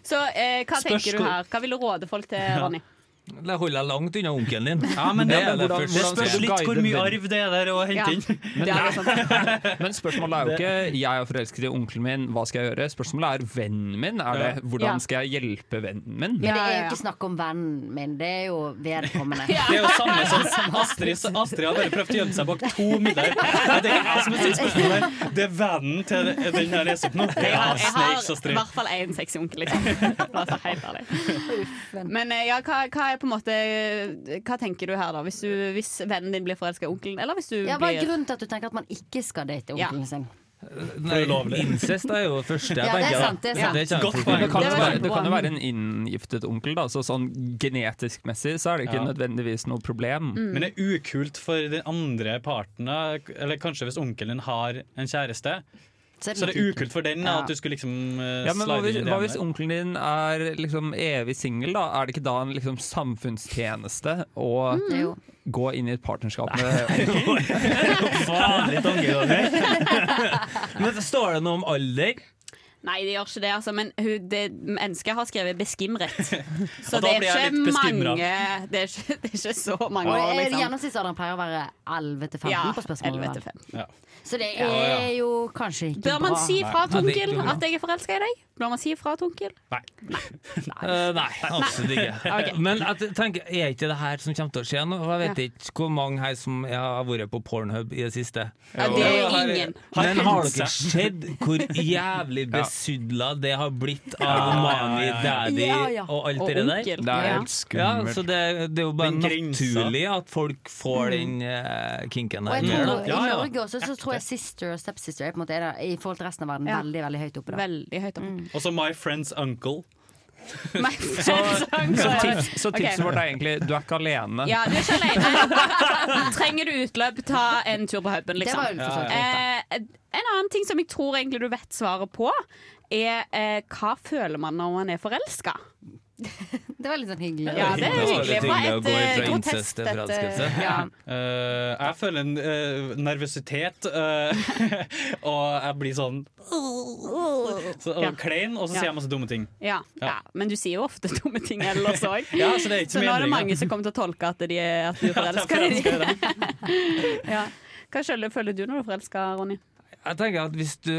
[SPEAKER 2] Så eh, hva
[SPEAKER 20] Spørs
[SPEAKER 2] tenker du
[SPEAKER 20] hvor-
[SPEAKER 2] her? Hva vil du råde folk til,
[SPEAKER 20] Ja.
[SPEAKER 2] Ronny?
[SPEAKER 20] Da holder jeg langt unna onkelen din.
[SPEAKER 3] Ja, men det,
[SPEAKER 20] er det
[SPEAKER 3] hvordan,
[SPEAKER 20] første
[SPEAKER 3] det spørs
[SPEAKER 20] steget.
[SPEAKER 3] litt hvor mye arv det er der å
[SPEAKER 2] Ja.
[SPEAKER 3] hente inn.
[SPEAKER 4] Men,
[SPEAKER 2] Det er jo
[SPEAKER 4] men spørsmålet er jo ikke 'jeg er forelsket i onkelen min, hva skal jeg gjøre?' Spørsmålet er 'vennen min'. Er det,
[SPEAKER 5] Ja.
[SPEAKER 4] 'hvordan skal jeg hjelpe vennen min'?
[SPEAKER 5] Men det er jo ikke snakk om vennen min, det er jo vedkommende.
[SPEAKER 3] Det er jo samme som Astrid. så Astrid har bare prøvd å gjemme seg bak to middager. Det er ikke jeg som har stilt spørsmål her. Det er vennen til den jeg leser opp nå.
[SPEAKER 2] Jeg
[SPEAKER 3] Ja,
[SPEAKER 2] har, jeg har
[SPEAKER 3] Snakes,
[SPEAKER 2] i
[SPEAKER 3] Astrid.
[SPEAKER 2] hvert fall én sexy onkel, liksom. Bare så helt ærlig. Men eh, ja, hva, hva er på en måte Hva tenker du her, da? Hvis, du, hvis vennen din blir forelska i onkelen, eller hvis du
[SPEAKER 5] Ja, Hva er
[SPEAKER 2] blir
[SPEAKER 5] grunnen til at du tenker at man ikke skal date
[SPEAKER 2] Ja.
[SPEAKER 5] onkelen sin?
[SPEAKER 4] Nei, incest er jo det første jeg
[SPEAKER 23] Ja, det er
[SPEAKER 4] tenker. da.
[SPEAKER 23] sant, det er sant.
[SPEAKER 4] Det, kommer
[SPEAKER 23] Godt
[SPEAKER 4] fort.
[SPEAKER 23] poeng.
[SPEAKER 24] Men det kan,
[SPEAKER 23] Det
[SPEAKER 24] jo
[SPEAKER 23] var
[SPEAKER 24] være, det kan jo
[SPEAKER 23] one.
[SPEAKER 24] være en inngiftet onkel, da, så sånn genetisk messig så er det ikke
[SPEAKER 3] Ja.
[SPEAKER 24] nødvendigvis noe problem.
[SPEAKER 2] Mm.
[SPEAKER 3] Men det er ukult for den andre parten, da, eller kanskje hvis onkelen din har en kjæreste.
[SPEAKER 24] Så er det
[SPEAKER 3] Så det er
[SPEAKER 24] litt
[SPEAKER 3] ukult for den da, at du skulle liksom eh,
[SPEAKER 24] ja, men hva
[SPEAKER 3] slide
[SPEAKER 24] hvis,
[SPEAKER 3] inn i
[SPEAKER 24] hva
[SPEAKER 3] det
[SPEAKER 24] hvis
[SPEAKER 3] med.
[SPEAKER 24] onkelen din er liksom evig singel, da? Er det ikke da en liksom samfunnstjeneste å
[SPEAKER 23] Mm. Jo.
[SPEAKER 24] gå inn i et partnerskap med
[SPEAKER 4] Vanlig tankegang. Men så står det noe om alder?
[SPEAKER 2] Nei, det gjør ikke det, altså. Men hun, det, mennesket har skrevet 'beskimret'. Så
[SPEAKER 4] Og da
[SPEAKER 2] det er
[SPEAKER 4] blir
[SPEAKER 2] ikke
[SPEAKER 4] jeg litt
[SPEAKER 2] mange
[SPEAKER 4] beskimret.
[SPEAKER 2] det er ikke, det er ikke så mange
[SPEAKER 5] Og
[SPEAKER 2] år,
[SPEAKER 5] er det
[SPEAKER 2] liksom.
[SPEAKER 5] Gjennomsnittsalderen pleier å være 11 til 15
[SPEAKER 2] Ja,
[SPEAKER 5] på spørsmålet.
[SPEAKER 2] 11 til
[SPEAKER 5] vel?
[SPEAKER 3] Ja.
[SPEAKER 5] Så det
[SPEAKER 2] Ja.
[SPEAKER 5] er jo kanskje ikke
[SPEAKER 2] Bør man
[SPEAKER 5] bra.
[SPEAKER 2] si fra til
[SPEAKER 5] Nei, det er
[SPEAKER 2] onkel
[SPEAKER 5] ikke bra.
[SPEAKER 2] at jeg er forelska i deg? Bør man si fra til onkel?
[SPEAKER 4] Eh, nei, absolutt ikke.
[SPEAKER 2] Ok.
[SPEAKER 4] Men jeg t- tenker, er ikke det her som kommer til å skje nå? Og Jeg vet
[SPEAKER 2] Ja.
[SPEAKER 4] ikke hvor mange her som har vært på Pornhub i det siste.
[SPEAKER 2] Ja, det er ingen.
[SPEAKER 4] Men har dere
[SPEAKER 3] Har
[SPEAKER 4] sett hvor jævlig besudla det har blitt av Mami,
[SPEAKER 3] ja, ja.
[SPEAKER 4] Daddy
[SPEAKER 3] Ja, ja.
[SPEAKER 4] og alt
[SPEAKER 3] Og
[SPEAKER 4] det der?
[SPEAKER 3] onkel. Det er helt skummelt.
[SPEAKER 4] Ja, så det, det er jo bare
[SPEAKER 3] Den grensa.
[SPEAKER 4] naturlig at folk får den eh, kinken
[SPEAKER 5] Og
[SPEAKER 4] der.
[SPEAKER 5] jeg
[SPEAKER 4] mer, da.
[SPEAKER 5] tror I Norge også så tror jeg sister og stepsister er på en måte er der, i forhold til resten av verden veldig veldig høyt oppe. Da.
[SPEAKER 2] Veldig høyt oppe.
[SPEAKER 3] Også My Friend's Uncle.
[SPEAKER 24] Så, så, tips, så
[SPEAKER 2] Ok.
[SPEAKER 24] tipset vårt er egentlig du er ikke alene.
[SPEAKER 2] Ja, du er ikke alene. Trenger du utløp, ta en tur på huben, liksom.
[SPEAKER 24] Det var jo for så vidt
[SPEAKER 2] eh, en annen ting som jeg tror egentlig du vet svaret på, er eh, hva føler man når man er forelska?
[SPEAKER 5] Det var litt sånn hyggelig.
[SPEAKER 2] Ja, det er hyggelig. Det var et eh, grotesk et, eh, ja.
[SPEAKER 3] Eh, jeg føler en eh, nervøsitet, eh, og jeg blir sånn så, og
[SPEAKER 2] Ja.
[SPEAKER 3] klein, og så sier jeg masse dumme ting.
[SPEAKER 2] Ja. ja, men du sier jo ofte dumme ting ellers òg.
[SPEAKER 3] Ja, så det er ikke så
[SPEAKER 2] nå er det
[SPEAKER 3] meningen.
[SPEAKER 2] mange som kommer til å tolke at, de er, at du er forelska i dem. ja. Hva selv føler du når du er forelska, Ronny?
[SPEAKER 4] Jeg tenker at hvis du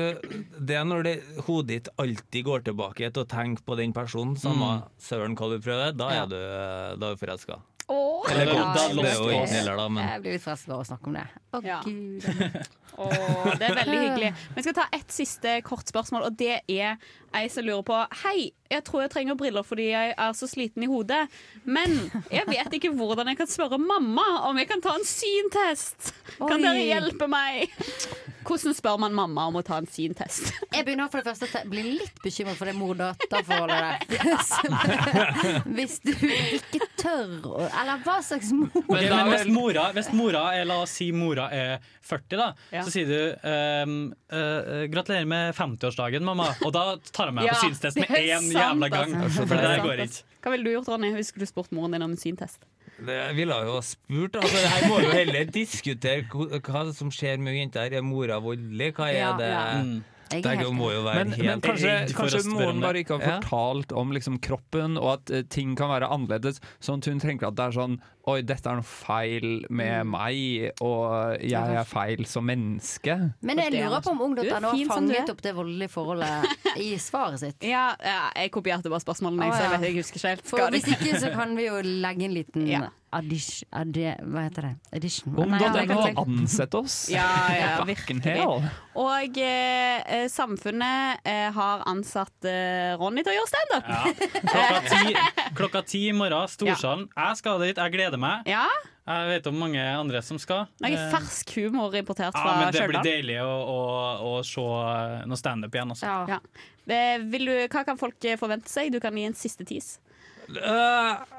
[SPEAKER 4] Det er når det, hodet ditt alltid går tilbake til å tenke på den personen,
[SPEAKER 3] Mm.
[SPEAKER 4] samme søren hva du prøver, da
[SPEAKER 5] Ja.
[SPEAKER 4] er du, eh, da er du forelska.
[SPEAKER 2] Åh.
[SPEAKER 4] Eller
[SPEAKER 5] Ja,
[SPEAKER 4] godt,
[SPEAKER 5] jeg
[SPEAKER 4] det er jo
[SPEAKER 5] blir-
[SPEAKER 4] ikke snillere da, men-
[SPEAKER 5] Jeg blir litt forelsket bare av å snakke om det. Å, Gud.
[SPEAKER 2] Åh, det er veldig hyggelig. Vi skal ta ett siste kort spørsmål, og det er ei som lurer på Hei, jeg tror jeg trenger briller fordi jeg er så sliten i hodet, men jeg vet ikke hvordan jeg kan spørre mamma om jeg kan ta en syntest. Kan
[SPEAKER 5] Oi.
[SPEAKER 2] dere hjelpe meg? Hvordan spør man mamma om å ta en syntest?
[SPEAKER 5] Jeg begynner for det første å te- bli litt bekymret for det mor-datter-forholdet der. Så, Hvis du ikke tør å Eller hva slags mor
[SPEAKER 3] Ok, men hvis mora, hvis mora er, La oss si mora er 40, da. Så sier du ehm, eh, 'gratulerer med 50-årsdagen, mamma'. Og da tar jeg meg
[SPEAKER 2] Ja,
[SPEAKER 3] på synstest med
[SPEAKER 2] det er
[SPEAKER 3] én
[SPEAKER 2] sant,
[SPEAKER 3] jævla gang.
[SPEAKER 2] altså.
[SPEAKER 3] For
[SPEAKER 2] Det
[SPEAKER 3] det
[SPEAKER 2] er
[SPEAKER 3] der
[SPEAKER 2] sant,
[SPEAKER 3] går
[SPEAKER 2] altså.
[SPEAKER 3] ikke.
[SPEAKER 2] Hva ville du gjort, Ronny, hvis du skulle spurt moren din om en syntest?
[SPEAKER 4] Det jeg ville jo ha spurt. Altså, det her må jo heller diskutere hva- hva som skjer med jenta her. Er mora voldelig? Hva er
[SPEAKER 2] Ja,
[SPEAKER 4] det?
[SPEAKER 2] ja.
[SPEAKER 4] Mm.
[SPEAKER 2] Jeg er
[SPEAKER 4] Det
[SPEAKER 2] helt
[SPEAKER 4] må jo være
[SPEAKER 24] Men,
[SPEAKER 4] helt
[SPEAKER 24] men kanskje,
[SPEAKER 4] redd for å
[SPEAKER 24] kanskje
[SPEAKER 4] spørre om
[SPEAKER 24] moren
[SPEAKER 4] det.
[SPEAKER 24] bare ikke har
[SPEAKER 4] Ja.
[SPEAKER 24] fortalt om liksom, kroppen, og at eh, ting kan være annerledes. Sånn at hun tenker at det er sånn Oi, dette er noe feil
[SPEAKER 2] Mm.
[SPEAKER 24] med meg, og jeg er feil som menneske.
[SPEAKER 5] Men jeg lurer på om
[SPEAKER 2] Du er
[SPEAKER 5] ungdommen har
[SPEAKER 2] fin som du
[SPEAKER 5] fanget
[SPEAKER 2] er.
[SPEAKER 5] opp det voldelige forholdet i svaret sitt.
[SPEAKER 2] Ja, ja, jeg kopierte bare spørsmålene,
[SPEAKER 5] Å,
[SPEAKER 2] så jeg,
[SPEAKER 5] ja.
[SPEAKER 2] vet, jeg husker ikke helt.
[SPEAKER 5] For
[SPEAKER 2] Skal
[SPEAKER 5] hvis
[SPEAKER 2] det-
[SPEAKER 5] ikke så kan vi jo legge en liten addish, adde, Hva heter det? Edition?
[SPEAKER 24] Om da
[SPEAKER 5] jeg
[SPEAKER 24] dere kan
[SPEAKER 5] kan tenke-
[SPEAKER 24] ansette oss!
[SPEAKER 2] Ja, ja,
[SPEAKER 24] Fucking
[SPEAKER 2] virkelig.
[SPEAKER 24] hell.
[SPEAKER 2] Og eh, eh, samfunnet eh, har ansatt eh, Ronny til å gjøre standup.
[SPEAKER 3] Ja. Klokka ti, klokka ti i morgen, Storsalen. Jeg skal dit, jeg gleder meg.
[SPEAKER 2] Ja.
[SPEAKER 3] Jeg vet om mange andre som skal.
[SPEAKER 2] Noe
[SPEAKER 3] Eh,
[SPEAKER 2] fersk humor importert
[SPEAKER 3] ja,
[SPEAKER 2] fra
[SPEAKER 3] men det blir
[SPEAKER 2] Stjørdal.
[SPEAKER 3] deilig å, å, å se noe standup igjen. Altså.
[SPEAKER 2] Ja. Eh, Vil du, hva kan folk eh, forvente seg? Du kan gi en siste tis.
[SPEAKER 4] Eh,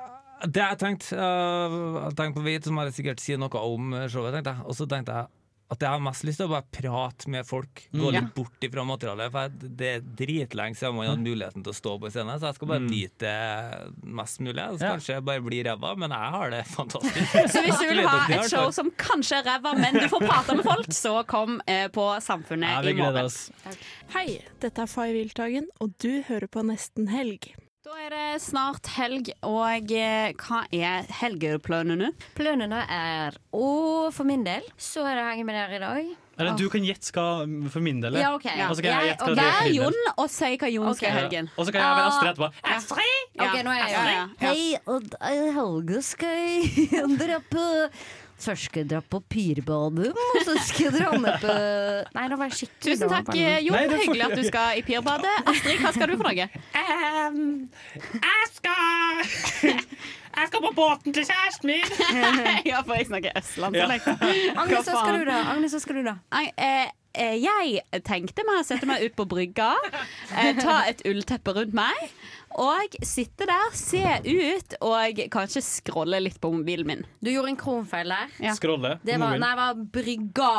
[SPEAKER 4] det jeg tenkte eh, jeg tenkte på vidt, som jeg sikkert sier noe om showet, tenkte jeg. Og så tenkte jeg at jeg har mest lyst til å bare prate med folk. Gå
[SPEAKER 3] Mm.
[SPEAKER 4] litt bort ifra materialet. For jeg, det er dritlenge siden man hadde muligheten til å stå på scenen, så jeg skal bare
[SPEAKER 3] Mm.
[SPEAKER 4] nyte det mest mulig. Så kanskje jeg bare blir ræva, men jeg har det fantastisk.
[SPEAKER 2] Så hvis du vil
[SPEAKER 4] Gleder
[SPEAKER 2] ha
[SPEAKER 4] meg til
[SPEAKER 2] et
[SPEAKER 4] det,
[SPEAKER 2] show
[SPEAKER 4] altså.
[SPEAKER 2] som kanskje er ræva, men du får prate med folk, så kom eh, på Samfunnet
[SPEAKER 4] Ja,
[SPEAKER 2] i
[SPEAKER 4] vi
[SPEAKER 2] morgen.
[SPEAKER 4] gleder oss.
[SPEAKER 21] Hei, dette er Fay Wiltagen, og du hører på Nesten helg.
[SPEAKER 2] Da er det snart helg, og eh, hva er helgeplanene?
[SPEAKER 5] Plønene er Og for min del så er det henge med dere i dag.
[SPEAKER 3] Eller du kan gjette hva for min del er.
[SPEAKER 5] Ja, ok.
[SPEAKER 3] Og så kan jeg
[SPEAKER 5] Jeg-
[SPEAKER 3] gjette hva det er
[SPEAKER 2] Vær
[SPEAKER 3] for din
[SPEAKER 2] Jon
[SPEAKER 3] del.
[SPEAKER 2] og si hva Jon skal i helgen.
[SPEAKER 3] Og så kan jeg være Astrid etterpå.
[SPEAKER 5] Astrid!
[SPEAKER 2] Ja,
[SPEAKER 5] Ok, nå er jeg
[SPEAKER 2] Astrid. Ja.
[SPEAKER 5] Hei, eh, og i helga skal jeg dra på Først skal jeg dra på Pyrbadum, og så skal jeg dra med på Nei, nå var jeg skikkelig
[SPEAKER 2] Tusen
[SPEAKER 5] dårlig
[SPEAKER 2] takk,
[SPEAKER 5] på den.
[SPEAKER 2] eh, Jon. Hyggelig at du skal i Pirbadet. Astrid, hva skal du for noe?
[SPEAKER 25] jeg skal Jeg skal på båten til kjæresten min.
[SPEAKER 2] ja, for jeg snakker østlandsdialekt.
[SPEAKER 5] Agnes, hva skal du da? Agnes, hva skal du da?
[SPEAKER 2] Ag- eh, eh, jeg tenkte meg å sette meg ut på brygga, eh, ta et ullteppe rundt meg, og sitte der, se ut og kanskje scrolle litt på mobilen min.
[SPEAKER 5] Du gjorde en kronfeil der.
[SPEAKER 2] Ja.
[SPEAKER 4] Scrolle.
[SPEAKER 5] Det var, nei, det var brygga.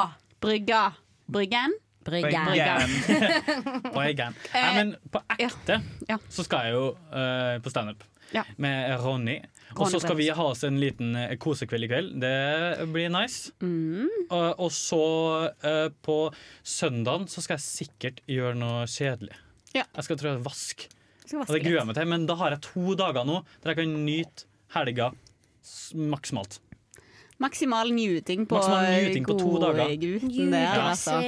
[SPEAKER 2] Brygga. Bryggen.
[SPEAKER 4] Bryggen. På egen.
[SPEAKER 2] Eh,
[SPEAKER 4] Nei, men på ekte så skal jeg jo eh, på standup
[SPEAKER 2] Ja.
[SPEAKER 4] med Ronny. Og
[SPEAKER 2] Ronny
[SPEAKER 4] så skal
[SPEAKER 2] Bremsen.
[SPEAKER 4] vi ha oss en liten eh, kosekveld i kveld. Det blir nice. Og, og så eh, på søndagen så skal jeg sikkert gjøre noe kjedelig. Jeg skal trå vask.
[SPEAKER 2] Skal vaske
[SPEAKER 4] Og det gruer
[SPEAKER 2] litt.
[SPEAKER 4] jeg meg til, men da har jeg to dager nå der jeg kan nyte helga s- maksimalt.
[SPEAKER 2] Maksimal njuting på,
[SPEAKER 4] Maksimal njuting på to dager.
[SPEAKER 2] godgutten der,
[SPEAKER 4] Ja.
[SPEAKER 2] altså.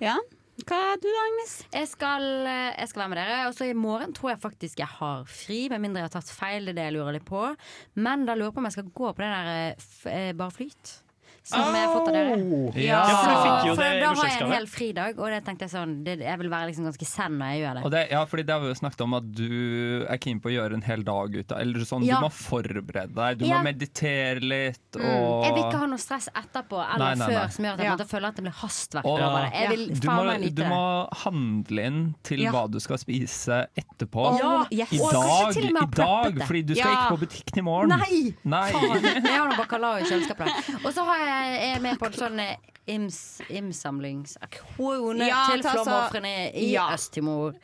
[SPEAKER 2] Ja. Hva du da, Agnes?
[SPEAKER 5] Jeg skal, eh, jeg skal være med dere. Og så i morgen tror jeg faktisk jeg har fri, med mindre jeg har tatt feil. Det er det jeg lurer litt på. Men da lurer jeg på om jeg skal gå på det der eh, f- eh, Bare flyt. Som jeg har fått av dere.
[SPEAKER 4] Oh! Ja, for du fikk jo
[SPEAKER 5] for
[SPEAKER 4] det i
[SPEAKER 5] da har jeg en
[SPEAKER 3] bursdagsgave.
[SPEAKER 5] hel fridag, og det tenkte jeg sånn det, Jeg vil være liksom ganske zen når jeg gjør det.
[SPEAKER 3] Og det, ja, fordi det har vi jo snakket om at du er keen på å gjøre en hel dag ut av Eller sånn,
[SPEAKER 5] Ja.
[SPEAKER 3] du må forberede deg, du
[SPEAKER 5] Ja.
[SPEAKER 3] må meditere litt
[SPEAKER 5] Mm.
[SPEAKER 3] og
[SPEAKER 5] Jeg vil ikke ha noe stress etterpå eller
[SPEAKER 3] Nei, nei, nei.
[SPEAKER 5] før som gjør at jeg
[SPEAKER 2] Ja.
[SPEAKER 5] måtte føle at det blir hastverk.
[SPEAKER 3] Og-
[SPEAKER 5] over det. Jeg vil
[SPEAKER 3] du,
[SPEAKER 5] faen
[SPEAKER 3] må,
[SPEAKER 5] meg nyte
[SPEAKER 3] du
[SPEAKER 5] det.
[SPEAKER 3] må handle inn til
[SPEAKER 5] Ja.
[SPEAKER 3] hva du skal spise etterpå.
[SPEAKER 5] Ja, yes.
[SPEAKER 3] I
[SPEAKER 5] Og kanskje
[SPEAKER 3] dag,
[SPEAKER 5] til og
[SPEAKER 3] i
[SPEAKER 5] med ha preppet
[SPEAKER 3] dag
[SPEAKER 5] det.
[SPEAKER 3] fordi du skal
[SPEAKER 5] Ja.
[SPEAKER 3] ikke på butikken i morgen.
[SPEAKER 5] Nei!
[SPEAKER 3] Nei.
[SPEAKER 5] Faen, jeg har noe bacalao i kjøleskapet. da. Og så har jeg, jeg er med på en sånn eh, ims, imsamlingsaksjon
[SPEAKER 2] Ja,
[SPEAKER 5] til
[SPEAKER 2] ta så-
[SPEAKER 5] flomofrene i
[SPEAKER 2] Ja.
[SPEAKER 5] Øst-Timor.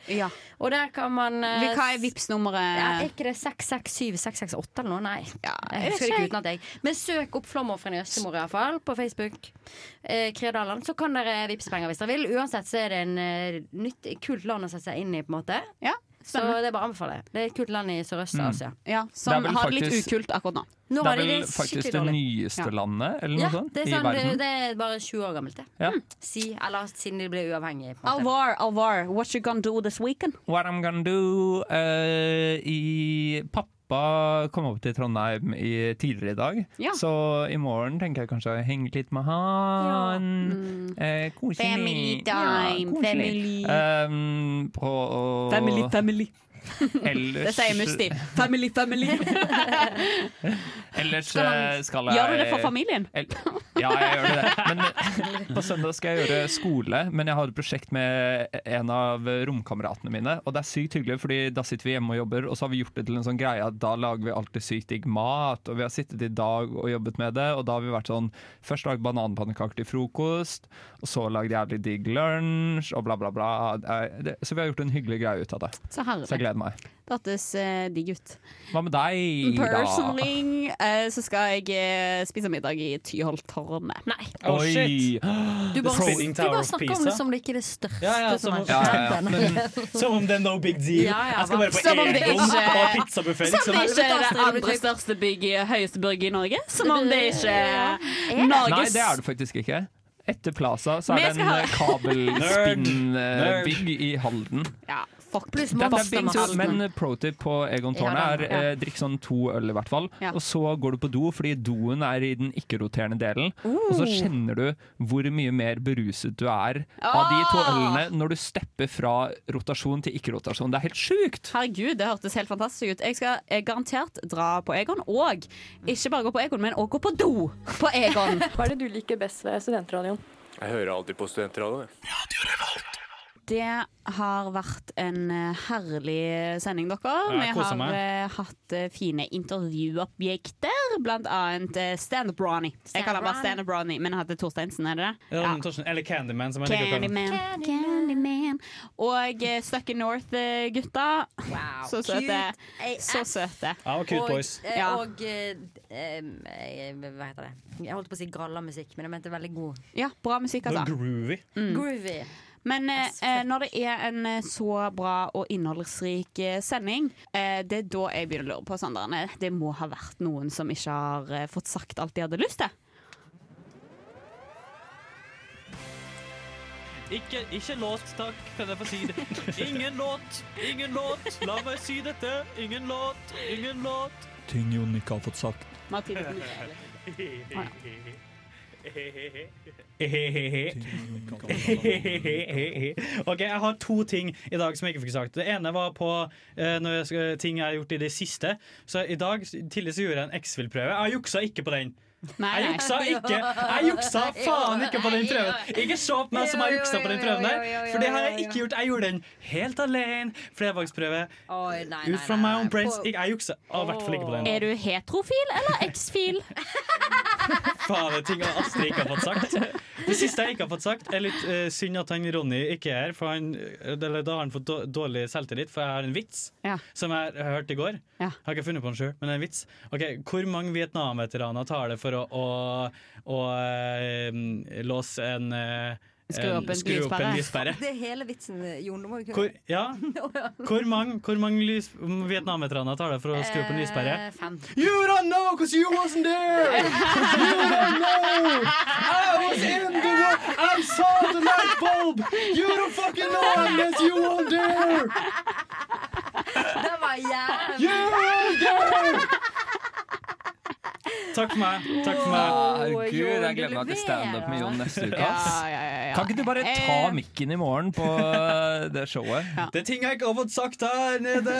[SPEAKER 5] Og der kan man eh,
[SPEAKER 2] Hva er Vipps-nummeret?
[SPEAKER 5] ja, Er ikke det 667 668 eller noe? Nei. jeg
[SPEAKER 2] jeg vet
[SPEAKER 5] husker det
[SPEAKER 2] ikke.
[SPEAKER 5] ikke utenat, jeg. Men søk opp Flomofrene i Østemor i hvert fall, på Facebook. Eh, Kreodaland. Så kan dere vippse penger hvis dere vil. Uansett så er det en eh, nytt, kult land å sette seg inn i, på en måte. så
[SPEAKER 2] spennende.
[SPEAKER 5] det er bare å anbefale. Det er et kult land i Sørøst-Asia.
[SPEAKER 2] Ja, som
[SPEAKER 3] Det er vel
[SPEAKER 2] har det litt
[SPEAKER 3] faktisk-
[SPEAKER 2] ukult akkurat nå.
[SPEAKER 5] Nå
[SPEAKER 3] det
[SPEAKER 5] har
[SPEAKER 3] Mm. er
[SPEAKER 5] de
[SPEAKER 3] vel
[SPEAKER 5] det
[SPEAKER 3] faktisk
[SPEAKER 5] skikkelig
[SPEAKER 3] det
[SPEAKER 5] dårlig.
[SPEAKER 3] nyeste
[SPEAKER 5] Ja.
[SPEAKER 3] landet eller
[SPEAKER 5] ja,
[SPEAKER 3] noe sånt,
[SPEAKER 5] det er
[SPEAKER 3] i
[SPEAKER 5] sånn, eh, sant.
[SPEAKER 3] verden.
[SPEAKER 5] Det, det er bare 20 år gammelt, det.
[SPEAKER 3] Ja.
[SPEAKER 2] Hmm.
[SPEAKER 5] Si, eller siden de ble uavhengige. på en måte.
[SPEAKER 2] Alvor, Alvor, what you gonna do this weekend?
[SPEAKER 3] What I'm gonna do eh, i Pappa kom opp til Trondheim i, tidligere i dag,
[SPEAKER 2] Ja.
[SPEAKER 3] så i morgen tenker jeg kanskje å henge litt med han. Eh, koselig.
[SPEAKER 2] Hmm. Family time, family.
[SPEAKER 3] koselig. Um, på, å-
[SPEAKER 2] family. det
[SPEAKER 3] Ellers-
[SPEAKER 2] sier Musti. Family, family.
[SPEAKER 3] Ellers
[SPEAKER 2] Skal han-
[SPEAKER 3] eh, skal jeg
[SPEAKER 2] Gjør du det for familien?
[SPEAKER 3] Ja, jeg gjør det. Men eh, på søndag skal jeg gjøre skole, men jeg har et prosjekt med en av romkameratene mine. Og det er sykt hyggelig, fordi da sitter vi hjemme og jobber, og så har vi gjort det til en sånn greie at da lager vi alltid sykt digg mat. Og vi har sittet i dag og jobbet med det, og da har vi vært sånn Først lagd bananpannekaker til frokost, og så lagd jævlig digg lunsj, og bla, bla, bla. Det- det- Så vi har gjort en hyggelig greie ut av det.
[SPEAKER 2] Så herlig.
[SPEAKER 3] jeg gleder meg.
[SPEAKER 2] Det hørtes eh, digg ut.
[SPEAKER 3] Hva med deg, da?
[SPEAKER 2] Personally eh, så skal jeg eh, spise middag i Tyholttårnet. Nei.
[SPEAKER 3] Oh, shit.
[SPEAKER 5] Du bare, du bare snakker om det som det ikke er det største
[SPEAKER 4] Ja, ja,
[SPEAKER 5] som
[SPEAKER 4] som,
[SPEAKER 5] har
[SPEAKER 4] ja,
[SPEAKER 5] skjedd.
[SPEAKER 4] ja, men, som om det er no big deal.
[SPEAKER 5] Ja, ja,
[SPEAKER 4] jeg skal bare på
[SPEAKER 2] Som om det
[SPEAKER 4] Egon
[SPEAKER 2] ikke-
[SPEAKER 4] og liksom. pizzabuffé.
[SPEAKER 2] Som om det ikke er det andre
[SPEAKER 4] liksom.
[SPEAKER 2] sånn største bygg, høyeste bygg i Norge. Som om det ikke er
[SPEAKER 3] Nei,
[SPEAKER 2] Norges
[SPEAKER 3] det er det faktisk ikke. Etter Plaza så
[SPEAKER 2] Men
[SPEAKER 3] er
[SPEAKER 2] jeg
[SPEAKER 3] det
[SPEAKER 2] skal ha-
[SPEAKER 3] en eh, kabelspinnbygg i Halden.
[SPEAKER 2] Ja, fuck pluss
[SPEAKER 3] Dette er big deal, men pro tip på Egon Tårnet er
[SPEAKER 2] Ja, da, ja.
[SPEAKER 3] eh, drikk sånn to øl i hvert fall.
[SPEAKER 2] Ja.
[SPEAKER 3] Og så går du på do, fordi doen er i den ikke-roterende delen. Og så
[SPEAKER 2] Oh.
[SPEAKER 3] kjenner du hvor mye mer beruset du er av de to
[SPEAKER 2] Ah.
[SPEAKER 3] ølene når du stepper fra rotasjon til ikke-rotasjon. Det er helt sjukt!
[SPEAKER 2] Herregud, det hørtes helt fantastisk ut. Jeg skal eh, garantert dra på Egon, og ikke bare gå på Egon, men også gå på do på Egon. Hva er det du liker best ved studentradioen?
[SPEAKER 6] Jeg hører alltid på studentradioen.
[SPEAKER 2] Det har vært en eh, herlig sending, dere.
[SPEAKER 6] Ja, jeg
[SPEAKER 2] Vi
[SPEAKER 6] koser
[SPEAKER 2] har
[SPEAKER 6] meg.
[SPEAKER 2] eh, hatt eh, fine intervjuobjekter, blant annet eh, Stand-up Ronny. Jeg kaller bare Stand-up
[SPEAKER 4] Stand-up Ronny.
[SPEAKER 2] Ronny, men han heter Torsteinsen, er det det?
[SPEAKER 4] Ja, Torsten, Eller Candyman, som jeg liker å kalle den.
[SPEAKER 2] Candyman. Candyman. Og eh, Stuck in North-gutta. Så søte. Så søte.
[SPEAKER 4] Ja, og Cute Boys.
[SPEAKER 5] eh,
[SPEAKER 2] Ja.
[SPEAKER 5] og eh, em, eh, hva heter det? Jeg holdt på å si gralla musikk, men jeg mente veldig god.
[SPEAKER 2] Ja, bra musikk,
[SPEAKER 4] Det
[SPEAKER 2] altså.
[SPEAKER 4] var groovy.
[SPEAKER 5] Groovy.
[SPEAKER 2] Men eh, eh, når det er en eh, så bra og innholdsrik eh, sending, eh, det er da jeg begynner å lure på Sandrene. Det må ha vært noen som ikke har eh, fått sagt alt de hadde lyst til.
[SPEAKER 4] Ikke, ikke låt, takk, kan jeg få si det. Ingen låt, ingen låt, la meg si dette. Ingen låt, ingen låt.
[SPEAKER 15] Ting Jon ikke har fått sagt.
[SPEAKER 4] OK, jeg har to ting i dag som jeg ikke fikk sagt. Det ene var på eh, når jeg, skal- ting jeg har gjort i det siste. Så i dag tidlig så gjorde jeg en X-Fill-prøve. Jeg juksa ikke på den.
[SPEAKER 2] Nei,
[SPEAKER 4] Jeg
[SPEAKER 2] nei.
[SPEAKER 4] juksa ikke! Jeg juksa faen ikke på den prøven! Ikke se på meg som altså, jeg juksa på den prøven der, for det har jeg ikke gjort. Jeg gjorde den helt alene. Flervalgsprøve.
[SPEAKER 5] Oi, nei,
[SPEAKER 4] Ut fra my own brains. Jeg jeg juksa Å, i hvert fall ikke på den.
[SPEAKER 2] Er du heterofil eller X-fil?
[SPEAKER 4] Faen, det er ting Astrid ikke har fått sagt. Det siste jeg ikke har fått sagt, er litt eh, synd at han Ronny ikke er her. For han, eller, da har han fått då- dårlig selvtillit, for jeg har en vits som jeg hørte i går. Har ikke funnet på den sjøl, men det er en vits. Ok, Hvor mange Vietnam-veteraner tar det for å, å, å eh, låse en eh,
[SPEAKER 5] Skru opp en
[SPEAKER 4] skru opp en lyspære?
[SPEAKER 5] Det er hele vitsen, eh, Jon. Du må jo
[SPEAKER 4] Hvor, ja. hvor mange, hvor mange lys- Vietnam-veteraner tar det for å skru opp en lyspære?
[SPEAKER 5] Eh, fem.
[SPEAKER 15] You don't know because you wasn't there! You don't know! I was in the world! I saw the light bulb! You don't fucking know unless you were there!
[SPEAKER 5] Det var jævlig
[SPEAKER 15] You were there!
[SPEAKER 4] Takk for meg. Takk for meg.
[SPEAKER 3] Herregud, jeg glemmer at det er standup med Jon neste uke. ass. Kan ikke du bare ta mikken i morgen på eh, det showet?
[SPEAKER 4] Det er ting jeg ikke har fått sagt her nede!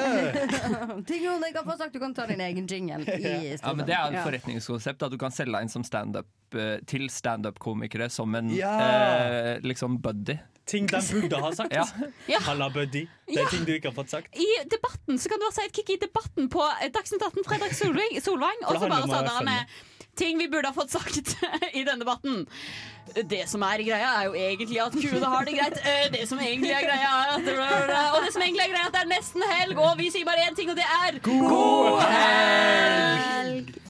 [SPEAKER 5] Ting Jon ikke har fått sagt, du kan ta din egen jingle. I
[SPEAKER 3] Ja, men Det er jo et forretningskonsept. At du kan selge deg inn som stand-up, eh, til standup-komikere som en
[SPEAKER 4] Ja.
[SPEAKER 3] eh, liksom buddy.
[SPEAKER 4] Ting de burde ha sagt.
[SPEAKER 3] Ja.
[SPEAKER 2] Ja.
[SPEAKER 4] Halla, buddy. Det
[SPEAKER 2] Ja.
[SPEAKER 4] er ting du ikke har fått sagt.
[SPEAKER 2] I debatten så kan du være sidekick i debatten på eh, Dagsnytt 18 Fredrik Solvang, Solvang og
[SPEAKER 4] For det
[SPEAKER 2] så
[SPEAKER 4] handler
[SPEAKER 2] bare
[SPEAKER 4] om å
[SPEAKER 2] sa
[SPEAKER 4] være
[SPEAKER 2] dere med ting vi burde ha fått sagt i denne debatten. Det som er greia, er jo egentlig at kuene har det greit. Eh, Det som egentlig er greia, er at Og det som egentlig er greia, er at det er nesten helg, og vi sier bare én ting, og det er God helg!